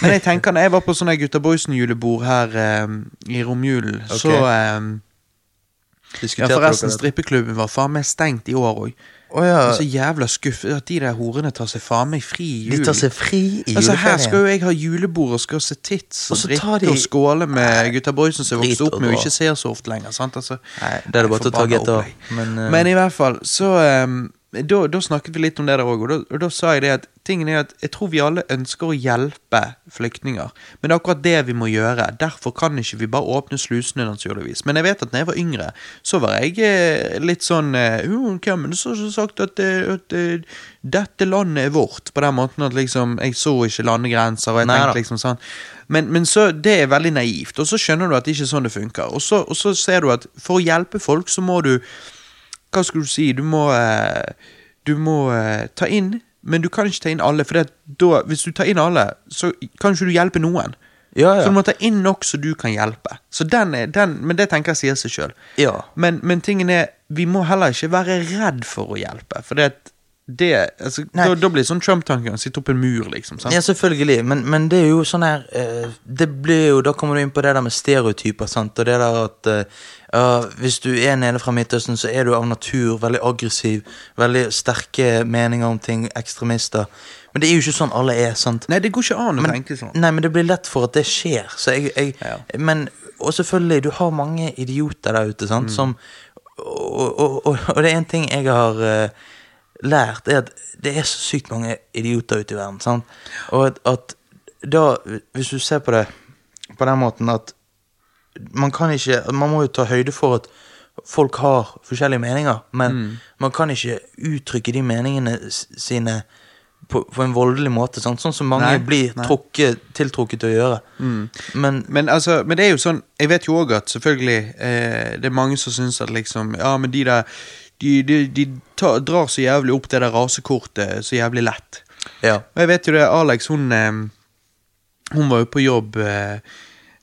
Speaker 1: men jeg tenker når jeg var på sånne Gutta Boysen-julebord her eh, i romjulen, så eh, ja,
Speaker 2: Diskuterte
Speaker 1: Forresten,
Speaker 2: dere det?
Speaker 1: strippeklubben var faen meg stengt i år òg.
Speaker 2: Å ja.
Speaker 1: Så jævla skuffet at de der horene tar seg faen meg fri i
Speaker 2: De
Speaker 1: julen.
Speaker 2: tar seg fri i
Speaker 1: Altså Her
Speaker 2: juleferien.
Speaker 1: skal jo jeg ha julebord og skal se tits og,
Speaker 2: Og så
Speaker 1: drikke
Speaker 2: tar de-
Speaker 1: og skåle med gutta boysen som jeg
Speaker 2: Drit
Speaker 1: vokste opp
Speaker 2: og
Speaker 1: med og
Speaker 2: bra.
Speaker 1: ikke ser så ofte lenger. sant? Altså,
Speaker 2: Nei, det er det bare til å ta
Speaker 1: forbanna
Speaker 2: GTA,
Speaker 1: opplegg.
Speaker 2: men,
Speaker 1: Men,
Speaker 2: eh,
Speaker 1: i hvert fall, så ehm, da, da snakket vi litt om det der òg, og, da- og da sa jeg det at tingen er at jeg tror vi alle ønsker å hjelpe flyktninger, men det er akkurat det vi må gjøre. Derfor kan ikke vi bare åpne slusene, naturligvis. Men jeg vet at når jeg var yngre, så var jeg eh, litt sånn eh, Jo, hvem er det som har sagt at, eh, at eh, dette landet er vårt? På den måten at liksom Jeg så ikke landegrenser, og jeg
Speaker 2: Neida.
Speaker 1: tenkte liksom liksom sånn. Men, men så, det er veldig naivt, og så skjønner du at det ikke er sånn det funker. Og så, og så ser du at for å hjelpe folk, så må du Hva skal du si? Du må, eh, du må eh, ta inn, men du kan ikke ta inn alle. For det, at da, hvis du tar inn alle, så kan ikke du hjelpe noen.
Speaker 2: Ja, ja.
Speaker 1: Så du må ta inn nok så du kan hjelpe. Så den er, den, men det tenker jeg sier seg sjøl.
Speaker 2: Ja.
Speaker 1: Men, men tingen er, vi må heller ikke være redd for å hjelpe. For det, at det altså,
Speaker 2: Nei.
Speaker 1: da, da blir det sånn Trump-tanken. Sitte opp en mur, liksom. sant?
Speaker 2: Ja, selvfølgelig, men, men det er jo sånn her eh, Det blir jo, Da kommer du inn på det der med stereotyper, sant, og det der at eh, ja, Hvis du er nede fra Midtøsten, så er du av natur veldig aggressiv, veldig sterke meninger om ting, ekstremister. Men det er jo ikke sånn alle er, sant.
Speaker 1: Nei, det går ikke an å
Speaker 2: Men,
Speaker 1: tenke sånn.
Speaker 2: Nei, men det blir lett for at det skjer. Så jeg, jeg
Speaker 1: Ja.
Speaker 2: Men, og selvfølgelig, du har mange idioter der ute,
Speaker 1: Mm.
Speaker 2: sant, som og, og, og, og det er en ting jeg har eh, lært, er at det er så sykt mange idioter ute i verden, sant? Og at, at da, hvis du ser på det på den måten at man kan ikke Man må jo ta høyde for at folk har forskjellige meninger, men
Speaker 1: Mm.
Speaker 2: man kan ikke uttrykke de meningene s- sine på, på en voldelig måte, sant? sånn som mange
Speaker 1: Nei,
Speaker 2: blir
Speaker 1: nei.
Speaker 2: trukket, tiltrukket til å gjøre.
Speaker 1: Mm.
Speaker 2: Men
Speaker 1: Men, altså, men det er jo sånn Jeg vet jo òg at selvfølgelig eh, det er mange som syns at liksom Ja, men de der De, de, de ta, drar så jævlig opp det der rasekortet så jævlig lett.
Speaker 2: ja.
Speaker 1: Og jeg vet jo det, Alex, hun eh, Hun var jo på jobb eh,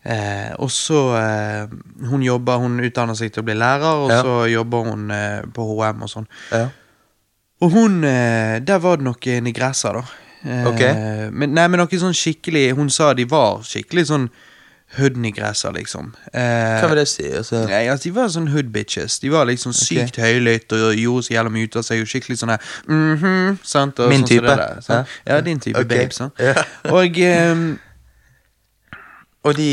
Speaker 1: eh, og så eh, Hun jobber, hun utdanner seg til å bli lærer, og
Speaker 2: Ja.
Speaker 1: så jobber hun eh, på HM og sånn.
Speaker 2: ja.
Speaker 1: Og hun eh, Der var det noen negresser, da. Eh,
Speaker 2: Ok.
Speaker 1: Men, nei, men noen sånn skikkelig Hun sa de var skikkelig sånn hood-negresser, liksom. Eh,
Speaker 2: Hva vil det si? Altså,
Speaker 1: Nei, altså, de var sånn hood bitches. De var liksom sykt høylytte og gjorde så jævla mye ut av seg. Og skikkelig sånn her mhm, sant? Og
Speaker 2: Min
Speaker 1: sånn som
Speaker 2: type.
Speaker 1: det der, sant? Ja, din type,
Speaker 2: Ok.
Speaker 1: babe. Sant?
Speaker 2: Ja.
Speaker 1: Og ehm,
Speaker 2: og de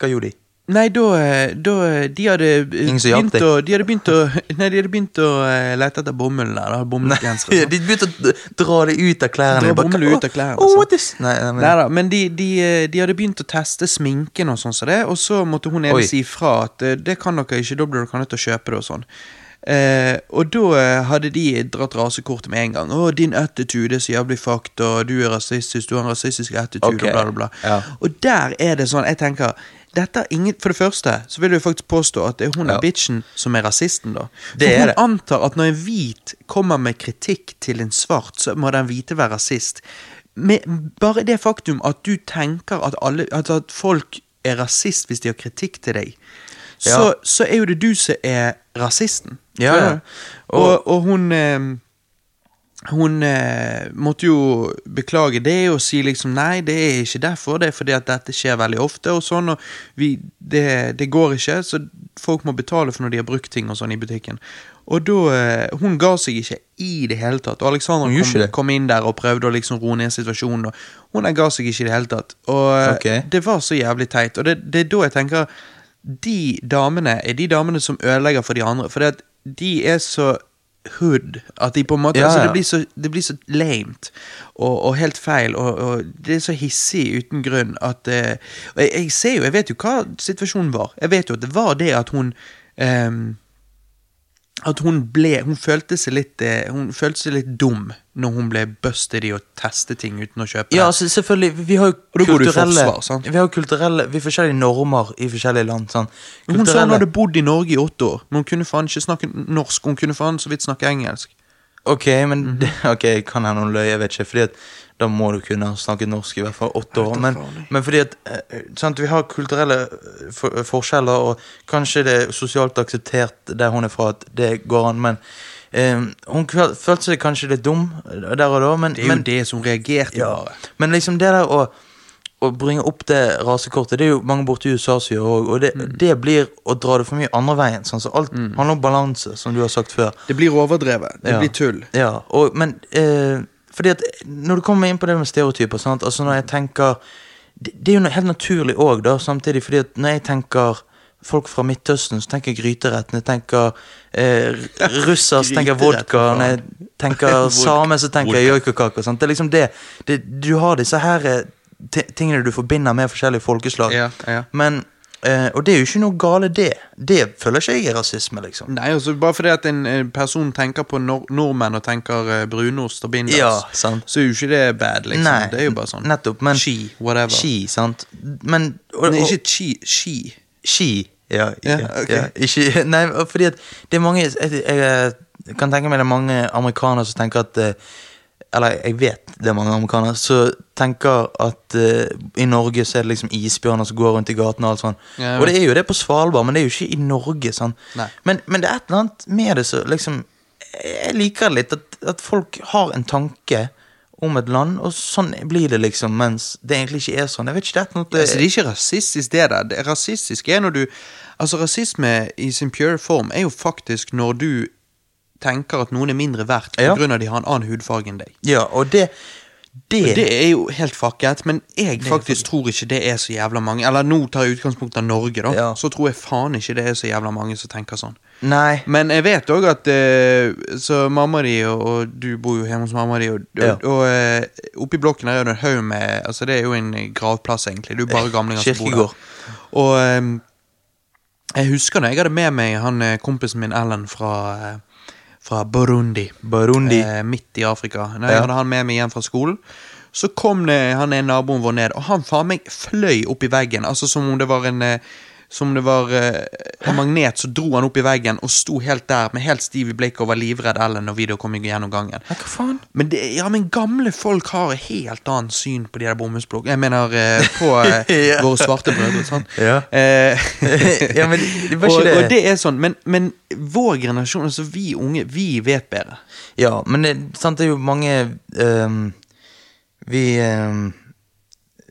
Speaker 2: Hva gjorde de?
Speaker 1: Nei, da, eh, da eh, De hadde eh,
Speaker 2: Ingen som
Speaker 1: begynt
Speaker 2: hjalp deg?
Speaker 1: å De hadde begynt å Nei, de hadde begynt å eh, lete etter bomullen der. da, Bomullsgensere. sant?
Speaker 2: de begynte å d- dra det ut av klærne.
Speaker 1: Dra
Speaker 2: Jeg bare,
Speaker 1: bomull
Speaker 2: hva-
Speaker 1: ut av klærne,
Speaker 2: Oh,
Speaker 1: sant?
Speaker 2: what is? Nei, nei, men,
Speaker 1: Nei da, men de, de, eh, de hadde begynt å teste sminken og sånn som det, og så måtte hun ene
Speaker 2: Oi.
Speaker 1: si ifra at eh, det kan dere ikke, da blir dere nødt til å kjøpe det og sånn. Eh, og da eh, hadde de dratt rasekortet med en gang. 'Å, din attitude er så jævlig fucked, og du er rasistisk, du har en rasistisk attitude',
Speaker 2: Ok,
Speaker 1: og bla, bla, bla.
Speaker 2: ja.
Speaker 1: Og der er det sånn, jeg tenker dette er ingen, For det første så vil jeg faktisk påstå at det er hun
Speaker 2: Ja.
Speaker 1: er bitchen som er rasisten, da. For
Speaker 2: Det er
Speaker 1: hun
Speaker 2: det.
Speaker 1: antar at når en hvit kommer med kritikk til en svart, så må den hvite være rasist. Med bare det faktum at du tenker at, alle, at, at folk er rasist hvis de har kritikk til deg, så,
Speaker 2: Ja.
Speaker 1: så er jo det du som er rasisten.
Speaker 2: Ja,
Speaker 1: Skjønner
Speaker 2: ja.
Speaker 1: du? Og, og hun eh, hun eh, måtte jo beklage det og si liksom nei, det er ikke derfor, det er fordi at dette skjer veldig ofte og sånn, og vi, det, det går ikke, så folk må betale for når de har brukt ting og sånn i butikken. Og da eh, Hun ga seg ikke i det hele tatt, og Alexandra
Speaker 2: Hun gjorde ikke
Speaker 1: kom,
Speaker 2: det.
Speaker 1: kom inn der og prøvde å liksom roe ned situasjonen, og hun der ga seg ikke i det hele tatt. Og eh,
Speaker 2: Ok.
Speaker 1: det var så jævlig teit, og det, det er da jeg tenker de damene er de damene som ødelegger for de andre, fordi at de er så hood at de på en måte
Speaker 2: Ja,
Speaker 1: altså,
Speaker 2: ja.
Speaker 1: det, blir så, det blir så lamet og, og helt feil, og, og det er så hissig uten grunn at eh, og jeg, jeg ser jo, jeg vet jo hva situasjonen var. Jeg vet jo at det var det at hun ehm, at hun ble Hun følte seg litt eh, Hun følte seg litt dum når hun ble busted i å teste ting uten å kjøpe.
Speaker 2: Ja, altså, selvfølgelig. Vi har jo
Speaker 1: da går du i
Speaker 2: kulturelle
Speaker 1: forsvar, sant?
Speaker 2: Vi har jo kulturelle Vi har forskjellige normer i forskjellige land. Sånn.
Speaker 1: hun sa hun
Speaker 2: Kulturelle-
Speaker 1: hadde bodd i Norge i åtte år, men hun kunne faen ikke snakke norsk. Hun kunne faen så vidt snakke engelsk.
Speaker 2: Ok, men
Speaker 1: Mhm.
Speaker 2: det- Ok, kan hende hun løy, jeg vet ikke. Fordi at da må du kunne ha snakket norsk i hvert fall åtte år. Men, men fordi at eh, sant, vi har kulturelle eh, for, eh, forskjeller, og kanskje det er sosialt akseptert der hun er fra at det går an, men eh, hun kvel- følte seg kanskje litt dum eh, der og da, men
Speaker 1: Det er
Speaker 2: men,
Speaker 1: jo det som reagerte,
Speaker 2: ja.
Speaker 1: bare.
Speaker 2: Men liksom det der å, å bringe opp det rasekortet Det er jo mange borte i USA som gjør òg, og det,
Speaker 1: Mm.
Speaker 2: det blir å dra det for mye andre veien. Sånn, så alt handler om balanse, som du har sagt før.
Speaker 1: Det blir overdrevet. Det
Speaker 2: Ja.
Speaker 1: blir tull.
Speaker 2: Ja, og, men eh, fordi at når du kommer inn på det med stereotyper sant? Altså når jeg tenker Det, det er jo no- helt naturlig òg, samtidig. fordi at når jeg tenker folk fra Midtøsten, så tenker jeg gryteretten. Jeg tenker eh, russer, så tenker jeg vodka.
Speaker 1: Gryteretten,
Speaker 2: Når jeg tenker same, så tenker jeg joikakaker. sant? Det er liksom det. det. Du har disse her eh, ti- tingene du forbinder med forskjellige folkeslag.
Speaker 1: Ja, ja.
Speaker 2: Men, eh, og det er jo ikke noe gale, det. Det føler ikke jeg er rasisme, liksom.
Speaker 1: Nei, altså Bare fordi at en eh, person tenker på nor nordmenn og tenker eh, brunost og binders,
Speaker 2: Ja, sant.
Speaker 1: så er jo ikke det bad, liksom.
Speaker 2: Nei,
Speaker 1: det er jo bare sånn.
Speaker 2: nettopp, men-
Speaker 1: Ski, whatever.
Speaker 2: Ski, sant? Men og,
Speaker 1: Nei,
Speaker 2: og-
Speaker 1: ikke chi, ski.
Speaker 2: Ski. Ja,
Speaker 1: Ja,
Speaker 2: ja,
Speaker 1: ok.
Speaker 2: ja. Ikke, nei, fordi at det er mange jeg, jeg, jeg kan tenke meg det er mange amerikanere som tenker at eh, Eller jeg vet det er mange amerikanere som tenker at eh, i Norge så er det liksom isbjørner som går rundt i gatene og alt sånn.
Speaker 1: Ja, jeg
Speaker 2: og
Speaker 1: vet.
Speaker 2: det er jo det på Svalbard, men det er jo ikke i Norge. sant?
Speaker 1: Nei.
Speaker 2: Men, men det er et eller annet med det som liksom Jeg liker det litt at, at folk har en tanke om et land, og sånn blir det liksom, mens det egentlig ikke er sånn. Jeg vet ikke, det er et eller annet
Speaker 1: Altså, det er ikke rasistisk, det der. Det er rasistisk er når du Altså, rasisme i sin pure form er jo faktisk når du tenker at noen er mindre verdt pga.
Speaker 2: Ja.
Speaker 1: grunn av de har en annen hudfarge enn deg.
Speaker 2: Ja, og det Det,
Speaker 1: Det er jo helt fucket, men jeg faktisk tror ikke det er så jævla mange. Eller nå tar jeg utgangspunkt av Norge, da.
Speaker 2: Ja.
Speaker 1: Så tror jeg faen ikke det er så jævla mange som tenker sånn.
Speaker 2: Nei.
Speaker 1: Men jeg vet òg at eh, Så mamma di, og, og du bor jo hjemme hos mamma di, og,
Speaker 2: Ja.
Speaker 1: og, og eh, oppe i blokken her er det en haug med Altså Det er jo en gravplass, egentlig. Det er jo bare gamlinger som bor
Speaker 2: Eh, Kirkegård.
Speaker 1: der. Og eh, jeg husker når jeg hadde med meg han eh, kompisen min Ellen fra, eh, fra Burundi.
Speaker 2: Burundi.
Speaker 1: Eh, midt i Afrika. Når
Speaker 2: Ja.
Speaker 1: jeg hadde han med meg hjem fra skolen, så kom det, han ene naboen vår ned, og han faen meg fløy opp i veggen. Altså som om det var en eh, som det var eh, en magnet, så dro han opp i veggen og sto helt der med helt stiv i blikket og var livredd Ellen når vi da kom gjennom gangen.
Speaker 2: Hva faen?
Speaker 1: Men, det, ja, men gamle folk har et helt annet syn på de der bomullsblokkene. Jeg mener eh, på eh,
Speaker 2: Ja.
Speaker 1: våre svarte brødre. Sant?
Speaker 2: Ja.
Speaker 1: Eh,
Speaker 2: Ja, men det var ikke
Speaker 1: og,
Speaker 2: det.
Speaker 1: og det er sånn, men, men vår generasjon, altså vi unge, vi vet bedre.
Speaker 2: Ja, men det, sant, det er jo mange ehm, Vi ehm,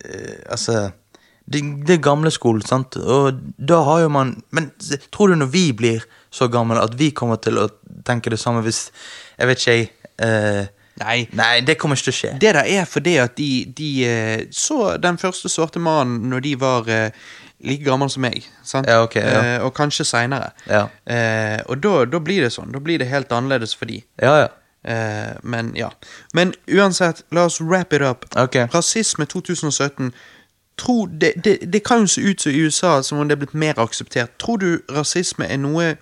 Speaker 2: eh, Altså det, det er gamle skolen, sant? Og da har jo man Men s- tror du når vi blir så gamle at vi kommer til å tenke det samme hvis Jeg vet ikke, jeg. eh,
Speaker 1: Nei.
Speaker 2: nei, det kommer ikke til å skje.
Speaker 1: Det der er fordi at de, de eh, så den første svarte mannen når de var eh, like gammel som meg. Sant?
Speaker 2: Ja, ok, ja.
Speaker 1: Eh, og kanskje seinere.
Speaker 2: Ja.
Speaker 1: Eh, og da, da blir det sånn. Da blir det helt annerledes for de.
Speaker 2: Ja, ja.
Speaker 1: Eh, men ja. Men uansett, la oss wrap it up.
Speaker 2: Ok.
Speaker 1: Rasisme 2017. Tror det, det, det kan jo se ut som i USA som om det er blitt mer akseptert. Tror du rasisme er noe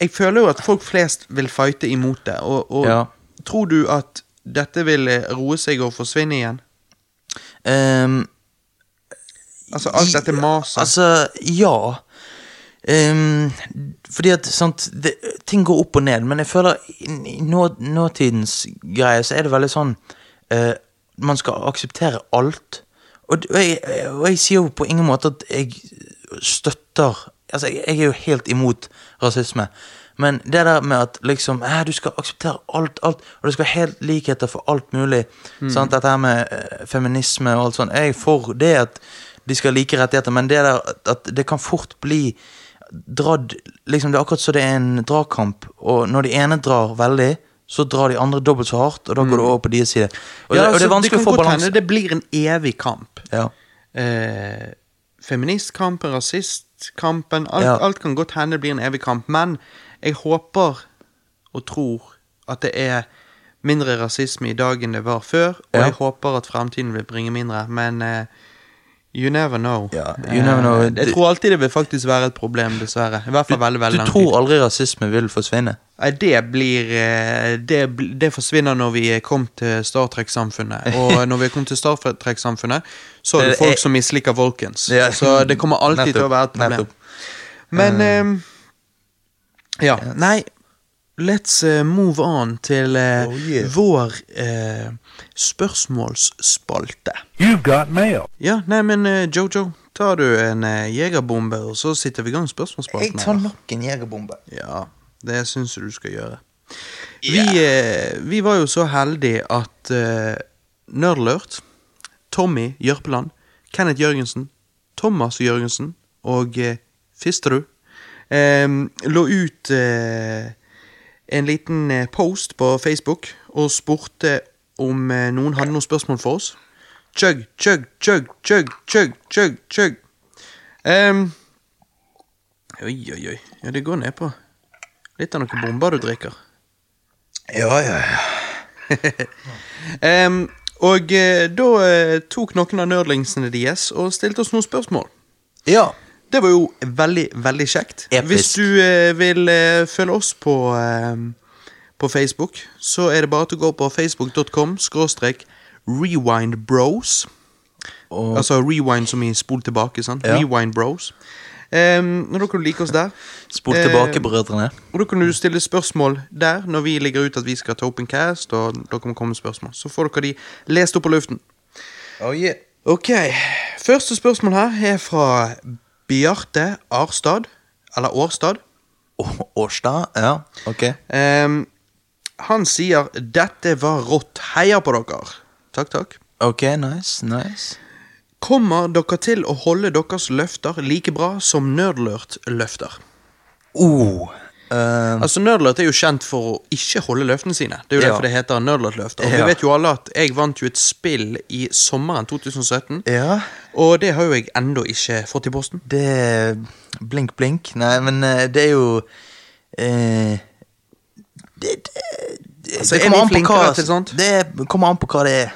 Speaker 1: Jeg føler jo at folk flest vil fighte imot det, og, og
Speaker 2: Ja.
Speaker 1: tror du at dette vil eh, roe seg og forsvinne igjen?
Speaker 2: Ehm,
Speaker 1: Altså alt dette maset.
Speaker 2: Altså, ja. Ehm, fordi at sant, det, ting går opp og ned, men jeg føler i, i nå, nåtidens greie så er det veldig sånn eh, Man skal akseptere alt. Og, d- og, jeg, og jeg sier jo på ingen måte at jeg støtter Altså, jeg, jeg er jo helt imot rasisme. Men det der med at liksom eh, du skal akseptere alt, alt, og det skal være helt likheter for alt mulig sant? Dette her med eh, feminisme og alt sånt. Jeg er for det at de skal ha like rettigheter, men det der at- at det kan fort bli dradd liksom Det er akkurat som det er en dragkamp, og når de ene drar veldig, så drar de andre dobbelt så hardt, og da går det over på deres side. Og, det, og det
Speaker 1: Mm. altså,
Speaker 2: er vanskelig å
Speaker 1: kan
Speaker 2: få
Speaker 1: godt
Speaker 2: balanse.
Speaker 1: hende Det blir en evig kamp.
Speaker 2: Ja.
Speaker 1: Eh, feministkampen, rasistkampen alt,
Speaker 2: Ja.
Speaker 1: alt kan godt hende det blir en evig kamp. Men jeg håper og tror at det er mindre rasisme i dag enn det var før. Og
Speaker 2: Ja.
Speaker 1: jeg håper at fremtiden vil bringe mindre. Men eh, you never know.
Speaker 2: Ja, you never know.
Speaker 1: Eh, jeg
Speaker 2: Du-
Speaker 1: tror alltid det vil faktisk være et problem, dessverre. I hvert
Speaker 2: Du,
Speaker 1: fall veldig, veldig
Speaker 2: du
Speaker 1: lang tid.
Speaker 2: tror aldri rasisme vil forsvinne?
Speaker 1: Nei, det blir eh, det, bl- det forsvinner når vi kom til Star Trek-samfunnet. Og når vi kom til Star Trek-samfunnet, så er det
Speaker 2: Det er-
Speaker 1: folk som misliker Volkens.
Speaker 2: Eh, Ja.
Speaker 1: Så det kommer alltid til å være et problem.
Speaker 2: Mm. Nettopp. Eh.
Speaker 1: Men ehm, Ja. Nei, let's eh, move on til eh,
Speaker 2: Oh, yeah.
Speaker 1: vår eh, spørsmålsspalte.
Speaker 6: You've got mail.
Speaker 1: Ja, nei, men eh, Jojo, tar du en eh, jegerbombe, og så sitter vi i gang med spørsmålsspalten?
Speaker 2: Jeg tar
Speaker 1: eller?
Speaker 2: nok en jegerbombe.
Speaker 1: Ja, det syns jeg du skal gjøre. Vi, eh, vi var jo så heldige at eh, Nerdlurt, Tommy Jørpeland, Kenneth Jørgensen, Thomas Jørgensen og eh, Fisterud eh, lå ut eh, en liten eh, post på Facebook og spurte om eh, noen hadde noen spørsmål for oss. Chug, chug, chug, chug, chug, chug, chug. Em, oi, oi, oi. Ja, det går nedpå. Litt av noen bomber du drikker.
Speaker 2: Ja, ja, ja.
Speaker 1: Em, og eh, da eh, tok noen av nerdlingsene deres og stilte oss noen spørsmål.
Speaker 2: ja.
Speaker 1: Det var jo veldig, veldig kjekt.
Speaker 2: Episk.
Speaker 1: Hvis du eh, vil eh, følge oss på, eh, på Facebook, så er det bare til å gå på facebook.com skråstrek rewindbros.
Speaker 2: Og-
Speaker 1: Altså rewind som i spol tilbake, sant?
Speaker 2: Ja.
Speaker 1: Rewind bros. Em, og da kan du like oss der.
Speaker 2: Spol
Speaker 1: Eh,
Speaker 2: tilbake, brødrene.
Speaker 1: Og da kan du stille spørsmål der når vi legger ut at vi skal ta opp en cast, og dere må komme med spørsmål. Så får dere de lest opp på luften.
Speaker 2: Oh, yeah.
Speaker 1: Ok, første spørsmål her er fra Bjarte Arstad, eller Årstad.
Speaker 2: Årstad? Ja, ok.
Speaker 1: Ehm, han sier 'Dette var rått, heia på dere'. Takk, takk.
Speaker 2: Ok, nice, nice.
Speaker 1: Kommer dere til å holde deres løfter like bra som Nerdlurt løfter?
Speaker 2: Oh. eh,
Speaker 1: Altså, Nerdlert er jo kjent for å ikke holde løftene sine. Det er jo
Speaker 2: Ja.
Speaker 1: derfor det heter Nerdlert-løfter. Og
Speaker 2: Ja.
Speaker 1: vi vet jo alle at jeg vant jo et spill i sommeren 2017,
Speaker 2: ja,
Speaker 1: og det har jo jeg ennå ikke fått i posten.
Speaker 2: det er Blink, blink. Nei, men eh, det er jo eh, det, det, det,
Speaker 1: Altså, er
Speaker 2: kommer
Speaker 1: vi
Speaker 2: an på hva-
Speaker 1: flinkere til sånt?
Speaker 2: Det kommer an på hva det er.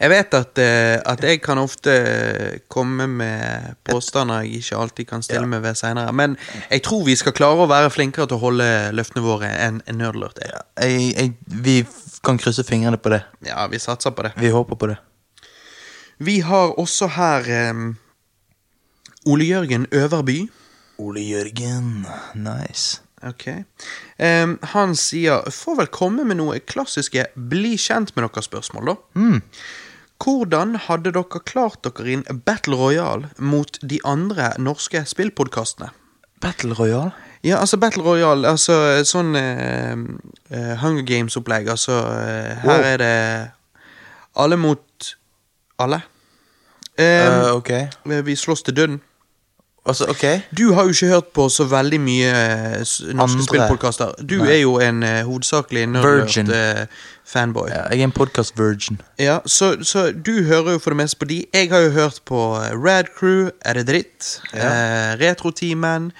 Speaker 1: Jeg vet at, eh, at jeg kan ofte eh, komme med påstander jeg ikke alltid kan stille meg ved seinere, men jeg tror vi skal klare å være flinkere til å holde løftene våre enn en Nerdlert er.
Speaker 2: Jeg, jeg, vi f- kan krysse fingrene på det.
Speaker 1: Ja, vi satser på det.
Speaker 2: Vi håper på det.
Speaker 1: Vi har også her em, Ole Jørgen Øverby.
Speaker 2: Ole Jørgen, nice.
Speaker 1: Ok. Em, han sier Får vel komme med noe klassiske bli kjent med dere-spørsmål, da.
Speaker 2: Mm.
Speaker 1: Hvordan hadde dere klart dere i en battle royal mot de andre norske spillpodkastene?
Speaker 2: Battle Royale?
Speaker 1: Ja, altså battle royal, altså sånn eh, eh, Hunger Games-opplegg. Altså, eh, her
Speaker 2: Wow.
Speaker 1: er det alle mot alle. Em,
Speaker 2: Eh, ok.
Speaker 1: vi slåss til døden.
Speaker 2: Altså, ok.
Speaker 1: Du har jo ikke hørt på så veldig mye eh, s- norske
Speaker 2: Andre.
Speaker 1: spillpodkaster. Du
Speaker 2: Nei.
Speaker 1: er jo en eh, hovedsakelig
Speaker 2: Virgin.
Speaker 1: nerdlert-fanboy.
Speaker 2: Ja,
Speaker 1: ja.
Speaker 2: jeg er en podcast-virgin.
Speaker 1: så, så du hører jo for det meste på de. Jeg har jo hørt på eh, Rad Crew, Er det dritt? Eh, Retrotimen.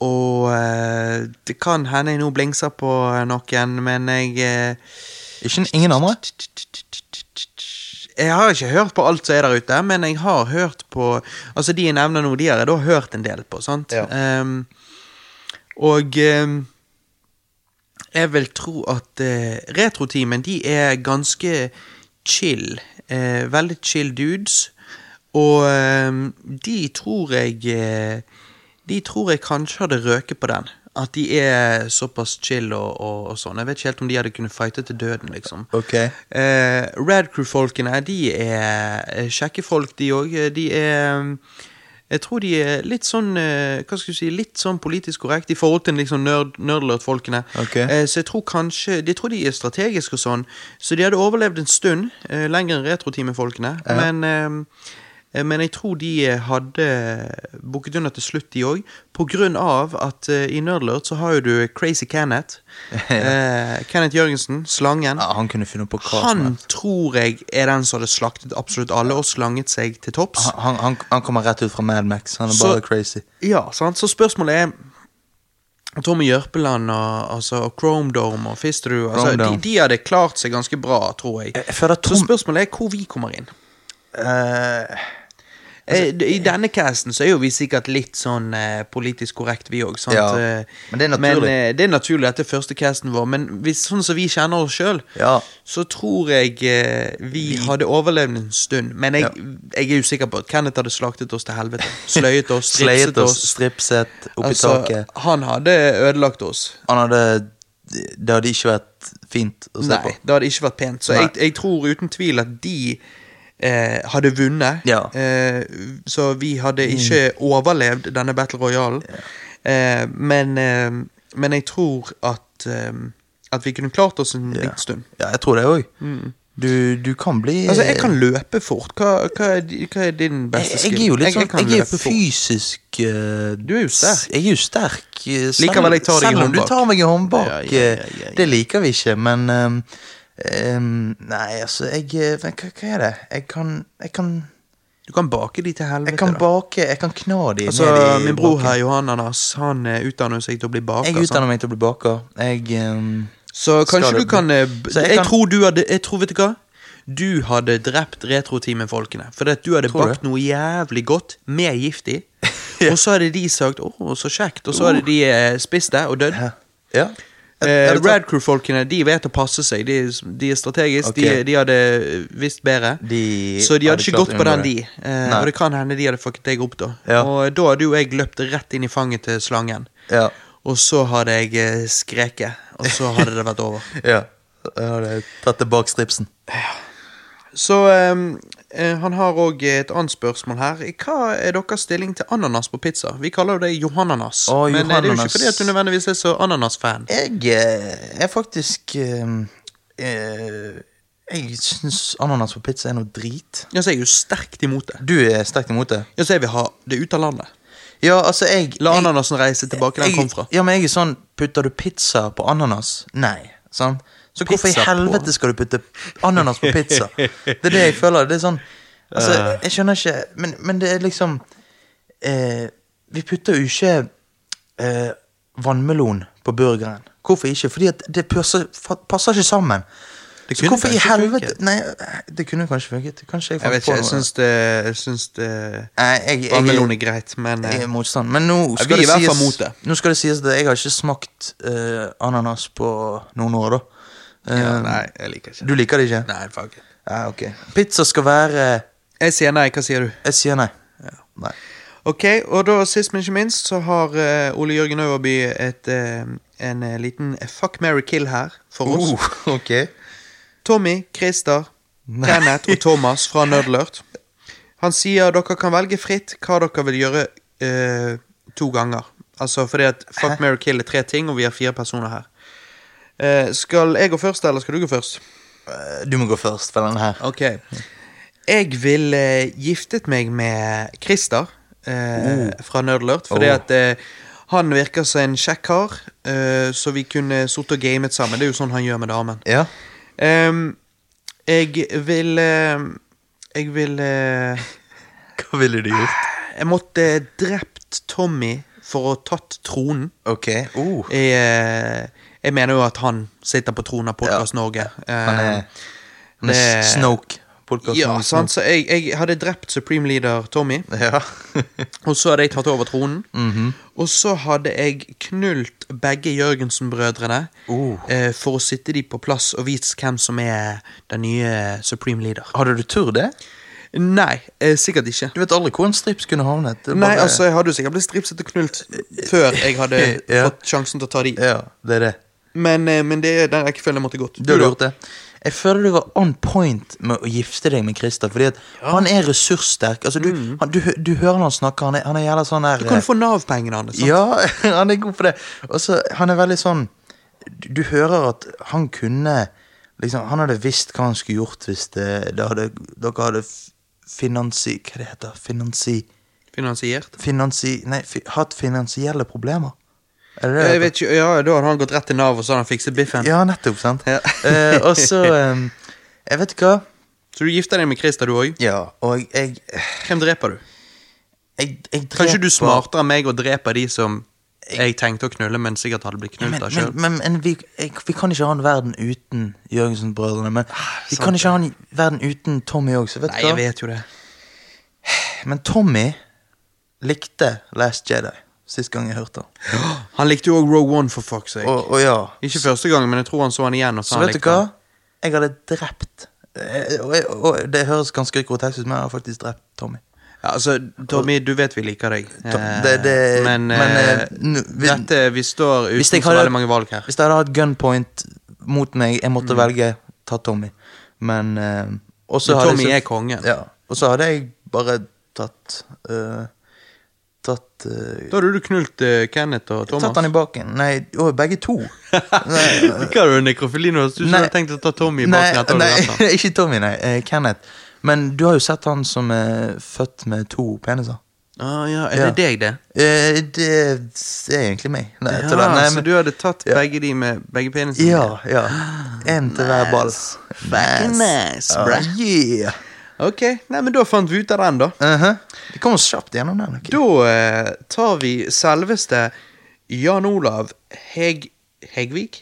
Speaker 1: Og eh, det kan hende jeg nå blingser på eh, noen, men jeg eh,
Speaker 2: Ikke, ingen andre?
Speaker 1: Jeg har ikke hørt på alt som er der ute, men jeg har hørt på Altså, de jeg nevner nå, de har jeg da hørt en del på, sant?
Speaker 2: Ja.
Speaker 1: Ehm, og ehm, Jeg vil tro at eh, retroteamen de er ganske chill. Eh, veldig chill dudes. Og eh, de tror jeg eh, De tror jeg kanskje hadde røket på den. At de er såpass chill og, og, og sånn. Jeg vet ikke helt om de hadde kunnet fighte til døden, liksom.
Speaker 2: Ok.
Speaker 1: Eh, Red Crew-folkene, de er er kjekke folk, de òg. De er mm, Jeg tror de er litt sånn eh, Hva skal du si Litt sånn politisk korrekt i forhold til liksom nerd, nerdlert-folkene.
Speaker 2: Ok.
Speaker 1: Eh, Så jeg tror kanskje Jeg tror de er strategiske og sånn. Så de hadde overlevd en stund, eh, lenger enn Retroteamet-folkene. Men eh, Eh, Men jeg tror de hadde bukket under til slutt, de òg. På grunn av at eh, i Nerdlert så har jo du Crazy Kenneth. eh, Kenneth Jørgensen, Slangen.
Speaker 2: Ja, han kunne funnet på hva som
Speaker 1: Han
Speaker 2: helst.
Speaker 1: tror jeg er den som hadde slaktet absolutt alle og slanget seg til topps.
Speaker 2: Han- Han, han, han kommer rett ut fra Mad Max. Han er
Speaker 1: Så-
Speaker 2: bare crazy.
Speaker 1: Ja, sant? Så spørsmålet er Tommy Jørpeland og, altså, og Chrome Dome og Fisterud altså,
Speaker 2: Chrome
Speaker 1: de,
Speaker 2: Dome.
Speaker 1: de hadde klart seg ganske bra, tror jeg.
Speaker 2: Jeg- jeg føler at
Speaker 1: Så
Speaker 2: Tom-
Speaker 1: spørsmålet er hvor vi kommer inn. Eh, I denne casten så er jo vi sikkert litt sånn eh, politisk korrekt, vi òg.
Speaker 2: Ja, men det er naturlig.
Speaker 1: Men, eh, det er naturlig at det er første casten vår, men hvis, sånn som vi kjenner oss sjøl,
Speaker 2: Ja.
Speaker 1: så tror jeg eh, vi, hadde overlevd en stund. Men jeg, jeg er jo sikker på at Kenneth hadde slaktet oss til helvete. Sløyet oss,
Speaker 2: Sleiet
Speaker 1: stripset
Speaker 2: oss,
Speaker 1: oss.
Speaker 2: stripset, opp i
Speaker 1: Altså,
Speaker 2: taket.
Speaker 1: han hadde ødelagt oss.
Speaker 2: Han hadde Det hadde ikke vært fint å se
Speaker 1: Nei,
Speaker 2: på.
Speaker 1: det hadde ikke vært pent. Så
Speaker 2: Nei.
Speaker 1: jeg, jeg tror uten tvil at de eh, hadde vunnet.
Speaker 2: Ja. Mm.
Speaker 1: Eh, så vi hadde ikke overlevd denne Battle Royalen. Eh, men, eh, men jeg tror at eh, at vi kunne klart oss en liten stund.
Speaker 2: Ja, jeg tror det òg. Du, du kan bli
Speaker 1: Mm. Altså, Jeg kan løpe fort. Hva, hva, er, di- hva er din beste
Speaker 2: Jeg-
Speaker 1: skill?
Speaker 2: Jeg er jo litt sånn
Speaker 1: kan
Speaker 2: Jeg, er
Speaker 1: løpe fort.
Speaker 2: fysisk eh,
Speaker 1: Du er jo sterk.
Speaker 2: s- Jeg er jo sterk. eh, selv-
Speaker 1: Likevel, jeg tar deg i
Speaker 2: Selv om du
Speaker 1: håndbak.
Speaker 2: tar meg i håndbak.
Speaker 1: Ja, ja, ja,
Speaker 2: eh,
Speaker 1: ja, ja.
Speaker 2: Det liker vi ikke, men ehm, ehm, Nei, altså, jeg eh, men hva, hva er det? Jeg kan Jeg kan,
Speaker 1: Du kan bake de til helvete.
Speaker 2: jeg kan
Speaker 1: da.
Speaker 2: bake, jeg kan kna de
Speaker 1: altså,
Speaker 2: ned i
Speaker 1: Min bror
Speaker 2: baken.
Speaker 1: her, Johan Anders, han eh, utdanner seg til å bli baker.
Speaker 2: Jeg
Speaker 1: sant?
Speaker 2: utdanner meg til å bli baker. Jeg ehm,
Speaker 1: Så
Speaker 2: Skal
Speaker 1: kanskje
Speaker 2: det
Speaker 1: du kan
Speaker 2: bli-
Speaker 1: eh, b-
Speaker 2: Så jeg
Speaker 1: jeg,
Speaker 2: kan-
Speaker 1: tror du hadde Jeg tror, vet du hva? Du hadde drept retroteamet-folkene. For at du hadde
Speaker 2: Tror du?
Speaker 1: bakt noe jævlig godt med gift i. Og så hadde de sagt 'Å, så kjekt', og så hadde de eh, spist det og dødd.
Speaker 2: Hæ? Oh. Ja.
Speaker 1: Eh,
Speaker 2: Jeg- jeg-
Speaker 1: Red Crew-folkene de vet å passe seg. De, de er strategiske.
Speaker 2: Ok.
Speaker 1: De, de hadde eh, visst bedre.
Speaker 2: De
Speaker 1: så de
Speaker 2: hadde
Speaker 1: hadde ikke
Speaker 2: klart
Speaker 1: gått på den,
Speaker 2: å
Speaker 1: de.
Speaker 2: unngå det.
Speaker 1: Eh,
Speaker 2: Nei.
Speaker 1: og det kan hende de hadde fucket deg opp, da.
Speaker 2: Ja.
Speaker 1: Og da hadde jo jeg løpt rett inn i fanget til slangen.
Speaker 2: Ja.
Speaker 1: Og så hadde jeg eh, skreket, og så hadde det vært over.
Speaker 2: ja. Jeg hadde tatt tilbake stripsen.
Speaker 1: Så ehm, eh, han har òg et annet spørsmål her. Hva er deres stilling til ananas på pizza? Vi kaller jo det Johananas.
Speaker 2: Å,
Speaker 1: men eh, det er jo
Speaker 2: Johananas.
Speaker 1: ikke fordi at du nødvendigvis er så ananas-fan.
Speaker 2: Jeg eh, er faktisk ehm, eh, Jeg syns ananas på pizza er noe drit.
Speaker 1: Altså, jeg er jo sterkt imot det.
Speaker 2: Du er sterkt imot det.
Speaker 1: Altså, jeg vil ha det ut av landet.
Speaker 2: Ja, altså, jeg
Speaker 1: La
Speaker 2: jeg-
Speaker 1: ananasen reise tilbake der den
Speaker 2: jeg-
Speaker 1: kom fra.
Speaker 2: Ja, men jeg er sånn Putter du pizza på ananas? Nei. Sant? Så hvorfor i
Speaker 1: Pizza på-
Speaker 2: helvete skal du putte ananas på pizza? Det er det jeg føler. Det er sånn Altså, jeg skjønner ikke Men, men det er liksom eh, Vi putter jo ikke eh, vannmelon på burgeren. Hvorfor ikke? Fordi at det passer, fa- passer ikke sammen.
Speaker 1: Det
Speaker 2: Så
Speaker 1: kunne
Speaker 2: hvorfor i
Speaker 1: kanskje
Speaker 2: helvete
Speaker 1: funket.
Speaker 2: Nei, eh, det kunne kanskje funket. Kanskje jeg
Speaker 1: Jeg
Speaker 2: fant
Speaker 1: vet ikke,
Speaker 2: på
Speaker 1: jeg
Speaker 2: noe.
Speaker 1: syns det Jeg syns det
Speaker 2: Nei, jeg, jeg,
Speaker 1: Vannmelon er greit, men
Speaker 2: jeg er
Speaker 1: eh,
Speaker 2: motstand. Men nå skal,
Speaker 1: vi er i
Speaker 2: det
Speaker 1: hvert fall
Speaker 2: sies,
Speaker 1: mot det.
Speaker 2: nå skal det sies at jeg har ikke smakt eh, ananas på noen år, da. Eh,
Speaker 1: ja, Nei, jeg liker ikke
Speaker 2: Du liker det ikke?
Speaker 1: Nei, fuck it.
Speaker 2: Ja, ok. Pizza skal være
Speaker 1: Jeg sier nei, hva sier du?
Speaker 2: Jeg sier nei. nei.
Speaker 1: Ok, og da sist, men ikke minst, så har eh, Ole Jørgen Øverby et, eh, en eh, liten fuck, marry, kill her for oss.
Speaker 2: Uh, ok.
Speaker 1: Tommy, Christer, Kenneth og Thomas fra Nødlert. Han sier dere kan velge fritt hva dere vil gjøre eh, to ganger. Altså fordi at fuck, marry, kill er tre ting, og vi har fire personer her. Eh, skal jeg gå først, eller skal du gå først?
Speaker 2: Eh, Du må gå først for den her.
Speaker 1: Ok. Jeg ville giftet meg med Christer eh, fra Nerdlert, fordi
Speaker 2: Oh.
Speaker 1: at eh, han virker som en kjekk kar, eh, så vi kunne sittet og gamet sammen. Det er jo sånn han gjør med damen.
Speaker 2: Ja.
Speaker 1: Ehm, jeg vil eh, Jeg vil eh,
Speaker 2: Hva ville du gjort?
Speaker 1: Jeg måtte drept Tommy for å ha tatt tronen.
Speaker 2: Ok. Uh.
Speaker 1: Jeg, eh, jeg mener jo at han sitter på tronen av Podkast Norge.
Speaker 2: Han er,
Speaker 1: Eh,
Speaker 2: han er
Speaker 1: det-
Speaker 2: Eh, Snoke podkasten.
Speaker 1: Ja, sant? Så jeg, jeg hadde drept Supreme Leader Tommy,
Speaker 2: Ja.
Speaker 1: og så hadde jeg tatt over tronen.
Speaker 2: Mhm.
Speaker 1: Og så hadde jeg knult begge Jørgensen-brødrene
Speaker 2: Oh.
Speaker 1: eh, for å sitte de på plass og vise hvem som er den nye Supreme Leader.
Speaker 2: Hadde du tur det?
Speaker 1: Nei, eh, sikkert ikke.
Speaker 2: Du vet aldri hvor en strips kunne havnet. Det er
Speaker 1: Nei,
Speaker 2: bare-
Speaker 1: altså, jeg hadde jo sikkert blitt stripset og knult før jeg hadde
Speaker 2: Ja.
Speaker 1: fått sjansen til å ta de.
Speaker 2: Ja, det er det.
Speaker 1: Men, eh, men det er den rekkefølgen jeg måtte gått.
Speaker 2: Du har gjort det. Jeg føler du var on point med å gifte deg med Christer, fordi at han er ressurssterk. Altså, du, han, du, hø- du hører når han snakker, han er, han er jævla sånn der
Speaker 1: Mm. Du kan få Nav-pengene hans. sant?
Speaker 2: Ja, han er god på det. Og så, han er veldig sånn du, du hører at han kunne liksom, Han hadde visst hva han skulle gjort hvis det, det hadde, dere hadde f- finansi... Hva det heter Finansi...
Speaker 1: Finansiert.
Speaker 2: finansi nei, fi, hatt finansielle problemer. Er det det?
Speaker 1: Jeg
Speaker 2: det
Speaker 1: vet ikke, ja, Da hadde han gått rett til Nav og så hadde han fikset biffen.
Speaker 2: Ja, nettopp, sant?
Speaker 1: Ja.
Speaker 2: Eh, og så eh, Jeg vet ikke hva.
Speaker 1: Så du gifter deg med Christer, du òg?
Speaker 2: Ja, og jeg
Speaker 1: Hvem dreper du?
Speaker 2: jeg, jeg dreper,
Speaker 1: Kanskje du er smartere enn meg og dreper de som jeg tenkte å knulle, men sikkert hadde blitt knult
Speaker 2: Men,
Speaker 1: av
Speaker 2: men,
Speaker 1: sjøl?
Speaker 2: men, men vi, jeg, vi kan ikke ha en verden uten Jørgensen-brødrene.
Speaker 1: Ah,
Speaker 2: Men vi kan ikke ha en verden uten Tommy òg, så vet
Speaker 1: Nei,
Speaker 2: du hva.
Speaker 1: jeg vet jo det.
Speaker 2: Men Tommy likte Last Jedi sist gang jeg hørte han.
Speaker 1: Han likte jo òg Row One, for fuck's sake.
Speaker 2: Og, og ja,
Speaker 1: Ikke første gang, men jeg tror han så han igjen. Og sa
Speaker 2: så
Speaker 1: han
Speaker 2: vet du
Speaker 1: likte
Speaker 2: hva?
Speaker 1: han.
Speaker 2: Jeg hadde drept eh, og, jeg- og det høres ganske grotesk ut, men jeg har faktisk drept Tommy.
Speaker 1: Ja, altså, Tommy, du vet vi liker deg.
Speaker 2: Tom-
Speaker 1: Eh,
Speaker 2: det- det-
Speaker 1: men
Speaker 2: men,
Speaker 1: eh,
Speaker 2: eh, nu- vi-
Speaker 1: dette, vi står uten
Speaker 2: Hvis jeg
Speaker 1: så
Speaker 2: hadde-
Speaker 1: veldig mange valg her.
Speaker 2: Hvis jeg hadde hatt gunpoint mot meg, jeg
Speaker 1: Mm.
Speaker 2: måtte velge ta Tommy. Men eh, og så
Speaker 1: Men
Speaker 2: hadde
Speaker 1: Tommy
Speaker 2: jeg så-
Speaker 1: er kongen.
Speaker 2: Ja, og så hadde jeg bare tatt eh, Tatt eh,
Speaker 1: Da hadde du knult eh, Kenneth og Thomas.
Speaker 2: Tatt han i baken. Nei, å, begge to. Nei,
Speaker 1: Hva er du, nekrofili nå? Du
Speaker 2: Nei.
Speaker 1: hadde tenkt å ta Tommy i
Speaker 2: Nei,
Speaker 1: baken etter at du
Speaker 2: nei,
Speaker 1: drepte han.
Speaker 2: ikke Tommy, nei. eh, Kenneth. Men du har jo sett han som er født med to peniser.
Speaker 1: Ah, ja, er det deg, det?
Speaker 2: Eh, det er egentlig meg. Nei,
Speaker 1: Ja,
Speaker 2: til den. Nei,
Speaker 1: så
Speaker 2: men,
Speaker 1: du hadde tatt
Speaker 2: Ja.
Speaker 1: begge de med begge penisene?
Speaker 2: ja, ja. En til hver ball.
Speaker 1: Fucking nice,
Speaker 2: Ah,
Speaker 1: bruh.
Speaker 2: yeah.
Speaker 1: Ok, nei, men da fant vi ut av den, da.
Speaker 2: Uh-huh. Vi kommer oss kjapt gjennom den. ok?
Speaker 1: Da eh, tar vi selveste Jan Olav Heg... Hegvik?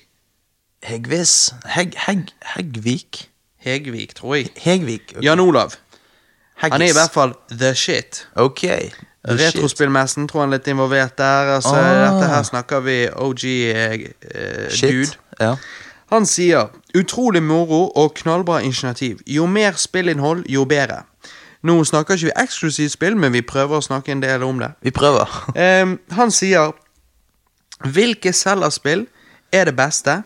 Speaker 2: Hegvis Heg, Heg, Hegvik?
Speaker 1: Hegvik, tror jeg.
Speaker 2: Hegvik. ok.
Speaker 1: Jan Olav.
Speaker 2: Heggis.
Speaker 1: Han er i hvert fall the shit.
Speaker 2: Ok.
Speaker 1: Retrospillmessen tror han er litt involvert der. Altså,
Speaker 2: Oh, Ah.
Speaker 1: Dette her snakker vi OG eh, eh, dude.
Speaker 2: Shit. Ja.
Speaker 1: Han sier utrolig moro og knallbra initiativ. Jo mer spillinnhold, jo bedre. Nå snakker ikke vi eksklusivt spill, men vi prøver å snakke en del om det.
Speaker 2: Vi prøver.
Speaker 1: Ehm, han sier Hvilke selgerspill er det beste?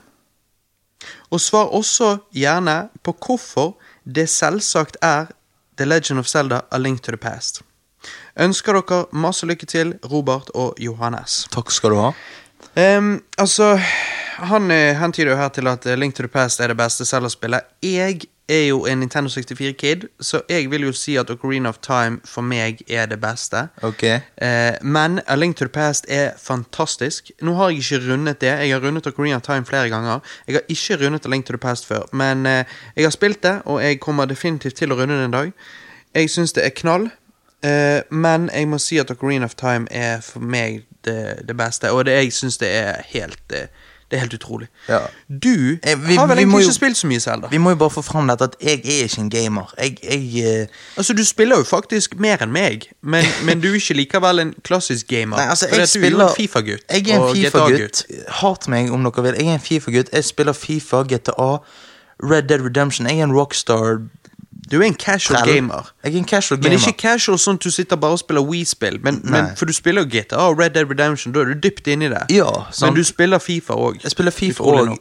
Speaker 1: Og svar også gjerne på hvorfor det selvsagt er The Legend of Zelda A Link to the Past. Ønsker dere masse lykke til, Robert og Johannes.
Speaker 2: Takk skal du ha.
Speaker 1: Ehm, altså, han eh, hentyder jo her til at eh, Link to the Past er det beste selgerspillet. Jeg er jo en Nintendo 64-kid, så jeg vil jo si at Ocarina of Time for meg er det beste.
Speaker 2: Ok.
Speaker 1: Eh, men A Link to the Past er fantastisk. Nå har jeg ikke rundet det. Jeg har rundet Ocarina of Time flere ganger. Jeg har ikke rundet A Link to the Past før, men eh, jeg har spilt det, og jeg kommer definitivt til å runde det en dag. Jeg syns det er knall, eh, men jeg må si at Ocarina of Time er for meg det, det beste, og det, jeg syns det er helt eh, det er helt utrolig.
Speaker 2: Ja.
Speaker 1: Du
Speaker 2: Eh, vi-
Speaker 1: har vel
Speaker 2: vi må
Speaker 1: egentlig
Speaker 2: jo-
Speaker 1: ikke spilt så mye selv, da.
Speaker 2: Vi må jo bare få fram dette at jeg er ikke en gamer. Jeg, jeg eh,
Speaker 1: Altså, du spiller jo faktisk mer enn meg, men, men du er ikke likevel en klassisk gamer.
Speaker 2: Nei, altså,
Speaker 1: fordi
Speaker 2: jeg
Speaker 1: at du er jo
Speaker 2: spiller
Speaker 1: en Fifa-gutt.
Speaker 2: Jeg er en
Speaker 1: og
Speaker 2: Fifa-gutt.
Speaker 1: GTA-gutt.
Speaker 2: Hat meg om dere vil. Jeg er en Fifa-gutt. Jeg spiller Fifa, GTA, Red Dead Redemption. Jeg er en rockstar.
Speaker 1: Du er en casual
Speaker 2: Trell.
Speaker 1: gamer.
Speaker 2: Jeg er en casual
Speaker 1: Men
Speaker 2: gamer.
Speaker 1: ikke casual sånn at du sitter bare og spiller Wii-spill. Men, men
Speaker 2: Nei.
Speaker 1: For du spiller jo GTA og Red Dead Redemption, da er du dypt inni det.
Speaker 2: Ja, sant.
Speaker 1: men du spiller Fifa òg.
Speaker 2: Jeg spiller Fifa òg.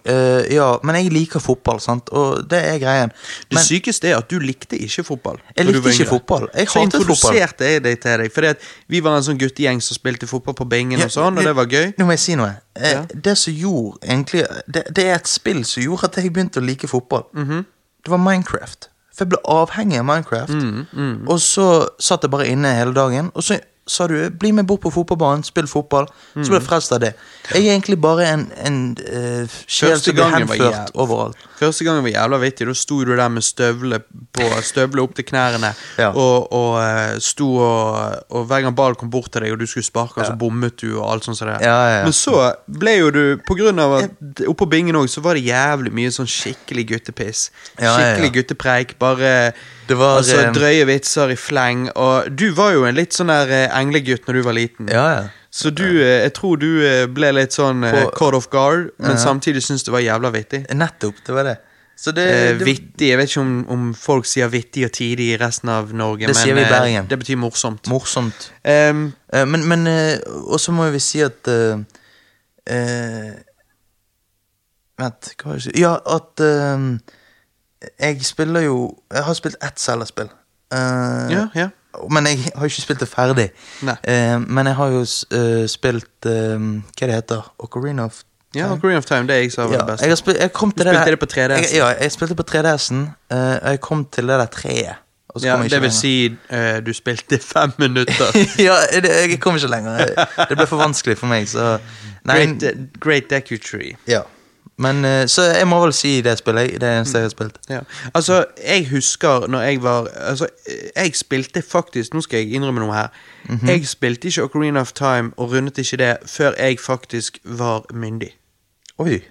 Speaker 2: ja, men jeg liker fotball, sant? og det er greien.
Speaker 1: Det
Speaker 2: Men
Speaker 1: sykeste er at du likte ikke fotball.
Speaker 2: Jeg
Speaker 1: når du
Speaker 2: likte
Speaker 1: var
Speaker 2: ikke
Speaker 1: yngre.
Speaker 2: fotball. Jeg
Speaker 1: så
Speaker 2: hatet fotball.
Speaker 1: introduserte jeg deg til deg. Fordi at vi var en sånn guttegjeng som spilte fotball på bingen, og sånn, og det var gøy.
Speaker 2: Nå må jeg si noe. Eh,
Speaker 1: Ja.
Speaker 2: Det som gjorde egentlig det, det er et spill som gjorde at jeg begynte å like fotball.
Speaker 1: Mhm.
Speaker 2: Det var
Speaker 1: Mm,
Speaker 2: Minecraft. For jeg ble avhengig av Minecraft. Og så satt jeg bare inne hele dagen, og så sa du, bli med bort på fotballbanen, spill fotball. Så ble jeg frelst av det. Jeg er egentlig bare en, en eh, sjel
Speaker 1: Første
Speaker 2: som blir
Speaker 1: gangen var
Speaker 2: henført
Speaker 1: jævlig.
Speaker 2: overalt.
Speaker 1: Første gangen var jævla vittig. Da sto du der med støvle, på, støvle opp til knærne.
Speaker 2: Ja.
Speaker 1: Og, og eh, sto og, og Hver gang ballen kom bort til deg og du skulle sparke, så bommet du. og alt sånt som det.
Speaker 2: Ja, ja, ja.
Speaker 1: Men så ble jo du På grunn av at oppå bingen òg, så var det jævlig mye sånn skikkelig guttepiss.
Speaker 2: Ja, ja, ja.
Speaker 1: Skikkelig guttepreik. Bare
Speaker 2: Det var,
Speaker 1: altså,
Speaker 2: eh,
Speaker 1: drøye vitser i fleng. Og du var jo en litt sånn der eh, englegutt når du var liten.
Speaker 2: Ja, ja.
Speaker 1: Så du, eh, jeg tror du eh, ble litt sånn eh,
Speaker 2: På-
Speaker 1: caught off guard, men samtidig syntes det var jævla vittig.
Speaker 2: Nettopp, det var det. Så det,
Speaker 1: Eh,
Speaker 2: det
Speaker 1: vittig, Jeg vet ikke om, om folk sier vittig og tidig i resten av Norge,
Speaker 2: Det
Speaker 1: men
Speaker 2: sier vi i
Speaker 1: eh,
Speaker 2: Bergen.
Speaker 1: det betyr morsomt.
Speaker 2: morsomt.
Speaker 1: Em,
Speaker 2: Eh, Men, men eh, Og så må vi si at eh, eh, Vent, hva var det jeg skulle Ja, at eh, jeg spiller jo Jeg har spilt ett Zelda-spill. Eh,
Speaker 1: Ja, ja.
Speaker 2: Men jeg har ikke spilt det ferdig.
Speaker 1: Nei.
Speaker 2: Eh, men jeg har jo s- eh, spilt eh, Hva det heter Ocarina of
Speaker 1: ja, Green of Time, det jeg sa var
Speaker 2: ja,
Speaker 1: det
Speaker 2: jeg, har
Speaker 1: beste.
Speaker 2: spilt, jeg kom til
Speaker 1: Du spilte
Speaker 2: der-
Speaker 1: det på 3DS.
Speaker 2: Jeg, ja, jeg spilte på 3DS-en, eh, og jeg kom til det der treet. og så
Speaker 1: Ja,
Speaker 2: kom jeg ikke
Speaker 1: det vil si
Speaker 2: lenger.
Speaker 1: eh, du spilte fem minutter.
Speaker 2: ja, det, jeg kom ikke lenger. Jeg- Det ble for vanskelig for meg, så Nei,
Speaker 1: Great, eh, great Deku Tree.
Speaker 2: ja. Men eh, Så jeg må vel si det spillet. jeg- Det er det eneste jeg har spilt.
Speaker 1: Ja. Altså, jeg husker når jeg var Altså, jeg spilte faktisk Nå skal jeg innrømme noe her.
Speaker 2: Mhm.
Speaker 1: Jeg spilte ikke Ocarina of Time og rundet ikke det før jeg faktisk var myndig.
Speaker 2: Oi.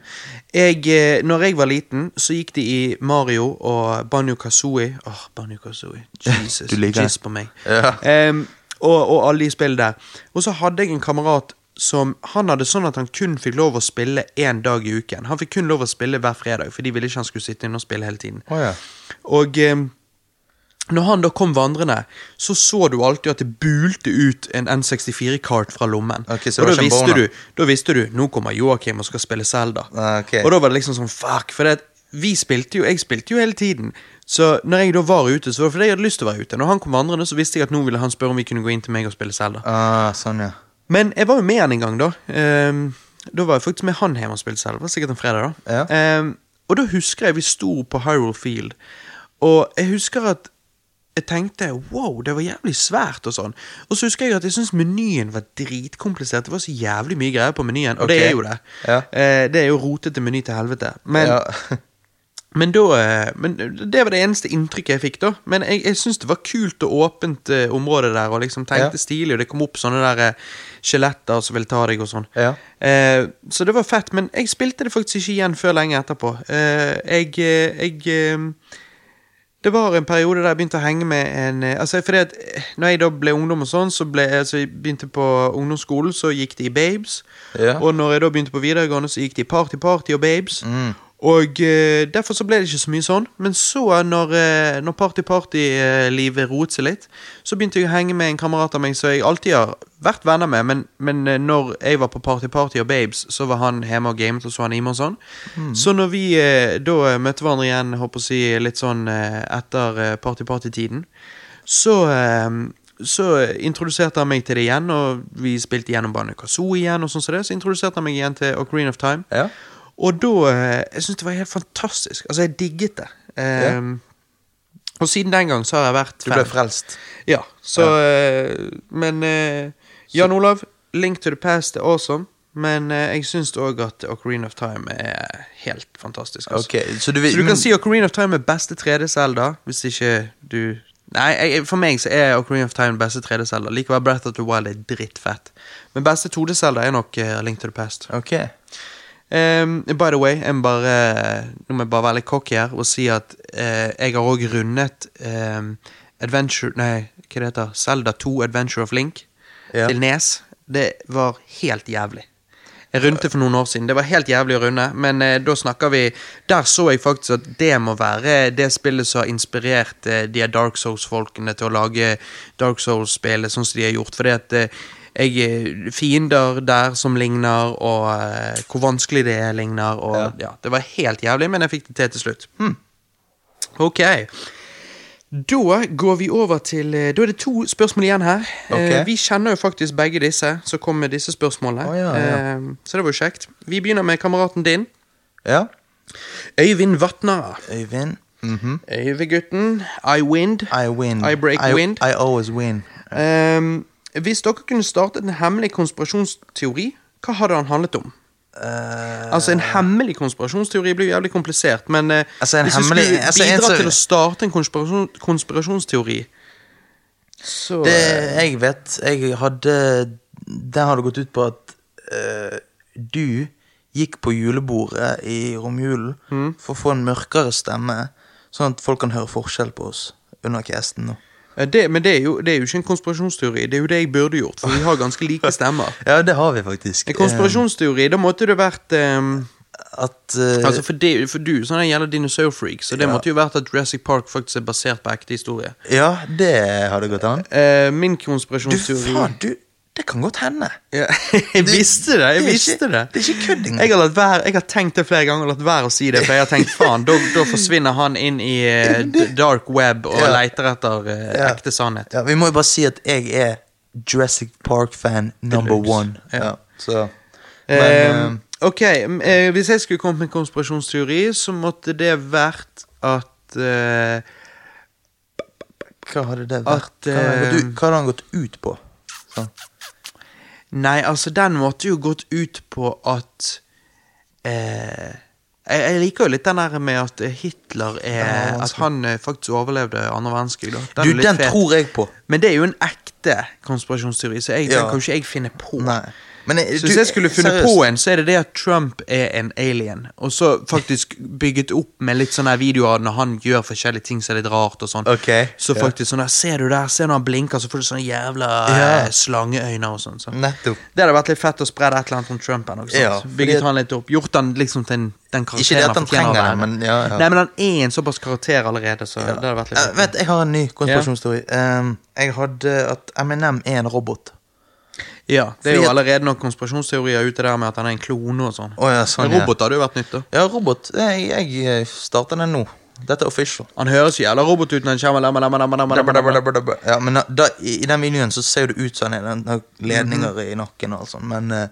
Speaker 1: Jeg, eh, når jeg var liten, så gikk de i Mario og Banjo Kazooie. Åh, Banjo Kazooie. Jesus.
Speaker 2: Du liker det.
Speaker 1: Jizz på meg.
Speaker 2: Ja.
Speaker 1: Em, og, og alle de spillene der. Og så hadde jeg en kamerat som Han hadde sånn at han kun fikk lov å spille én dag i uken. Han fikk kun lov å spille hver fredag, for de ville ikke han skulle sitte inne og spille hele tiden.
Speaker 2: Å ja.
Speaker 1: Og em, når han da kom vandrende, så så du alltid at det bulte ut en N64-kart fra lommen.
Speaker 2: Ok, så det
Speaker 1: og
Speaker 2: var
Speaker 1: da
Speaker 2: ikke en
Speaker 1: visste,
Speaker 2: boner.
Speaker 1: du, da visste du nå kommer Joakim og skal spille Zelda.
Speaker 2: Ah, ok.
Speaker 1: Og da var det liksom sånn fuck. For det at vi spilte jo, jeg spilte jo hele tiden. Så når jeg da var ute, så var det fordi jeg hadde lyst til å være ute. Når han kom vandrende, så visste jeg at nå ville han spørre om vi kunne gå inn til meg og spille Zelda.
Speaker 2: Ah, sånn, ja.
Speaker 1: Men jeg var jo med han en gang, da. Ehm, da var jeg faktisk med han hjemme og spilte selv. Det var sikkert en fredag, da.
Speaker 2: Ja.
Speaker 1: Ehm, og da husker jeg vi sto på Hyrule Field, og jeg husker at jeg tenkte wow, det var jævlig svært og sånn. Og så husker jeg at jeg syntes menyen var dritkomplisert. Det var så jævlig mye greier på menyen, og det
Speaker 2: Ok.
Speaker 1: er jo det.
Speaker 2: Ja.
Speaker 1: Eh, det er jo rotete meny til helvete. Men
Speaker 2: ja.
Speaker 1: men, da, eh, men Det var det eneste inntrykket jeg fikk. da Men jeg, jeg syntes det var kult og åpent eh, område der. Og liksom tenkte
Speaker 2: Ja.
Speaker 1: stilig Og det kom opp sånne der eh, skjeletter som ville ta deg og sånn.
Speaker 2: Ja.
Speaker 1: Eh, så det var fett. Men jeg spilte det faktisk ikke igjen før lenge etterpå. Eh, jeg eh, jeg eh, det var en periode der jeg begynte å henge med en eh, Altså fordi at eh, når jeg da ble ungdom og sånn, så ble altså, jeg begynte på ungdomsskolen, så gikk det i Babes.
Speaker 2: Ja.
Speaker 1: Og når jeg da begynte på videregående, så gikk det i Party Party og Babes. Og eh, derfor så ble det ikke så mye sånn. Men så, eh, når, eh, når Party Party-livet roet seg litt, så begynte jeg å henge med en kamerat av meg som jeg alltid har vært venner med, men, men eh, når jeg var på Party Party og Babes, så var han hjemme og gamet og så anime og sånn. Så når vi eh, da eh, møtte hverandre igjen, håper å si, litt sånn eh, etter eh, Party Party-tiden, så eh, så introduserte han meg til det igjen, og vi spilte gjennom Banu Kazoo igjen. og sånn som det, Så introduserte han meg igjen til Ocarina of Time. Eh,
Speaker 2: Ja.
Speaker 1: Og da eh, Jeg syntes det var helt fantastisk. Altså, jeg digget det. Eh, Og siden den gang så har jeg vært
Speaker 2: Du ble
Speaker 1: fan.
Speaker 2: frelst.
Speaker 1: Ja, så eh, Men eh, Jan Olav, Link to the Past er awesome. Men eh, jeg syns òg at Ocarina of Time er helt fantastisk. altså.
Speaker 2: Ok, så du vil-
Speaker 1: så du kan
Speaker 2: men-
Speaker 1: si Ocarina of Time er beste 3D-Selda, hvis ikke du Nei, jeg, for meg så er Ocarina of Time beste 3D-Selda. Likevel Breath of the Wild er drittfett. Men beste 2D-Selda er nok eh, Link to the Past.
Speaker 2: Ok.
Speaker 1: Ehm, by the way, jeg må bare, nå må jeg bare være litt cocky her og si at eh, jeg har òg rundet ehm, Adventure Nei, hva det heter Selda 2 Adventure of Link
Speaker 2: Ja.
Speaker 1: til Nes. Det var helt jævlig. Jeg rundte for noen år siden. Det var helt jævlig å runde, men eh, da snakker vi Der så jeg faktisk at det må være det spillet som har inspirert eh, de Dark Souls-folkene til å lage Dark Souls-spillet sånn som de har gjort. Fordi at eh, jeg eh, Fiender der som ligner, og eh, hvor vanskelig det er, ligner. Og, ja. det var helt jævlig, men jeg fikk det til til slutt. Hmm. Ok. Da går vi over til eh, Da er det to spørsmål igjen her. Eh,
Speaker 2: Ok.
Speaker 1: Vi kjenner jo faktisk begge disse, så kom med disse spørsmålene.
Speaker 2: Å, ja, ja.
Speaker 1: Eh, så det var jo kjekt. Vi begynner med kameraten din.
Speaker 2: Ja.
Speaker 1: Øyvind Vatnara.
Speaker 2: Øyvind. Mhm.
Speaker 1: Øyvind-gutten. I wind.
Speaker 2: I win.
Speaker 1: I break wind.
Speaker 2: I always win.
Speaker 1: Ehm, Hvis dere kunne startet en hemmelig konspirasjonsteori, hva hadde han handlet om?
Speaker 2: Eh.
Speaker 1: altså, en hemmelig konspirasjonsteori blir jo jævlig komplisert, men eh,
Speaker 2: Altså, en
Speaker 1: hvis
Speaker 2: hemmelig-
Speaker 1: du skulle
Speaker 2: altså, en
Speaker 1: bidra
Speaker 2: som-
Speaker 1: til å starte en konspirasjon, konspirasjonsteori, så
Speaker 2: Det jeg vet Jeg hadde Den hadde gått ut på at eh, du gikk på julebordet i romjulen
Speaker 1: Mm.
Speaker 2: for å få en mørkere stemme, sånn at folk kan høre forskjell på oss under casten nå.
Speaker 1: eh, det, Men det er, jo, det er jo ikke en konspirasjonsteori, det er jo det jeg burde gjort, for vi har ganske like stemmer.
Speaker 2: Ja, det har vi faktisk.
Speaker 1: En konspirasjonsteori, da måtte det vært eh,
Speaker 2: Eh, at eh,
Speaker 1: Altså for, det, for du, sånn gjelder dinosaurfreaks, og det måtte jo vært at Jurassic Park faktisk er basert på ekte historie.
Speaker 2: Ja, det hadde gått an.
Speaker 1: Eh, min
Speaker 2: Du,
Speaker 1: konspirasjonsteori
Speaker 2: faen, du Det kan godt hende.
Speaker 1: Ja, jeg visste det! jeg
Speaker 2: det er
Speaker 1: visste
Speaker 2: ikke-
Speaker 1: det.
Speaker 2: det er ikke kødd engang.
Speaker 1: Jeg har, latt være, jeg har tenkt det flere ganger og latt være å si det, for jeg har tenkt faen, da, da forsvinner han inn i eh, d- dark web og
Speaker 2: Ja.
Speaker 1: leter etter eh,
Speaker 2: Ja.
Speaker 1: ekte sannhet.
Speaker 2: Ja, vi må jo bare si at jeg er Jurassic Park-fan number
Speaker 1: Deluxe.
Speaker 2: one.
Speaker 1: Ja.
Speaker 2: så Men
Speaker 1: Eh,
Speaker 2: eh,
Speaker 1: ok, m- eh, hvis jeg skulle kommet med en konspirasjonsteori, så måtte det vært at eh,
Speaker 2: hva hadde det vært?
Speaker 1: at,
Speaker 2: hva,
Speaker 1: eh,
Speaker 2: hadde han gått ut, hva hadde han gått ut på? Sånn.
Speaker 1: Nei, altså, den måtte jo gått ut på at eh, jeg, jeg liker jo litt den der med at eh, Hitler er
Speaker 2: Ja, vanskelig.
Speaker 1: At han eh, faktisk overlevde andre verdenskrig. Da.
Speaker 2: Du,
Speaker 1: er litt
Speaker 2: den
Speaker 1: fet.
Speaker 2: tror jeg på.
Speaker 1: Men det er jo en ekte konspirasjonsteori, så jeg,
Speaker 2: Ja.
Speaker 1: den kan jo ikke jeg finne på. Eh,
Speaker 2: Nei. Men jeg-
Speaker 1: så
Speaker 2: du-
Speaker 1: hvis jeg skulle funnet
Speaker 2: seriøst.
Speaker 1: på en, så er det det at Trump er en alien. Og så faktisk bygget opp med litt sånne her videoer når han gjør forskjellige ting som er litt rart og sånn.
Speaker 2: Ok,
Speaker 1: Så
Speaker 2: ja.
Speaker 1: faktisk sånn der, ser du der, se når han blinker, så får du sånne jævla
Speaker 2: Ja.
Speaker 1: eh, slangeøyne og sånn. Så.
Speaker 2: Nettopp.
Speaker 1: Det hadde vært litt fett å spre et eller annet om Trump. Eller, noe sånt.
Speaker 2: Ja, fordi-
Speaker 1: Bygget han litt opp, Gjort han liksom til en, den karakteren
Speaker 2: Ikke det at han
Speaker 1: fortjener å
Speaker 2: trenger det,
Speaker 1: være.
Speaker 2: men ja, ja.
Speaker 1: Nei, men han er en såpass karakter allerede, så det hadde vært litt
Speaker 2: Eh,
Speaker 1: fett.
Speaker 2: Vent, jeg har en ny konspirasjonsstory. Um, jeg hadde at Eminem er en robot.
Speaker 1: Ja, Det er
Speaker 2: Fordi
Speaker 1: jo
Speaker 2: at-
Speaker 1: allerede noen konspirasjonsteorier ute der med at han er en klone og sånn.
Speaker 2: Å ja, sånn,
Speaker 1: Men robot hadde jo vært nytt, da.
Speaker 2: Ja, robot. Jeg, jeg eh, starter den nå. Dette er official.
Speaker 1: Han høres jo jævla robot ut når han kommer. Lamma, lamma, lamma, lamma, lamma, lamma.
Speaker 2: Ja, men da, i, I den videoen så ser det ut som han er- han har ledninger i nakken og alt sånt, men eh,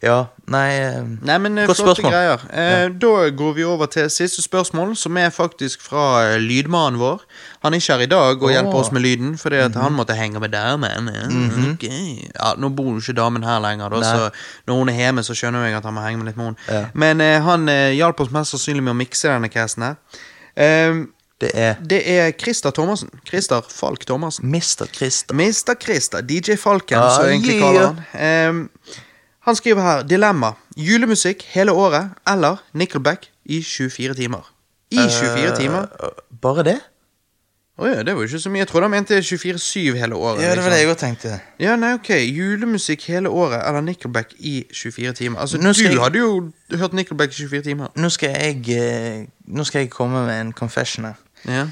Speaker 2: Ja, nei eh,
Speaker 1: Nei, men eh,
Speaker 2: Godt
Speaker 1: flotte
Speaker 2: spørsmål.
Speaker 1: greier. Eh, Da går vi over til siste spørsmål, som er faktisk fra eh, lydmannen vår. Han er ikke her i dag og hjelper
Speaker 2: Åh. Mhm.
Speaker 1: oss med lyden, fordi at han måtte henge med damen. eh, ok. Ja, nå bor jo ikke damen her lenger, da, så når hun er hjemme, så skjønner jeg at han må henge med litt med henne.
Speaker 2: Ja.
Speaker 1: Men eh, han eh, hjalp oss mest sannsynlig med å mikse denne casten her. Eh,
Speaker 2: Det er
Speaker 1: det er Christer Thomassen. Christer Falk Thomassen.
Speaker 2: Mr. Christer.
Speaker 1: Mr. Christer, DJ Falken,
Speaker 2: Ah,
Speaker 1: som jeg egentlig
Speaker 2: yeah.
Speaker 1: kaller han. Ehm, han skriver her 'Dilemma'. Julemusikk hele året eller Nickelback i 24 timer. I 24 timer?
Speaker 2: Bare det?
Speaker 1: Å ja, det var jo ikke så mye. Jeg trodde han mente 24-7 hele året.
Speaker 2: Ja, det var
Speaker 1: liksom.
Speaker 2: det jeg òg tenkte.
Speaker 1: Ja, nei, ok. Julemusikk hele året eller Nickelback i 24 timer. Altså,
Speaker 2: Nå
Speaker 1: Du
Speaker 2: skal jeg-
Speaker 1: hadde jo hørt Nickelback i 24 timer.
Speaker 2: Nå skal jeg eh, Nå skal jeg komme med en confession her.
Speaker 1: Ja.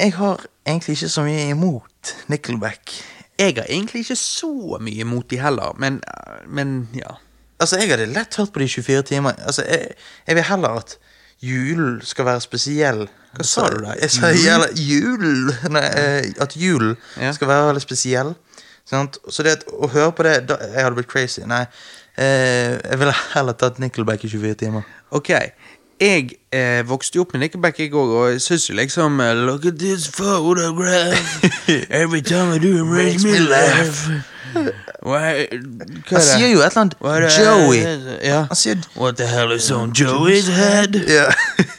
Speaker 2: Jeg har egentlig ikke så mye imot Nickelback.
Speaker 1: Jeg har egentlig ikke så mye imot de heller, men, men ja.
Speaker 2: Altså, jeg hadde lett hørt på de 24 timer. Altså, jeg, jeg vil heller at julen skal være spesiell. Hva
Speaker 1: sa du der?
Speaker 2: Jeg sa jævla jul. Nei, eh, at julen
Speaker 1: Ja.
Speaker 2: skal være veldig spesiell. Sant? Så det at, å høre på det da, Jeg hadde blitt crazy. Nei. Eh, jeg ville heller tatt Nickelback i 24 timer.
Speaker 1: Ok, jeg eh, vokste jo opp med Nickelback i går, og jeg synes jo liksom eh, Look at this photograph Every time I do it makes me laugh Why, Hva
Speaker 2: Han
Speaker 1: er
Speaker 2: sier
Speaker 1: det?
Speaker 2: jo et eller annet
Speaker 1: Hva er det?
Speaker 2: Joey.
Speaker 1: Ja.
Speaker 2: Han sier
Speaker 1: What the hell is on Joey's head?
Speaker 2: Ja.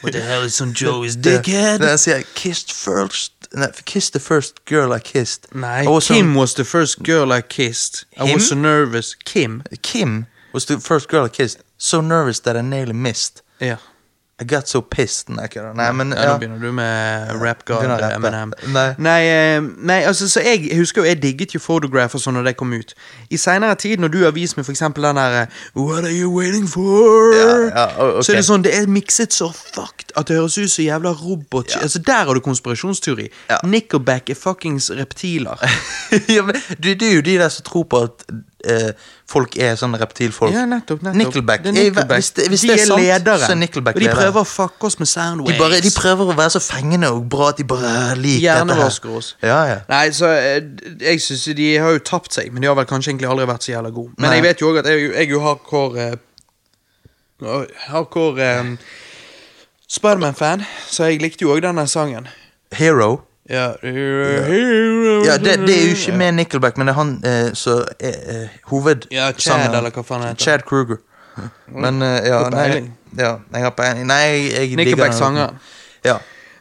Speaker 1: What the hell is on Joey's
Speaker 2: Nei,
Speaker 1: dickhead?
Speaker 2: Han sier Kissed first Nei, Kiss the first girl I kissed.
Speaker 1: Nei,
Speaker 2: I was so-
Speaker 1: Kim was the first girl I kissed I
Speaker 2: Him?
Speaker 1: was so nervous Kim?
Speaker 2: Kim was the first girl I kissed. So nervous that I nearly missed.
Speaker 1: Ja,
Speaker 2: I got so pissed. Nei, ikke det. Nei, men
Speaker 1: Ja,
Speaker 2: ja.
Speaker 1: Nå begynner du med rap god
Speaker 2: Begynner å rappe.
Speaker 1: Eminem.
Speaker 2: Nei.
Speaker 1: Nei, eh, nei, altså, så jeg husker jo, jeg digget jo Photograph og sånn når det kom ut. I seinere tid, når du har vist meg for eksempel den der eh, What are you waiting for?
Speaker 2: Ja, ja, o- ok.
Speaker 1: Så er det sånn, det er mikset så fucked at det høres ut som jævla robot. Altså, Der har du konspirasjonsteori.
Speaker 2: Ja.
Speaker 1: Nickelback er fuckings reptiler.
Speaker 2: ja, men du, det er jo de der som tror på at eh, folk er sånne reptilfolk.
Speaker 1: ja, nettopp, nettopp.
Speaker 2: Nickelback.
Speaker 1: Det er
Speaker 2: Jeg-
Speaker 1: Nickelback.
Speaker 2: Hvis det, hvis
Speaker 1: de
Speaker 2: det er, sant,
Speaker 1: lederen.
Speaker 2: så er Nickelback
Speaker 1: og de
Speaker 2: lederen.
Speaker 1: prøver å fucke oss med soundwaves.
Speaker 2: de, bare, de prøver å være så fengende og bra at de bare eh, liker dette her.
Speaker 1: Hjernevasker oss.
Speaker 2: Ja, ja.
Speaker 1: Nei, så eh, Jeg synes de har jo tapt seg, men de har vel kanskje egentlig aldri vært så jævla gode. Men
Speaker 2: Nei.
Speaker 1: jeg vet jo òg at jeg, jeg er jo hardcore eh, oi, eh, Hardcore eh, Spiderman-fan, så jeg likte jo òg denne sangen.
Speaker 2: Hero.
Speaker 1: Ja,
Speaker 2: Ja, det, det er jo ikke med Nickelback, men det er han eh, som er eh, hoved...
Speaker 1: Ja, Chad,
Speaker 2: sangeren.
Speaker 1: eller hva faen han heter.
Speaker 2: Chad Kruger. Men eh, ja,
Speaker 1: Har
Speaker 2: nei,
Speaker 1: peiling.
Speaker 2: ja, jeg har peiling. Nei, jeg, jeg digger
Speaker 1: Nickelback
Speaker 2: den.
Speaker 1: sanger.
Speaker 2: Ja.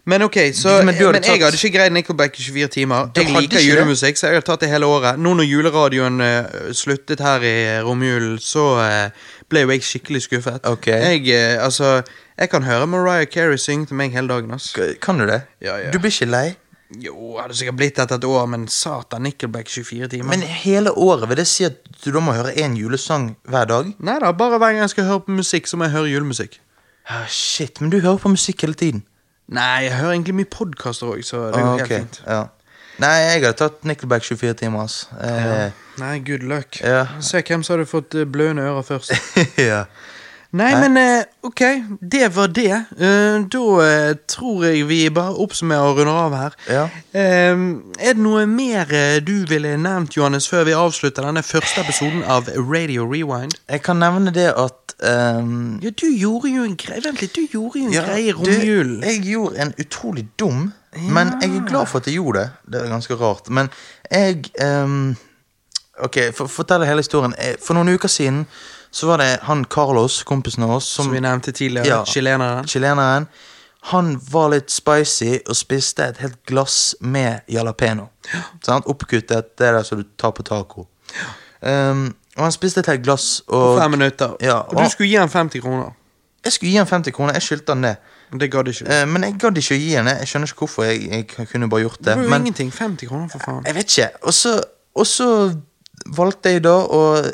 Speaker 1: Men ok, så
Speaker 2: Men
Speaker 1: Men,
Speaker 2: du hadde tatt-
Speaker 1: jeg hadde ikke greid Nickelback i 24 timer.
Speaker 2: Du
Speaker 1: Jeg liker
Speaker 2: hadde ikke det?
Speaker 1: julemusikk, så jeg har tatt det hele året. Nå når juleradioen eh, sluttet her i romjulen, så eh, ble jo jeg skikkelig skuffet.
Speaker 2: Ok.
Speaker 1: Jeg, eh, altså, jeg kan høre Mariah Carey synge til meg hele dagen. ass.
Speaker 2: K- Kan du det?
Speaker 1: Ja, ja.
Speaker 2: Du blir ikke lei?
Speaker 1: Jo, hadde sikkert blitt etter et år, men satan, Nickelback 24 timer.
Speaker 2: Men hele året, vil det si at du da må høre én julesang hver dag?
Speaker 1: Nei da, bare hver gang jeg skal høre på musikk, så må jeg høre julemusikk.
Speaker 2: Ah, shit, men du hører på musikk hele tiden.
Speaker 1: Nei, jeg hører egentlig mye podkaster òg, så det går
Speaker 2: Ah,
Speaker 1: helt
Speaker 2: ok,
Speaker 1: fint.
Speaker 2: ja. Nei, jeg hadde tatt Nickelback 24 timer, ass. Eh,
Speaker 1: Nei, good luck.
Speaker 2: Ja.
Speaker 1: Se hvem som hadde fått eh, blødende ører først.
Speaker 2: ja.
Speaker 1: Nei, men eh, ok, det var det. Eh, da eh, tror jeg vi bare oppsummerer og runder av her.
Speaker 2: Ja.
Speaker 1: Eh, er det noe mer eh, du ville nevnt, Johannes, før vi avslutter denne første episoden av Radio Rewind?
Speaker 2: Jeg kan nevne det at ehm,
Speaker 1: Ja, du gjorde jo en greie Vent litt, du gjorde jo en greie i
Speaker 2: du,
Speaker 1: romjulen.
Speaker 2: Jeg gjorde en utrolig dum, men jeg er glad for at jeg gjorde det. Det er ganske rart. Men jeg ehm, Ok, for, fortell hele historien. Eh, For noen uker siden så var det han Carlos, kompisen av oss, som,
Speaker 1: Som vi nevnte tidligere. Chileneren.
Speaker 2: chileneren. Han var litt spicy og spiste et helt glass med jalapeño. Sant? Oppkuttet, det der som du tar på taco. Ehm, og han spiste et helt glass, og
Speaker 1: Fem minutter.
Speaker 2: Ja,
Speaker 1: og du skulle gi han 50 kroner.
Speaker 2: jeg skulle gi han 50 kroner. Jeg skyldte han det.
Speaker 1: Men Det gadd ikke. du.
Speaker 2: Eh, Men jeg gadd ikke å gi henne. Jeg skjønner ikke hvorfor jeg, jeg kunne bare gjort
Speaker 1: Det Eh.
Speaker 2: det.
Speaker 1: var jo
Speaker 2: Men
Speaker 1: ingenting. 50 kroner, for faen.
Speaker 2: jeg vet ikke. Og så, og så valgte jeg da å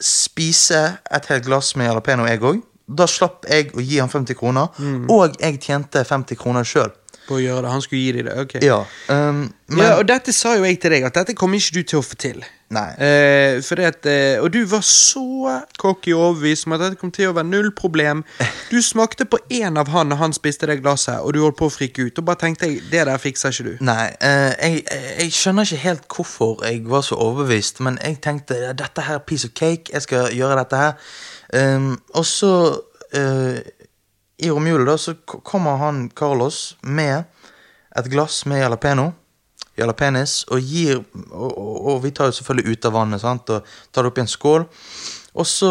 Speaker 2: spise et helt glass med jalapeño, jeg òg. Da slapp jeg å gi han 50 kroner,
Speaker 1: Mm.
Speaker 2: og jeg tjente 50 kroner sjøl.
Speaker 1: På å gjøre det. Han skulle gi deg det. ok.
Speaker 2: Ja, ehm, men
Speaker 1: ja, og dette sa jo jeg til deg, at dette kommer ikke du til å få til.
Speaker 2: Nei.
Speaker 1: Eh, fordi at, eh, og du var så cocky og overbevist om at dette kom til å være null problem. Du smakte på én av han, og han spiste det glasset, og du holdt på å frike ut. Og bare tenkte jeg, det der fikser ikke du.
Speaker 2: Nei, eh, jeg, jeg- jeg skjønner ikke helt hvorfor jeg var så overbevist, men jeg tenkte "Ja, dette her er piece of cake, jeg skal gjøre dette her. Ehm, og så, eh, i romjulen, da, så k- kommer han Carlos med et glass med jalapeño. Jalapenis, og gir og, og, og vi tar jo selvfølgelig ut av vannet, sant, og tar det opp i en skål. Og så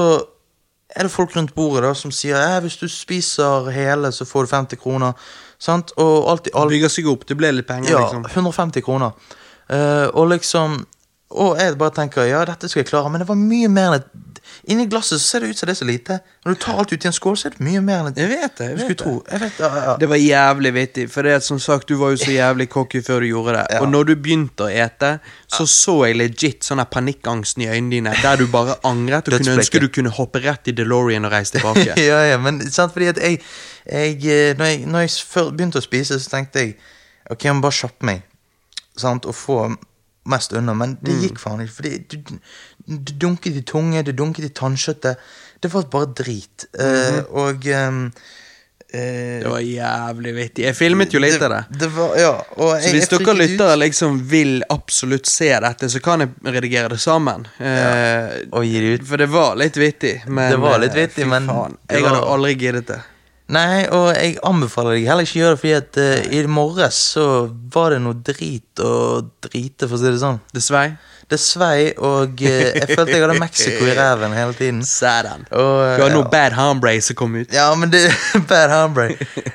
Speaker 2: er det folk rundt bordet da som sier eh, hvis du spiser hele, så får du 50 kroner. Sant? Og alt i alt
Speaker 1: Bygger seg opp. Det ble litt penger,
Speaker 2: ja,
Speaker 1: liksom.
Speaker 2: 150 kroner. Eh, og liksom Og jeg bare tenker ja, dette skal jeg klare, men det var mye mer enn et Inni glasset så ser det ut som det er så lite. Når du tar alt ut i en skål, så er det mye mer enn et
Speaker 1: Jeg vet det. jeg
Speaker 2: Du
Speaker 1: vet det.
Speaker 2: skulle tro. Jeg vet, ja, ja.
Speaker 1: Det var jævlig vittig, for det er som sagt, du var jo så jævlig cocky før du gjorde det.
Speaker 2: Ja.
Speaker 1: Og når du begynte å ete, så så jeg legit sånn her panikkangsten i øynene dine, der du bare angret og kunne
Speaker 2: Dødsblikket.
Speaker 1: ønske du kunne hoppe rett i DeLorean og reise tilbake.
Speaker 2: ja, ja, men sant, fordi at jeg, jeg eh, Når jeg, når jeg før begynte å spise, så tenkte jeg Ok, jeg må bare kjappe meg sant, og få mest unna. Men det
Speaker 1: Mm.
Speaker 2: gikk faen ikke. Fordi du, du dunket i tunge, du dunket i tannkjøttet. Det var bare drit. Eh, og ehm, eh,
Speaker 1: Mhm. Det var jævlig vittig. Jeg filmet jo litt av det.
Speaker 2: det var, ja, og jeg,
Speaker 1: Så hvis
Speaker 2: jeg
Speaker 1: dere
Speaker 2: fryktet ut.
Speaker 1: lyttere liksom vil absolutt se dette, så kan jeg redigere det sammen. Eh,
Speaker 2: Og gi det ut.
Speaker 1: For det var litt vittig. Men,
Speaker 2: Det var litt
Speaker 1: eh,
Speaker 2: vittig,
Speaker 1: fy
Speaker 2: men
Speaker 1: faen,
Speaker 2: det
Speaker 1: Jeg hadde
Speaker 2: var-
Speaker 1: aldri giddet det.
Speaker 2: Nei, og jeg anbefaler deg heller ikke å gjøre det, fordi at eh, i morges så var det noe drit å drite, for å si det sånn.
Speaker 1: Dessverre.
Speaker 2: Det svei, og eh, jeg følte jeg hadde Mexico i ræven hele tiden.
Speaker 1: Satan. Du
Speaker 2: Og, eh,
Speaker 1: har nå
Speaker 2: ja.
Speaker 1: Bad Hombre som kom ut.
Speaker 2: Ja, men det Bad hombre.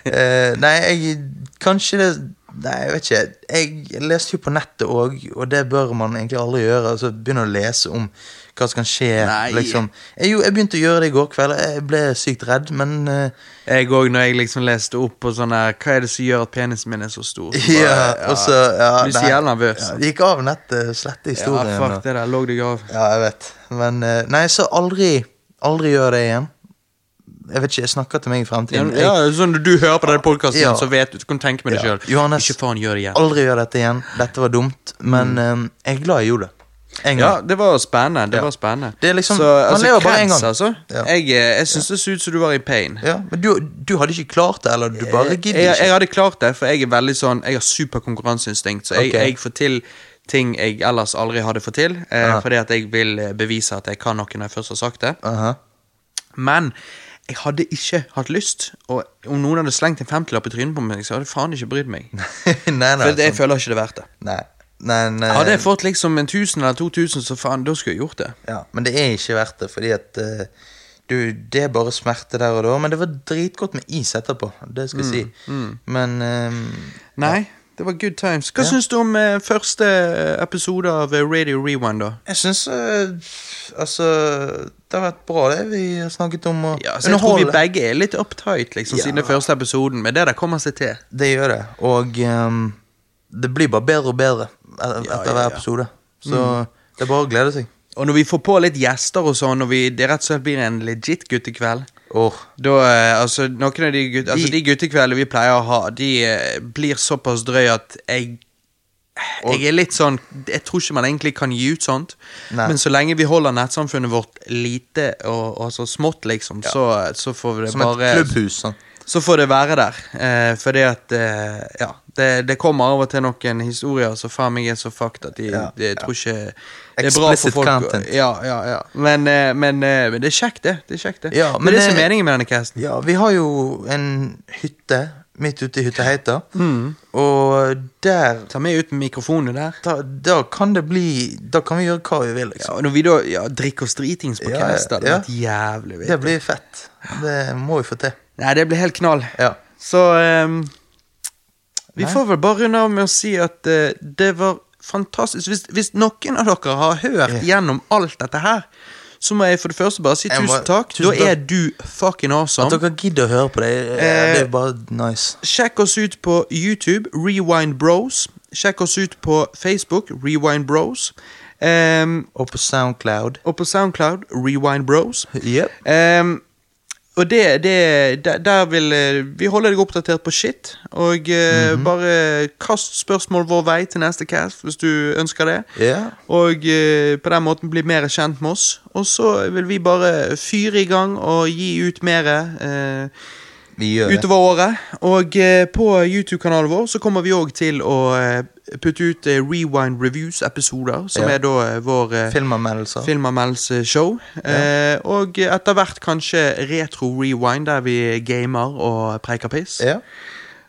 Speaker 2: Eh, nei, jeg Kanskje det Nei, jeg vet ikke. Jeg leste jo på nettet òg, og det bør man egentlig aldri gjøre. Altså Begynne å lese om hva som kan skje.
Speaker 1: Nei.
Speaker 2: Liksom. Jeg, jo, jeg begynte å gjøre det i går kveld. Jeg ble sykt redd, men eh,
Speaker 1: Jeg òg, når jeg liksom leste opp på sånn her Hva er det som gjør at penisen min er så stor? Så
Speaker 2: ja,
Speaker 1: bare,
Speaker 2: og så ja,
Speaker 1: Blir så
Speaker 2: nei.
Speaker 1: jævla nervøs.
Speaker 2: Ja, det gikk av nettet. Slette
Speaker 1: Ja,
Speaker 2: historien.
Speaker 1: fuck
Speaker 2: og-
Speaker 1: det der. Lå deg av.
Speaker 2: Ja, jeg vet. Men eh, Nei, så aldri Aldri gjør det igjen. Jeg vet ikke, jeg snakker til meg i
Speaker 1: Ja,
Speaker 2: fremtiden. Jeg-
Speaker 1: ja, sånn Når du hører på denne podkasten,
Speaker 2: Ja.
Speaker 1: så vet du Du kan tenke med deg
Speaker 2: Ja.
Speaker 1: selv
Speaker 2: Johannes-
Speaker 1: Ikke faen gjør det igjen.
Speaker 2: Aldri gjør dette igjen. Dette var dumt, men eh, jeg er glad jeg gjorde det. En gang.
Speaker 1: Mm. Ja, det var spennende. Det
Speaker 2: Ja.
Speaker 1: var spennende.
Speaker 2: Det er
Speaker 1: så,
Speaker 2: liksom- man
Speaker 1: altså,
Speaker 2: lever bare en
Speaker 1: kreds,
Speaker 2: gang.
Speaker 1: Altså.
Speaker 2: Ja.
Speaker 1: Jeg, eh, jeg syns det så ut som du var i pain.
Speaker 2: Ja, men du, du hadde ikke klart det, eller du bare
Speaker 1: Jeg,
Speaker 2: gidder
Speaker 1: Eh, jeg,
Speaker 2: ikke?
Speaker 1: hadde klart det, for jeg er veldig sånn Jeg har super konkurranseinstinkt, så jeg,
Speaker 2: Ok.
Speaker 1: jeg får til ting jeg ellers aldri hadde fått til. Eh,
Speaker 2: Ja.
Speaker 1: Fordi at jeg vil eh, bevise at jeg kan noe når jeg først har sagt det.
Speaker 2: Aha.
Speaker 1: Men Jeg hadde ikke hatt lyst, og om noen hadde slengt en femtilapp i trynet på meg, så hadde jeg faen ikke brydd meg.
Speaker 2: nei, nei,
Speaker 1: For jeg
Speaker 2: sånn-
Speaker 1: føler ikke det er verdt det.
Speaker 2: nei, nei, nei.
Speaker 1: Hadde jeg fått liksom en tusen eller to tusen, så faen, da skulle jeg gjort det.
Speaker 2: Ja, men det er ikke verdt det, fordi at eh, du, Det er bare smerte der og da, men det var dritgodt med is etterpå. Det skal jeg
Speaker 1: Mm,
Speaker 2: si. Men ehm,
Speaker 1: Nei, det var good times. Hva syns du om eh, første episode av eh, Radio Rewind, da?
Speaker 2: jeg syns Altså, det har vært bra, det vi har snakket om. å
Speaker 1: Ja, så jeg tror vi
Speaker 2: underholde.
Speaker 1: begge er litt uptight liksom,
Speaker 2: Ja.
Speaker 1: siden den første episoden, men det der kommer seg til.
Speaker 2: Det gjør det. Og ehm, det blir bare bedre og bedre et- etter
Speaker 1: ja, Mm.
Speaker 2: hver
Speaker 1: ja.
Speaker 2: episode. Så det er bare å glede seg.
Speaker 1: Og når vi får på litt gjester og sånn, og vi, det rett og slett blir en legit guttekveld
Speaker 2: Åh,
Speaker 1: da, eh, altså, Noen av de, gutt, altså, de guttekveldene vi pleier å ha, de eh, blir såpass drøye at jeg Jeg er litt sånn Jeg tror ikke man egentlig kan gi ut sånt,
Speaker 2: Nei.
Speaker 1: men så lenge vi holder nettsamfunnet vårt lite og, og så smått, liksom, så, så får vi det
Speaker 2: som
Speaker 1: bare
Speaker 2: et klubbhus. Sånn.
Speaker 1: så får det være der. Eh, fordi at eh, Ja, det, det kommer av og til noen historier som faen meg er så fucked at de,
Speaker 2: Ja,
Speaker 1: de jeg
Speaker 2: ja.
Speaker 1: tror ikke Det er bra for
Speaker 2: Explicit
Speaker 1: folk.
Speaker 2: content.
Speaker 1: Ja, ja, ja. Men, eh, men, eh, men det er kjekt, det. Det er kjekt det
Speaker 2: Ja,
Speaker 1: Det er
Speaker 2: men
Speaker 1: det som
Speaker 2: det-
Speaker 1: er meningen med denne casten.
Speaker 2: Ja, vi har jo en hytte midt ute i hytteheita,
Speaker 1: Mm.
Speaker 2: og der
Speaker 1: Ta med ut mikrofonene der.
Speaker 2: da, da kan det bli Da kan vi gjøre hva vi vil,
Speaker 1: Ja,
Speaker 2: liksom.
Speaker 1: og når vi da ja, drikker oss dritings på
Speaker 2: Ja,
Speaker 1: ja, cast, det hadde
Speaker 2: ja.
Speaker 1: vært jævlig
Speaker 2: Det
Speaker 1: vittig.
Speaker 2: blir fett. Det må vi få til.
Speaker 1: Nei, det blir helt knall.
Speaker 2: Ja.
Speaker 1: Så ehm, Vi
Speaker 2: Nei.
Speaker 1: får vel bare runde av med å si at eh, det var fantastisk. Hvis, hvis noen av dere har hørt gjennom alt dette her, så må jeg for det første bare si
Speaker 2: Jeg må-
Speaker 1: tusen takk.
Speaker 2: tusen
Speaker 1: da er
Speaker 2: takk.
Speaker 1: du fucking
Speaker 2: At
Speaker 1: awesome.
Speaker 2: dere gidder å høre på det, eh,
Speaker 1: Eh,
Speaker 2: det er bare nice.
Speaker 1: Sjekk oss ut på YouTube, Rewind Bros. Sjekk oss ut på Facebook, Rewind Bros. Ehm,
Speaker 2: Og på Soundcloud.
Speaker 1: og på Soundcloud, Rewind Bros.
Speaker 2: Jep.
Speaker 1: Ehm, og det, det der, der vil eh, Vi holder deg oppdatert på shit. Og eh,
Speaker 2: Mhm.
Speaker 1: bare kast spørsmål vår vei til neste cast hvis du ønsker det.
Speaker 2: Ja.
Speaker 1: Og eh, på den måten bli mer kjent med oss. Og så vil vi bare fyre i gang og gi ut mer eh,
Speaker 2: Vi gjør det.
Speaker 1: utover året. Og eh, på YouTube-kanalen vår så kommer vi òg til å eh, putte ut eh, Rewind Reviews-episoder, som
Speaker 2: Ja.
Speaker 1: er da eh, vår eh,
Speaker 2: Filmanmeldelser.
Speaker 1: Filmanmeldelseshow. Eh, og etter hvert kanskje Retro Rewind, der vi gamer og preiker piss.
Speaker 2: Ja.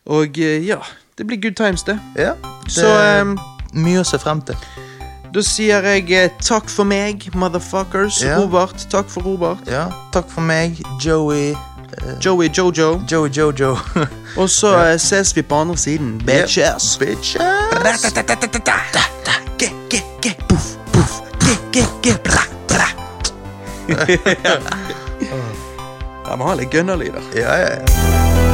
Speaker 1: Og eh, ja, det blir good times, det.
Speaker 2: ja. Det
Speaker 1: Så
Speaker 2: er
Speaker 1: em,
Speaker 2: mye å se frem til.
Speaker 1: da sier jeg eh, takk for meg, motherfuckers.
Speaker 2: Ja.
Speaker 1: Robert, takk for Robert.
Speaker 2: Ja. Takk for meg, Joey. eh,
Speaker 1: Joey Jojo.
Speaker 2: Joey Jojo.
Speaker 1: Og så eh, ses vi på andre siden. Bitches.
Speaker 2: Bitches.
Speaker 1: Ja, vi har litt gønnerlyder.
Speaker 2: Ja, ja, ja.